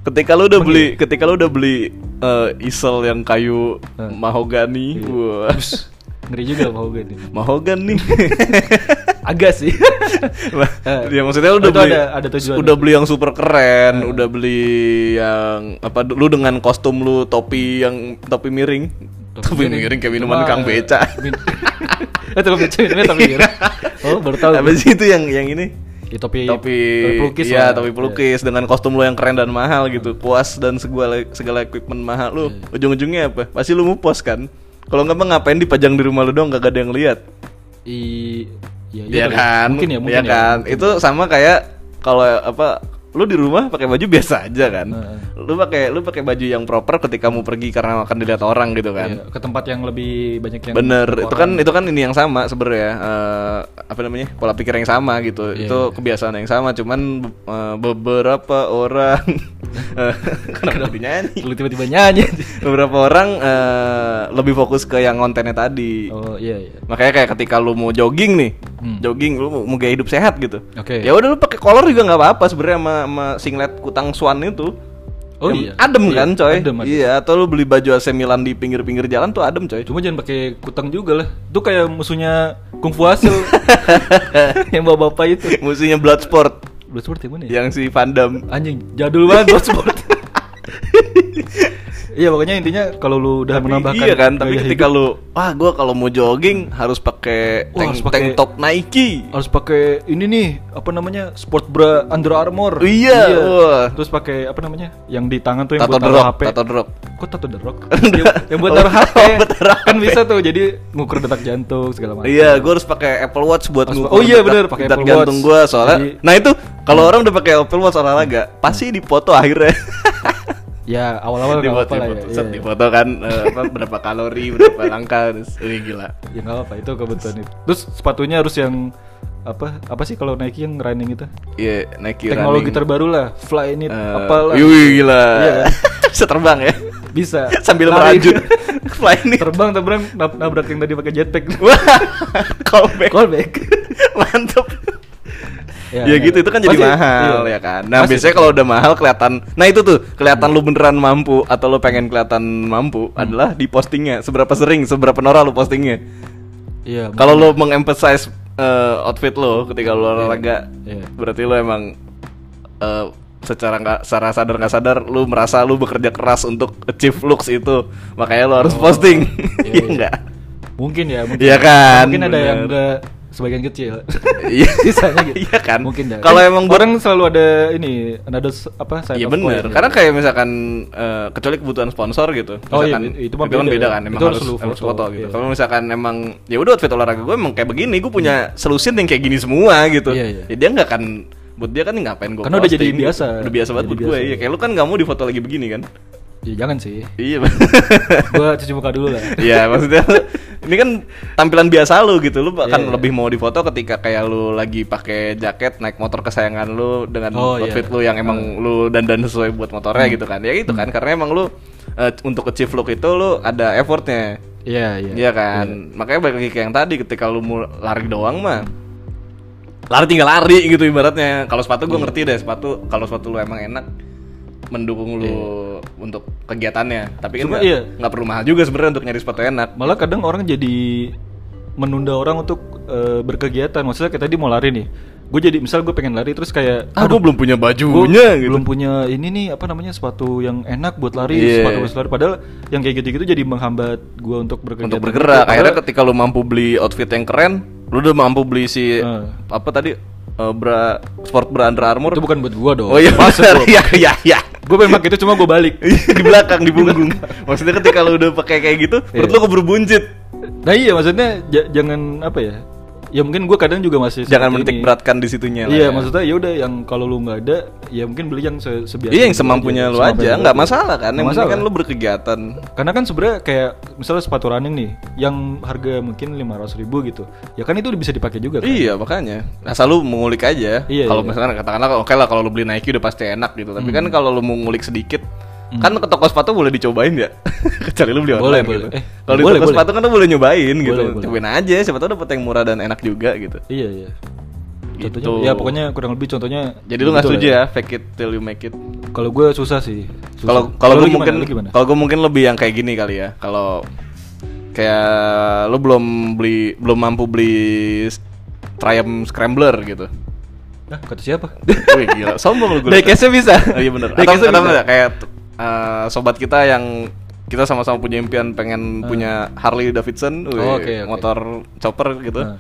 Speaker 1: Ketika lo udah
Speaker 2: Emang iya?
Speaker 1: beli, ketika lo udah beli eh, isel yang kayu
Speaker 2: Eh.
Speaker 1: mahogani,
Speaker 2: Iya.
Speaker 1: wah,
Speaker 2: Ups, ngeri juga mau gue nih
Speaker 1: mahogani.
Speaker 2: agak sih
Speaker 1: Lah, ya
Speaker 2: Eh.
Speaker 1: maksudnya lu
Speaker 2: Oh,
Speaker 1: udah
Speaker 2: itu
Speaker 1: beli
Speaker 2: ada- ada tujuannya.
Speaker 1: udah beli yang super keren,
Speaker 2: Eh.
Speaker 1: udah beli yang apa lu dengan kostum lu topi yang topi miring. Topi, miring kayak minuman
Speaker 2: Cuma,
Speaker 1: Kang Beca.
Speaker 2: min- Eh, topi beca minumnya topi miring. Oh, baru tahu.
Speaker 1: Habis itu yang yang ini
Speaker 2: Ya, topi,
Speaker 1: topi
Speaker 2: pelukis
Speaker 1: iya
Speaker 2: lah.
Speaker 1: topi pelukis dengan kostum lu yang keren dan mahal gitu puas dan segala segala equipment mahal lu
Speaker 2: Iya.
Speaker 1: ujung-ujungnya apa pasti lu mau post kan kalau nggak mah ngapain dipajang di rumah lu dong gak ada yang lihat
Speaker 2: I- ya, iya
Speaker 1: Iya
Speaker 2: kali.
Speaker 1: kan
Speaker 2: Mungkin ya, mungkin
Speaker 1: Iya kan itu sama kayak kalau apa lu di rumah pakai baju biasa aja kan
Speaker 2: Heeh.
Speaker 1: lu pakai lu pakai baju yang proper ketika mau pergi karena akan dilihat orang gitu kan
Speaker 2: Iya, ke tempat yang lebih banyak yang
Speaker 1: bener itu kan
Speaker 2: orang.
Speaker 1: itu kan ini yang sama sebenarnya eh, apa namanya pola pikir yang sama gitu
Speaker 2: Iya,
Speaker 1: itu
Speaker 2: iya.
Speaker 1: kebiasaan yang sama cuman be- eh, beberapa orang eh, kenapa jadi nyanyi
Speaker 2: lu tiba-tiba nyanyi.
Speaker 1: beberapa orang eh, lebih fokus ke yang kontennya tadi
Speaker 2: oh, iya iya.
Speaker 1: makanya kayak ketika lu mau jogging nih
Speaker 2: Hmm.
Speaker 1: jogging lu mau, mau gaya hidup sehat gitu
Speaker 2: Oke.
Speaker 1: ya udah lu pakai kolor juga nggak apa-apa sebenarnya sama, sama singlet kutang swan itu
Speaker 2: Oh,
Speaker 1: Yang
Speaker 2: iya.
Speaker 1: adem
Speaker 2: Iya,
Speaker 1: kan coy
Speaker 2: adem, adem.
Speaker 1: iya atau lu beli baju AC Milan di pinggir-pinggir jalan tuh adem coy
Speaker 2: Cuma jangan pakai kutang juga lah. Itu kayak musuhnya Kung Fu Hasil. yang bawa bapak itu.
Speaker 1: Musuhnya Bloodsport
Speaker 2: Bloodsport yang mana ya?
Speaker 1: yang si Van Damme.
Speaker 2: Anjing, jadul banget Bloodsport. iya, pokoknya intinya kalau lu udah
Speaker 1: Tapi
Speaker 2: menambahkan
Speaker 1: iya kan, tapi
Speaker 2: gaya
Speaker 1: ketika
Speaker 2: hidup,
Speaker 1: lu wah gua kalau mau jogging harus pakai
Speaker 2: Wah,
Speaker 1: tank,
Speaker 2: harus pakai-
Speaker 1: tank top Nike.
Speaker 2: harus pakai ini nih, apa namanya? Sport bra Under Armour.
Speaker 1: Iya, wah.
Speaker 2: Terus pakai apa namanya? Yang di tangan tuh yang
Speaker 1: Tato
Speaker 2: buat taruh
Speaker 1: drop,
Speaker 2: HP.
Speaker 1: tato drop.
Speaker 2: Kok tato The Rock? yang, yang buat taruh
Speaker 1: Oh,
Speaker 2: HP.
Speaker 1: buat taruh
Speaker 2: kan
Speaker 1: HP.
Speaker 2: bisa tuh jadi ngukur detak jantung segala macam.
Speaker 1: Iya, gua harus pakai Apple Watch buat
Speaker 2: Harus-
Speaker 1: ngukur
Speaker 2: oh iya,
Speaker 1: detak-
Speaker 2: bener, pakai
Speaker 1: detak
Speaker 2: Apple
Speaker 1: jantung
Speaker 2: Watch.
Speaker 1: gua soalnya.
Speaker 2: Jadi-
Speaker 1: Nah, itu kalau orang udah pakai Apple Watch olahraga, pasti dipoto akhirnya.
Speaker 2: Ya, awal-awal nggak
Speaker 1: dipoto,
Speaker 2: apa-apa lah ya.
Speaker 1: dipoto,
Speaker 2: Iya,
Speaker 1: set,
Speaker 2: iya.
Speaker 1: dipoto kan eh, apa, berapa kalori, berapa langkah, terus Wih, gila.
Speaker 2: Ya nggak apa-apa itu kebetulan itu. Terus sepatunya harus yang apa apa sih kalau Nike yang running itu?
Speaker 1: Iya, Nike
Speaker 2: Teknologi
Speaker 1: running.
Speaker 2: terbaru lah, fly ini
Speaker 1: Eh,
Speaker 2: apalah.
Speaker 1: wih, gila.
Speaker 2: Iya kan?
Speaker 1: Bisa terbang ya.
Speaker 2: Bisa.
Speaker 1: Sambil
Speaker 2: Lari.
Speaker 1: merajut fly ini.
Speaker 2: Terbang terbang nab- nabrak yang tadi pakai jetpack.
Speaker 1: Wah, callback.
Speaker 2: Callback.
Speaker 1: Mantep. Ya,
Speaker 2: iya.
Speaker 1: gitu itu kan jadi
Speaker 2: Masih-
Speaker 1: mahal
Speaker 2: iya.
Speaker 1: ya kan. Nah,
Speaker 2: Masih-
Speaker 1: biasanya kalau udah mahal kelihatan. Nah, itu tuh kelihatan lu beneran mampu atau lu pengen kelihatan mampu
Speaker 2: Hmm.
Speaker 1: adalah di postingnya. Seberapa sering, seberapa norak lu postingnya.
Speaker 2: Iya.
Speaker 1: Kalau lu mengemphasize eh, outfit lu ketika lu olahraga,
Speaker 2: Iya.
Speaker 1: berarti lu emang eh, secara nggak secara sadar nggak sadar lu merasa lu bekerja keras untuk achieve looks itu. Makanya lu harus posting.
Speaker 2: Iya,
Speaker 1: Iya
Speaker 2: iya.
Speaker 1: enggak?
Speaker 2: Mungkin ya, mungkin.
Speaker 1: Iya kan,
Speaker 2: Mungkin ada
Speaker 1: bener.
Speaker 2: yang udah sebagian kecil.
Speaker 1: Iya.
Speaker 2: Sisanya gitu.
Speaker 1: Iya kan?
Speaker 2: Mungkin dah.
Speaker 1: Kalau
Speaker 2: Kan
Speaker 1: emang buat-
Speaker 2: orang selalu ada ini, ada s- apa side
Speaker 1: Iya
Speaker 2: of coin
Speaker 1: bener,
Speaker 2: ya.
Speaker 1: karena kayak misalkan eh, kecuali kebutuhan sponsor gitu.
Speaker 2: Oh iya,
Speaker 1: Misalkan-
Speaker 2: itu mah
Speaker 1: kan
Speaker 2: beda
Speaker 1: beda
Speaker 2: ya.
Speaker 1: kan, emang
Speaker 2: Itu
Speaker 1: harus,
Speaker 2: harus
Speaker 1: harus,
Speaker 2: lu foto,
Speaker 1: foto gitu.
Speaker 2: iya.
Speaker 1: Kalau misalkan emang ya udah outfit olahraga gue emang kayak begini, gue punya selusin yang kayak gini semua gitu.
Speaker 2: Iya, iya.
Speaker 1: Ya dia nggak akan buat dia kan ngapain gue
Speaker 2: Karena udah jadi biasa.
Speaker 1: udah biasa banget
Speaker 2: Jadi
Speaker 1: buat gue
Speaker 2: biasa.
Speaker 1: ya kayak lu kan nggak mau difoto lagi begini kan
Speaker 2: Ya, jangan sih.
Speaker 1: iya
Speaker 2: Gua cuci muka dulu lah.
Speaker 1: Iya maksudnya ini kan tampilan biasa lu gitu lu akan
Speaker 2: Iya, iya.
Speaker 1: lebih mau difoto ketika kayak lu lagi pakai jaket naik motor kesayangan lu dengan
Speaker 2: Oh, iya. Hmm.
Speaker 1: outfit lu yang emang lu dandan sesuai buat motornya gitu kan ya gitu kan karena emang lu eh, untuk achieve look itu lu ada effortnya
Speaker 2: Iya, iya.
Speaker 1: Iya kan makanya balik lagi ke yang tadi ketika lu mau lari doang mah lari tinggal lari gitu ibaratnya kalau sepatu
Speaker 2: Iya.
Speaker 1: gue ngerti deh sepatu kalau sepatu lu emang enak mendukung lu untuk kegiatannya tapi kan
Speaker 2: Iya. Cuma
Speaker 1: nggak
Speaker 2: iya.
Speaker 1: nggak perlu mahal juga sebenarnya untuk nyari sepatu enak
Speaker 2: Malah kadang orang jadi menunda orang untuk eh, berkegiatan. Maksudnya kayak tadi mau lari nih. Gue jadi misal gue pengen lari terus kayak
Speaker 1: ah gue belum punya
Speaker 2: Gua
Speaker 1: bajunya gitu
Speaker 2: belum punya ini nih apa namanya sepatu yang enak buat lari
Speaker 1: Iya.
Speaker 2: sepatu buat lari padahal yang kayak gitu-gitu jadi menghambat gua untuk berkegiatan
Speaker 1: untuk bergerak
Speaker 2: Padahal-
Speaker 1: akhirnya ketika lu mampu beli outfit yang keren lu udah mampu beli si
Speaker 2: Eh.
Speaker 1: apa tadi eh, bra sport bra Under Armour
Speaker 2: itu bukan buat gua dong
Speaker 1: oh iya
Speaker 2: Maksud
Speaker 1: benar.
Speaker 2: gua.
Speaker 1: iya iya iya
Speaker 2: Gua pengen pakai itu cuma gua balik
Speaker 1: di belakang di punggung maksudnya ketika lu udah pakai kayak gitu
Speaker 2: Iya.
Speaker 1: perut lu keburu buncit
Speaker 2: nah iya maksudnya ja- jangan apa ya ya mungkin gua kadang juga masih
Speaker 1: jangan
Speaker 2: seperti
Speaker 1: menitik
Speaker 2: ini.
Speaker 1: beratkan di situnya lah
Speaker 2: iya
Speaker 1: ya.
Speaker 2: maksudnya ya udah yang kalau lu nggak ada ya mungkin beli yang se sebiasa
Speaker 1: Iya yang
Speaker 2: gitu
Speaker 1: semampunya lu aja,
Speaker 2: semampunya gua.
Speaker 1: nggak masalah kan? Yang
Speaker 2: Nggak
Speaker 1: penting kan
Speaker 2: masalah.
Speaker 1: lu berkegiatan.
Speaker 2: Karena kan sebenarnya kayak misalnya sepatu running nih, yang harga mungkin 500.000 ribu gitu, ya kan itu bisa dipakai juga kan?
Speaker 1: Iya makanya. Asal lu mengulik aja.
Speaker 2: Iya,
Speaker 1: kalau
Speaker 2: iya. Hmm.
Speaker 1: misalkan katakanlah oke lah kalau lu beli Nike udah pasti enak gitu. Tapi kan kalau lu mau ngulik sedikit, Kan ke toko sepatu boleh dicobain ya? Kecuali lu beli
Speaker 2: Boleh,
Speaker 1: online
Speaker 2: boleh.
Speaker 1: gitu.
Speaker 2: Eh,
Speaker 1: Kalau di
Speaker 2: boleh,
Speaker 1: toko
Speaker 2: boleh.
Speaker 1: sepatu kan lu boleh nyobain gitu.
Speaker 2: Boleh, boleh.
Speaker 1: Cobain aja siapa tahu dapet yang murah dan enak juga gitu.
Speaker 2: Iya iya.
Speaker 1: Gitu.
Speaker 2: Contohnya, ya pokoknya kurang lebih contohnya.
Speaker 1: Jadi lu nggak
Speaker 2: begitu
Speaker 1: setuju
Speaker 2: lah
Speaker 1: ya fake it till you make it.
Speaker 2: Kalau gue susah sih. Susah.
Speaker 1: Kalau kalau gue
Speaker 2: lu gimana?
Speaker 1: mungkin
Speaker 2: Lu gimana?
Speaker 1: kalau gue mungkin lebih yang kayak gini kali ya. Kalau kayak lu belum beli belum mampu beli s- Triumph Scrambler gitu.
Speaker 2: Hah, kata siapa?
Speaker 1: Wih gila, sombong lu gue.
Speaker 2: Diecastnya bisa.
Speaker 1: Oh, iya bener. Atau,
Speaker 2: Diecastnya
Speaker 1: atau
Speaker 2: bisa.
Speaker 1: enggak, kayak eh, sobat kita yang kita sama-sama punya impian pengen punya Harley Davidson, wih,
Speaker 2: Ah. Oh, oke, oke.
Speaker 1: motor chopper gitu.
Speaker 2: Nah.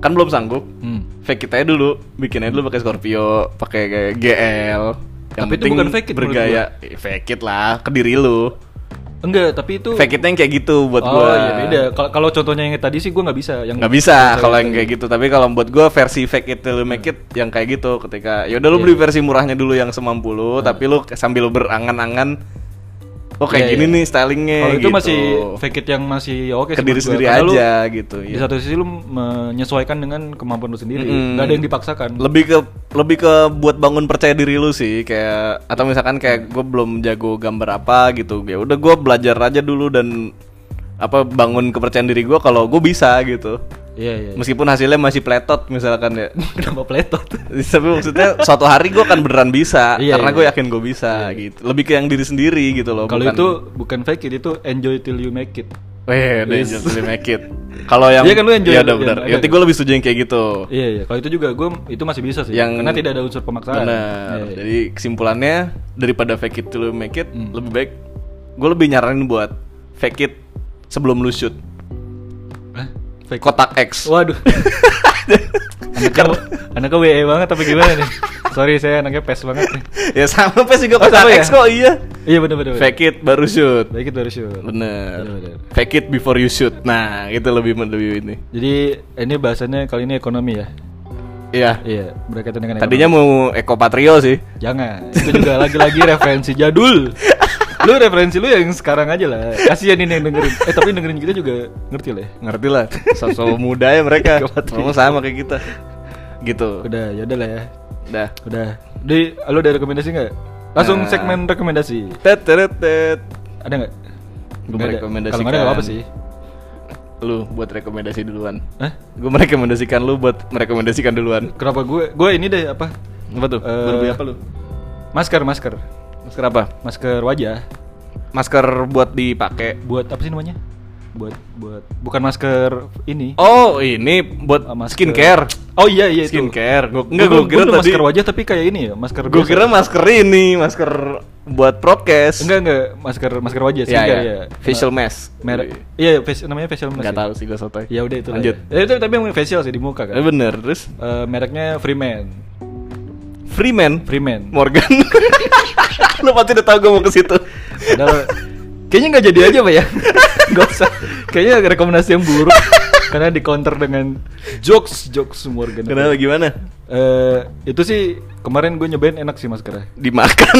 Speaker 1: Kan belum sanggup.
Speaker 2: Hmm.
Speaker 1: Fake kita dulu, bikin aja dulu pakai Scorpio, pakai kayak GL. Yang
Speaker 2: Tapi itu
Speaker 1: penting
Speaker 2: bukan fake it menurut
Speaker 1: bergaya. Eh, Fake it lah, ke diri lu.
Speaker 2: Enggak, tapi itu
Speaker 1: Fake it yang kayak gitu buat
Speaker 2: oh,
Speaker 1: gua.
Speaker 2: iya beda. Kalau kalau contohnya yang tadi sih gue nggak bisa. Yang
Speaker 1: nggak bisa kalau yang kayak gitu tapi kalau buat gua versi fake it till you make it yang kayak gitu ketika ya udah lu
Speaker 2: Iya, Nah.
Speaker 1: beli versi murahnya dulu yang semampu lu tapi lu sambil berangan-angan oh kayak
Speaker 2: Iya,
Speaker 1: gini
Speaker 2: iya.
Speaker 1: nih stylingnya
Speaker 2: Kalau itu
Speaker 1: gitu.
Speaker 2: masih fake it yang masih oke.
Speaker 1: ke diri
Speaker 2: sih menurut gua.
Speaker 1: sendiri
Speaker 2: Karena lu
Speaker 1: aja gitu
Speaker 2: Di
Speaker 1: ya.
Speaker 2: satu sisi lu menyesuaikan dengan kemampuan lu sendiri.
Speaker 1: Mm-mm.
Speaker 2: Nggak ada yang dipaksakan.
Speaker 1: lebih ke lebih ke buat bangun percaya diri lu sih kayak atau misalkan kayak gue belum jago gambar apa gitu ya udah gue belajar aja dulu dan apa bangun kepercayaan diri gue kalau gue bisa gitu
Speaker 2: Iya iya.
Speaker 1: meskipun hasilnya masih pletot misalkan ya
Speaker 2: Kenapa pletot?
Speaker 1: tapi maksudnya suatu hari gue akan beneran bisa
Speaker 2: Iya,
Speaker 1: karena
Speaker 2: iya.
Speaker 1: gue yakin gue bisa gitu lebih ke yang diri sendiri gitu loh
Speaker 2: Kalau
Speaker 1: bukan-
Speaker 2: itu bukan fake it, itu enjoy till you make it.
Speaker 1: weh udah enjoy till you make it kalau yang
Speaker 2: Iya kan, lu enjoy
Speaker 1: ya
Speaker 2: dulu,
Speaker 1: udah
Speaker 2: iya,
Speaker 1: benar
Speaker 2: iya.
Speaker 1: nanti gue lebih setuju yang kayak gitu
Speaker 2: Iya iya. Kalau itu juga gue itu masih bisa sih.
Speaker 1: Yang-
Speaker 2: Karena tidak ada unsur pemaksaan.
Speaker 1: benar
Speaker 2: Iya, Hmm. iya.
Speaker 1: jadi kesimpulannya daripada fake it till you make it lebih baik gue lebih nyaranin buat fake it sebelum lu shoot
Speaker 2: Hah? Fake. Oh.
Speaker 1: kotak X
Speaker 2: Waduh. anaknya, anaknya WE banget tapi gimana nih? Sorry saya anaknya pes banget nih.
Speaker 1: ya sama pas juga
Speaker 2: Oh,
Speaker 1: kotak
Speaker 2: sama ya?
Speaker 1: X kok iya
Speaker 2: Iya bener bener. bener.
Speaker 1: fake it baru shoot
Speaker 2: Baik itu harus yuk.
Speaker 1: bener
Speaker 2: Bener-bener.
Speaker 1: fake it before you shoot nah itu lebih lebih ini
Speaker 2: Jadi ini bahasannya kali ini ekonomi ya.
Speaker 1: iya
Speaker 2: Iya berkaitan dengan ekonomi.
Speaker 1: Tadinya mau Eko Patrio sih.
Speaker 2: jangan. Itu juga lagi-lagi referensi jadul. Lu referensi lu yang sekarang aja lah. Kasihan ini yang dengerin. Eh tapi dengerin kita juga ngerti lah. ya.
Speaker 1: Ngerti lah. Sosok muda ya mereka.
Speaker 2: Eko Patrio.
Speaker 1: Ngomong sama kayak kita. Gitu.
Speaker 2: Udah ya udah lah ya.
Speaker 1: Dah.
Speaker 2: Udah. Di lu ada rekomendasi nggak? Langsung
Speaker 1: Nah.
Speaker 2: segmen rekomendasi.
Speaker 1: Tet tet tet.
Speaker 2: Ada nggak?
Speaker 1: Gue
Speaker 2: Nggak ada.
Speaker 1: merekomendasikan.
Speaker 2: Kalau nggak ada nggak apa-apa sih.
Speaker 1: Lu buat rekomendasi duluan.
Speaker 2: Hah?
Speaker 1: Gue merekomendasikan lu buat merekomendasikan duluan.
Speaker 2: Kenapa gue? Gue ini deh apa?
Speaker 1: Apa tuh?
Speaker 2: Eh,
Speaker 1: Baru beli apa lu?
Speaker 2: Masker, masker.
Speaker 1: Masker apa?
Speaker 2: Masker wajah.
Speaker 1: Masker buat dipakai.
Speaker 2: Buat apa sih namanya? Buat buat bukan masker ini.
Speaker 1: Oh, ini buat
Speaker 2: Ah, masker.
Speaker 1: skincare.
Speaker 2: Oh iya iya itu.
Speaker 1: Skincare. Gua,
Speaker 2: Enggak
Speaker 1: enggak gue kira tadi.
Speaker 2: masker wajah tapi kayak ini ya, masker
Speaker 1: Gue
Speaker 2: biasa.
Speaker 1: kira masker ini, masker buat broadcast.
Speaker 2: enggak enggak masker masker wajah sih
Speaker 1: Ya,
Speaker 2: enggak,
Speaker 1: ya.
Speaker 2: iya.
Speaker 1: Facial mask.
Speaker 2: merek. Iya, facial- namanya facial mask.
Speaker 1: Enggak
Speaker 2: ya?
Speaker 1: tahu sih gue sotoy.
Speaker 2: Ya udah itu. lah
Speaker 1: Lanjut.
Speaker 2: Ya. Ya, itu tapi emang facial sih di muka kan.
Speaker 1: Eh, bener terus
Speaker 2: Eh, mereknya Freeman.
Speaker 1: Freeman
Speaker 2: Freeman.
Speaker 1: Morgan lu pasti udah tau gue mau ke situ
Speaker 2: Padahal kayaknya nggak jadi aja pak ya. Gak usah. Kayaknya rekomendasi yang buruk karena di counter dengan jokes jokes Morgan.
Speaker 1: kenapa gimana
Speaker 2: Eh, itu sih kemarin gue nyobain enak sih maskernya.
Speaker 1: dimakan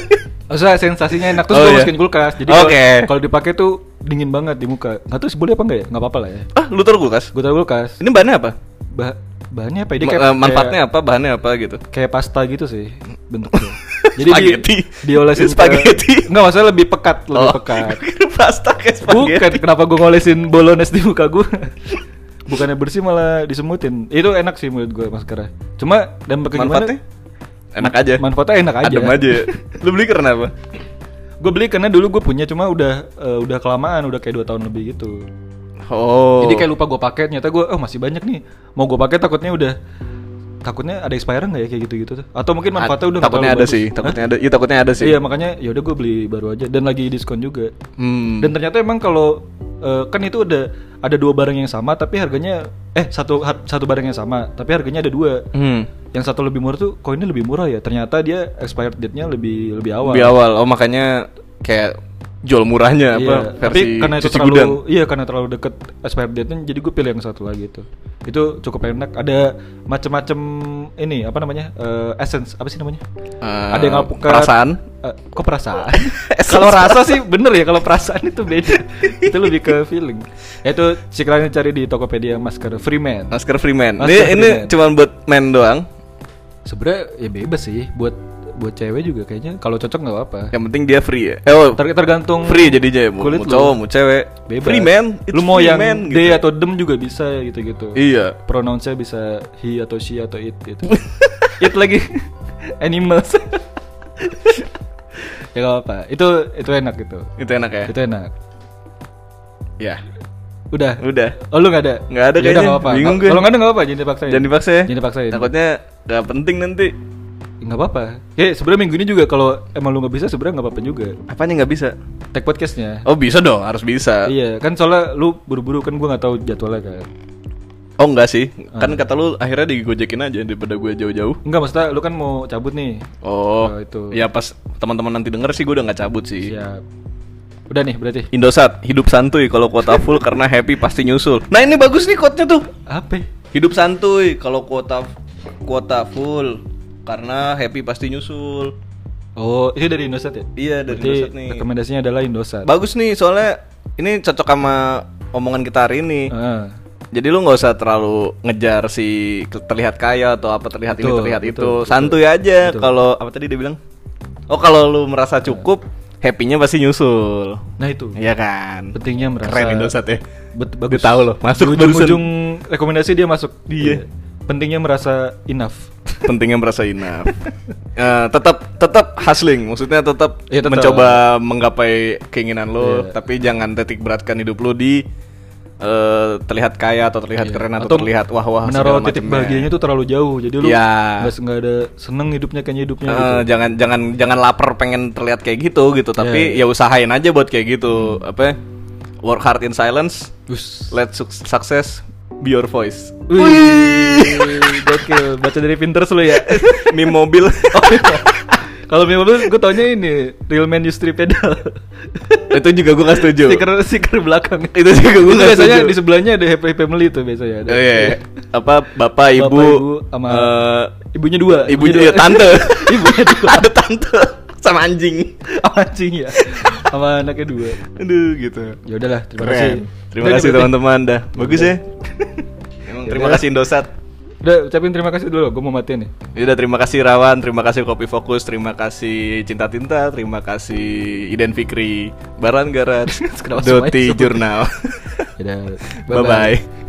Speaker 2: Maksudnya sensasinya enak terus
Speaker 1: Oh,
Speaker 2: gue
Speaker 1: iya.
Speaker 2: masukin kulkas. Jadi kalau-
Speaker 1: Oke.
Speaker 2: kalau dipakai tuh dingin banget di muka. Nggak tahu sih boleh apa enggak ya? Nggak apa-apa lah ya.
Speaker 1: ah lu taruh kulkas
Speaker 2: Gue taruh kulkas.
Speaker 1: ini bahannya apa
Speaker 2: Bah bahannya apa? ya? Dia
Speaker 1: Ma-
Speaker 2: kayak,
Speaker 1: eh, manfaatnya apa bahannya apa gitu
Speaker 2: Kayak, kayak pasta gitu sih bentuknya. Jadi di-
Speaker 1: Spaghetti.
Speaker 2: diolesin ke-
Speaker 1: Spaghetti.
Speaker 2: Nggak masalah lebih pekat, lebih pekat.
Speaker 1: gua Oh, kira pasta kayak spaghetti
Speaker 2: Bukan kenapa gue ngolesin bolones di muka gue. Bukannya bersih malah disemutin. Itu enak sih menurut gue maskernya. Cuma dan
Speaker 1: manfaatnya enak aja
Speaker 2: Manfaatnya enak aja.
Speaker 1: adem aja lu beli karena apa
Speaker 2: Gue beli karena dulu gue punya cuma udah eh, udah kelamaan, udah kayak 2 tahun lebih gitu.
Speaker 1: oh
Speaker 2: Jadi kayak lupa gue pakai, ternyata gue oh masih banyak nih. Mau gue pakai takutnya udah takutnya ada expirean nggak ya kayak gitu-gitu tuh. Atau mungkin manfaatnya udah nggak
Speaker 1: Oh. takutnya
Speaker 2: terlalu
Speaker 1: ada
Speaker 2: bagus.
Speaker 1: sih
Speaker 2: Hah?
Speaker 1: takutnya ada iya takutnya ada sih
Speaker 2: Iya, makanya ya udah gue beli baru aja dan lagi diskon juga.
Speaker 1: hmm.
Speaker 2: Dan ternyata emang kalau eh, kan itu ada ada dua barang yang sama tapi harganya eh satu har- satu barang yang sama tapi harganya ada dua.
Speaker 1: hmm.
Speaker 2: Yang satu lebih murah tuh koinnya lebih murah ya. Ternyata dia expired date-nya lebih lebih awal.
Speaker 1: Lebih awal oh makanya kayak jual murahnya
Speaker 2: Iya,
Speaker 1: apa
Speaker 2: tapi
Speaker 1: versi
Speaker 2: karena itu
Speaker 1: cuci
Speaker 2: terlalu
Speaker 1: gudang
Speaker 2: iya karena terlalu deket expired date jadi gue pilih yang satu lagi itu itu cukup enak ada macam-macam ini apa namanya eh, essence apa sih namanya
Speaker 1: Eh,
Speaker 2: ada yang alpukat
Speaker 1: perasaan?
Speaker 2: Eh, kok perasaan kalau rasa sih bener ya kalau perasaan itu beda itu lebih ke feeling Ya, itu sekalian cari di tokopedia masker freeman
Speaker 1: Masker Freeman. ini
Speaker 2: Masker
Speaker 1: ini
Speaker 2: Freeman.
Speaker 1: cuma buat men doang.
Speaker 2: sebenernya ya bebas sih buat buat cewek juga kayaknya kalau cocok nggak apa-apa.
Speaker 1: Yang penting dia free ya. Eh, oh,
Speaker 2: Ter- tergantung
Speaker 1: free jadinya ya, mau,
Speaker 2: kulit
Speaker 1: mau
Speaker 2: lu.
Speaker 1: cowok, mau cewek.
Speaker 2: bebas.
Speaker 1: Free man, it's
Speaker 2: Lu mau
Speaker 1: free
Speaker 2: yang
Speaker 1: man,
Speaker 2: D
Speaker 1: gitu.
Speaker 2: atau dem juga bisa gitu-gitu.
Speaker 1: Iya.
Speaker 2: Pronounce-nya bisa he atau she atau it gitu. it lagi animals. ya gak apa. Itu itu enak gitu.
Speaker 1: Itu enak ya.
Speaker 2: Itu enak.
Speaker 1: Ya.
Speaker 2: Udah.
Speaker 1: Udah.
Speaker 2: Oh lu gak ada?
Speaker 1: Nggak ada
Speaker 2: Ya udah,
Speaker 1: kayaknya.
Speaker 2: nggak apa.
Speaker 1: Bingung gue.
Speaker 2: Kalau nggak ada gak apa, jangan dipaksain.
Speaker 1: Jangan dipaksa ya.
Speaker 2: Jangan dipaksain.
Speaker 1: Takutnya gak penting nanti.
Speaker 2: Nggak apa-apa. Ya sebenarnya minggu ini juga kalau emang lu nggak bisa sebenarnya nggak apa-apa juga.
Speaker 1: Apanya nggak bisa?
Speaker 2: Tag podcastnya.
Speaker 1: Oh bisa dong, harus bisa.
Speaker 2: Iya, kan soalnya lu buru-buru kan gua nggak tahu jadwalnya kan.
Speaker 1: Oh enggak sih,
Speaker 2: Ah.
Speaker 1: kan kata lu akhirnya digojekin aja daripada gue jauh-jauh.
Speaker 2: Enggak, maksudnya lu kan mau cabut nih.
Speaker 1: Oh,
Speaker 2: Oh, itu.
Speaker 1: ya pas teman-teman nanti denger sih gue udah nggak cabut sih.
Speaker 2: Siap. Udah nih berarti.
Speaker 1: Indosat, hidup santuy kalau kuota full karena happy pasti nyusul. Nah ini bagus nih quote-nya tuh.
Speaker 2: Apa?
Speaker 1: Hidup santuy kalau kuota kuota full karena happy pasti nyusul.
Speaker 2: Oh, itu dari Indosat ya?
Speaker 1: Iya dari
Speaker 2: Berarti
Speaker 1: Indosat nih.
Speaker 2: rekomendasinya adalah Indosat.
Speaker 1: Bagus nih soalnya ini cocok sama omongan kita hari ini.
Speaker 2: Heeh.
Speaker 1: Jadi lu nggak usah terlalu ngejar si ke- terlihat kaya atau apa terlihat ini
Speaker 2: Betul,
Speaker 1: terlihat
Speaker 2: betul,
Speaker 1: itu.
Speaker 2: betul.
Speaker 1: Santuy aja kalau apa tadi dia bilang? Oh, kalau lu merasa cukup, happy-nya pasti nyusul.
Speaker 2: Nah, itu.
Speaker 1: Iya kan?
Speaker 2: Pentingnya merasa
Speaker 1: Keren Indosat ya.
Speaker 2: Bet-
Speaker 1: Gue
Speaker 2: bagus.
Speaker 1: tahu loh, masuk
Speaker 2: Di ujung,
Speaker 1: barusan.
Speaker 2: ujung rekomendasi dia masuk.
Speaker 1: Iya.
Speaker 2: Pentingnya merasa enough.
Speaker 1: Pentingnya merasa enough. Eh, tetap tetap hustling, maksudnya tetap
Speaker 2: Iya, tetap.
Speaker 1: mencoba menggapai keinginan lo,
Speaker 2: Iya.
Speaker 1: tapi jangan titik beratkan hidup lo di eh, terlihat kaya atau terlihat
Speaker 2: Iya.
Speaker 1: keren atau, terlihat wah-wah
Speaker 2: Menaruh
Speaker 1: segala
Speaker 2: titik
Speaker 1: macemnya.
Speaker 2: bahagianya tuh terlalu jauh. Jadi lu
Speaker 1: Iya.
Speaker 2: nggak nggak ada seneng hidupnya kayaknya hidupnya
Speaker 1: Eh,
Speaker 2: gitu.
Speaker 1: jangan jangan jangan lapar pengen terlihat kayak gitu gitu tapi
Speaker 2: Iya,
Speaker 1: ya usahain aja buat kayak gitu
Speaker 2: Hmm.
Speaker 1: apa work hard in silence
Speaker 2: Us.
Speaker 1: let suc- success be your voice
Speaker 2: Wih. Gokil. Baca dari Pinterest lu ya.
Speaker 1: meme mobil
Speaker 2: Oh, iya. Kalau memang lu gue taunya ini real man use three pedal.
Speaker 1: itu juga gue gak setuju
Speaker 2: stiker stiker belakang.
Speaker 1: itu juga gue
Speaker 2: Itu
Speaker 1: gak
Speaker 2: biasanya
Speaker 1: setuju
Speaker 2: di sebelahnya ada happy family tuh biasanya. Ada.
Speaker 1: Oh, iya, iya. apa bapak ibu,
Speaker 2: ibu, sama
Speaker 1: eh,
Speaker 2: Ibunya dua.
Speaker 1: ibunya
Speaker 2: dua.
Speaker 1: iya, tante
Speaker 2: ibunya dua.
Speaker 1: ada tante sama anjing
Speaker 2: Sama Anjing ya. Sama anaknya dua.
Speaker 1: aduh gitu
Speaker 2: Ya udahlah, terima kasih.
Speaker 1: Keren. terima
Speaker 2: Udah,
Speaker 1: kasih
Speaker 2: berarti-
Speaker 1: teman-teman dah bagus ya emang terima
Speaker 2: Yaudah.
Speaker 1: kasih Indosat
Speaker 2: Udah ucapin terima kasih dulu, gue mau matiin nih.
Speaker 1: Yaudah terima kasih Rawan, terima kasih Kopi Fokus, terima kasih Cinta Tinta, terima kasih Iden Fikri, Baran Garat,
Speaker 2: Kenapa semuanya
Speaker 1: Doti
Speaker 2: sebut?
Speaker 1: Jurnal.
Speaker 2: Udah.
Speaker 1: Bye-bye.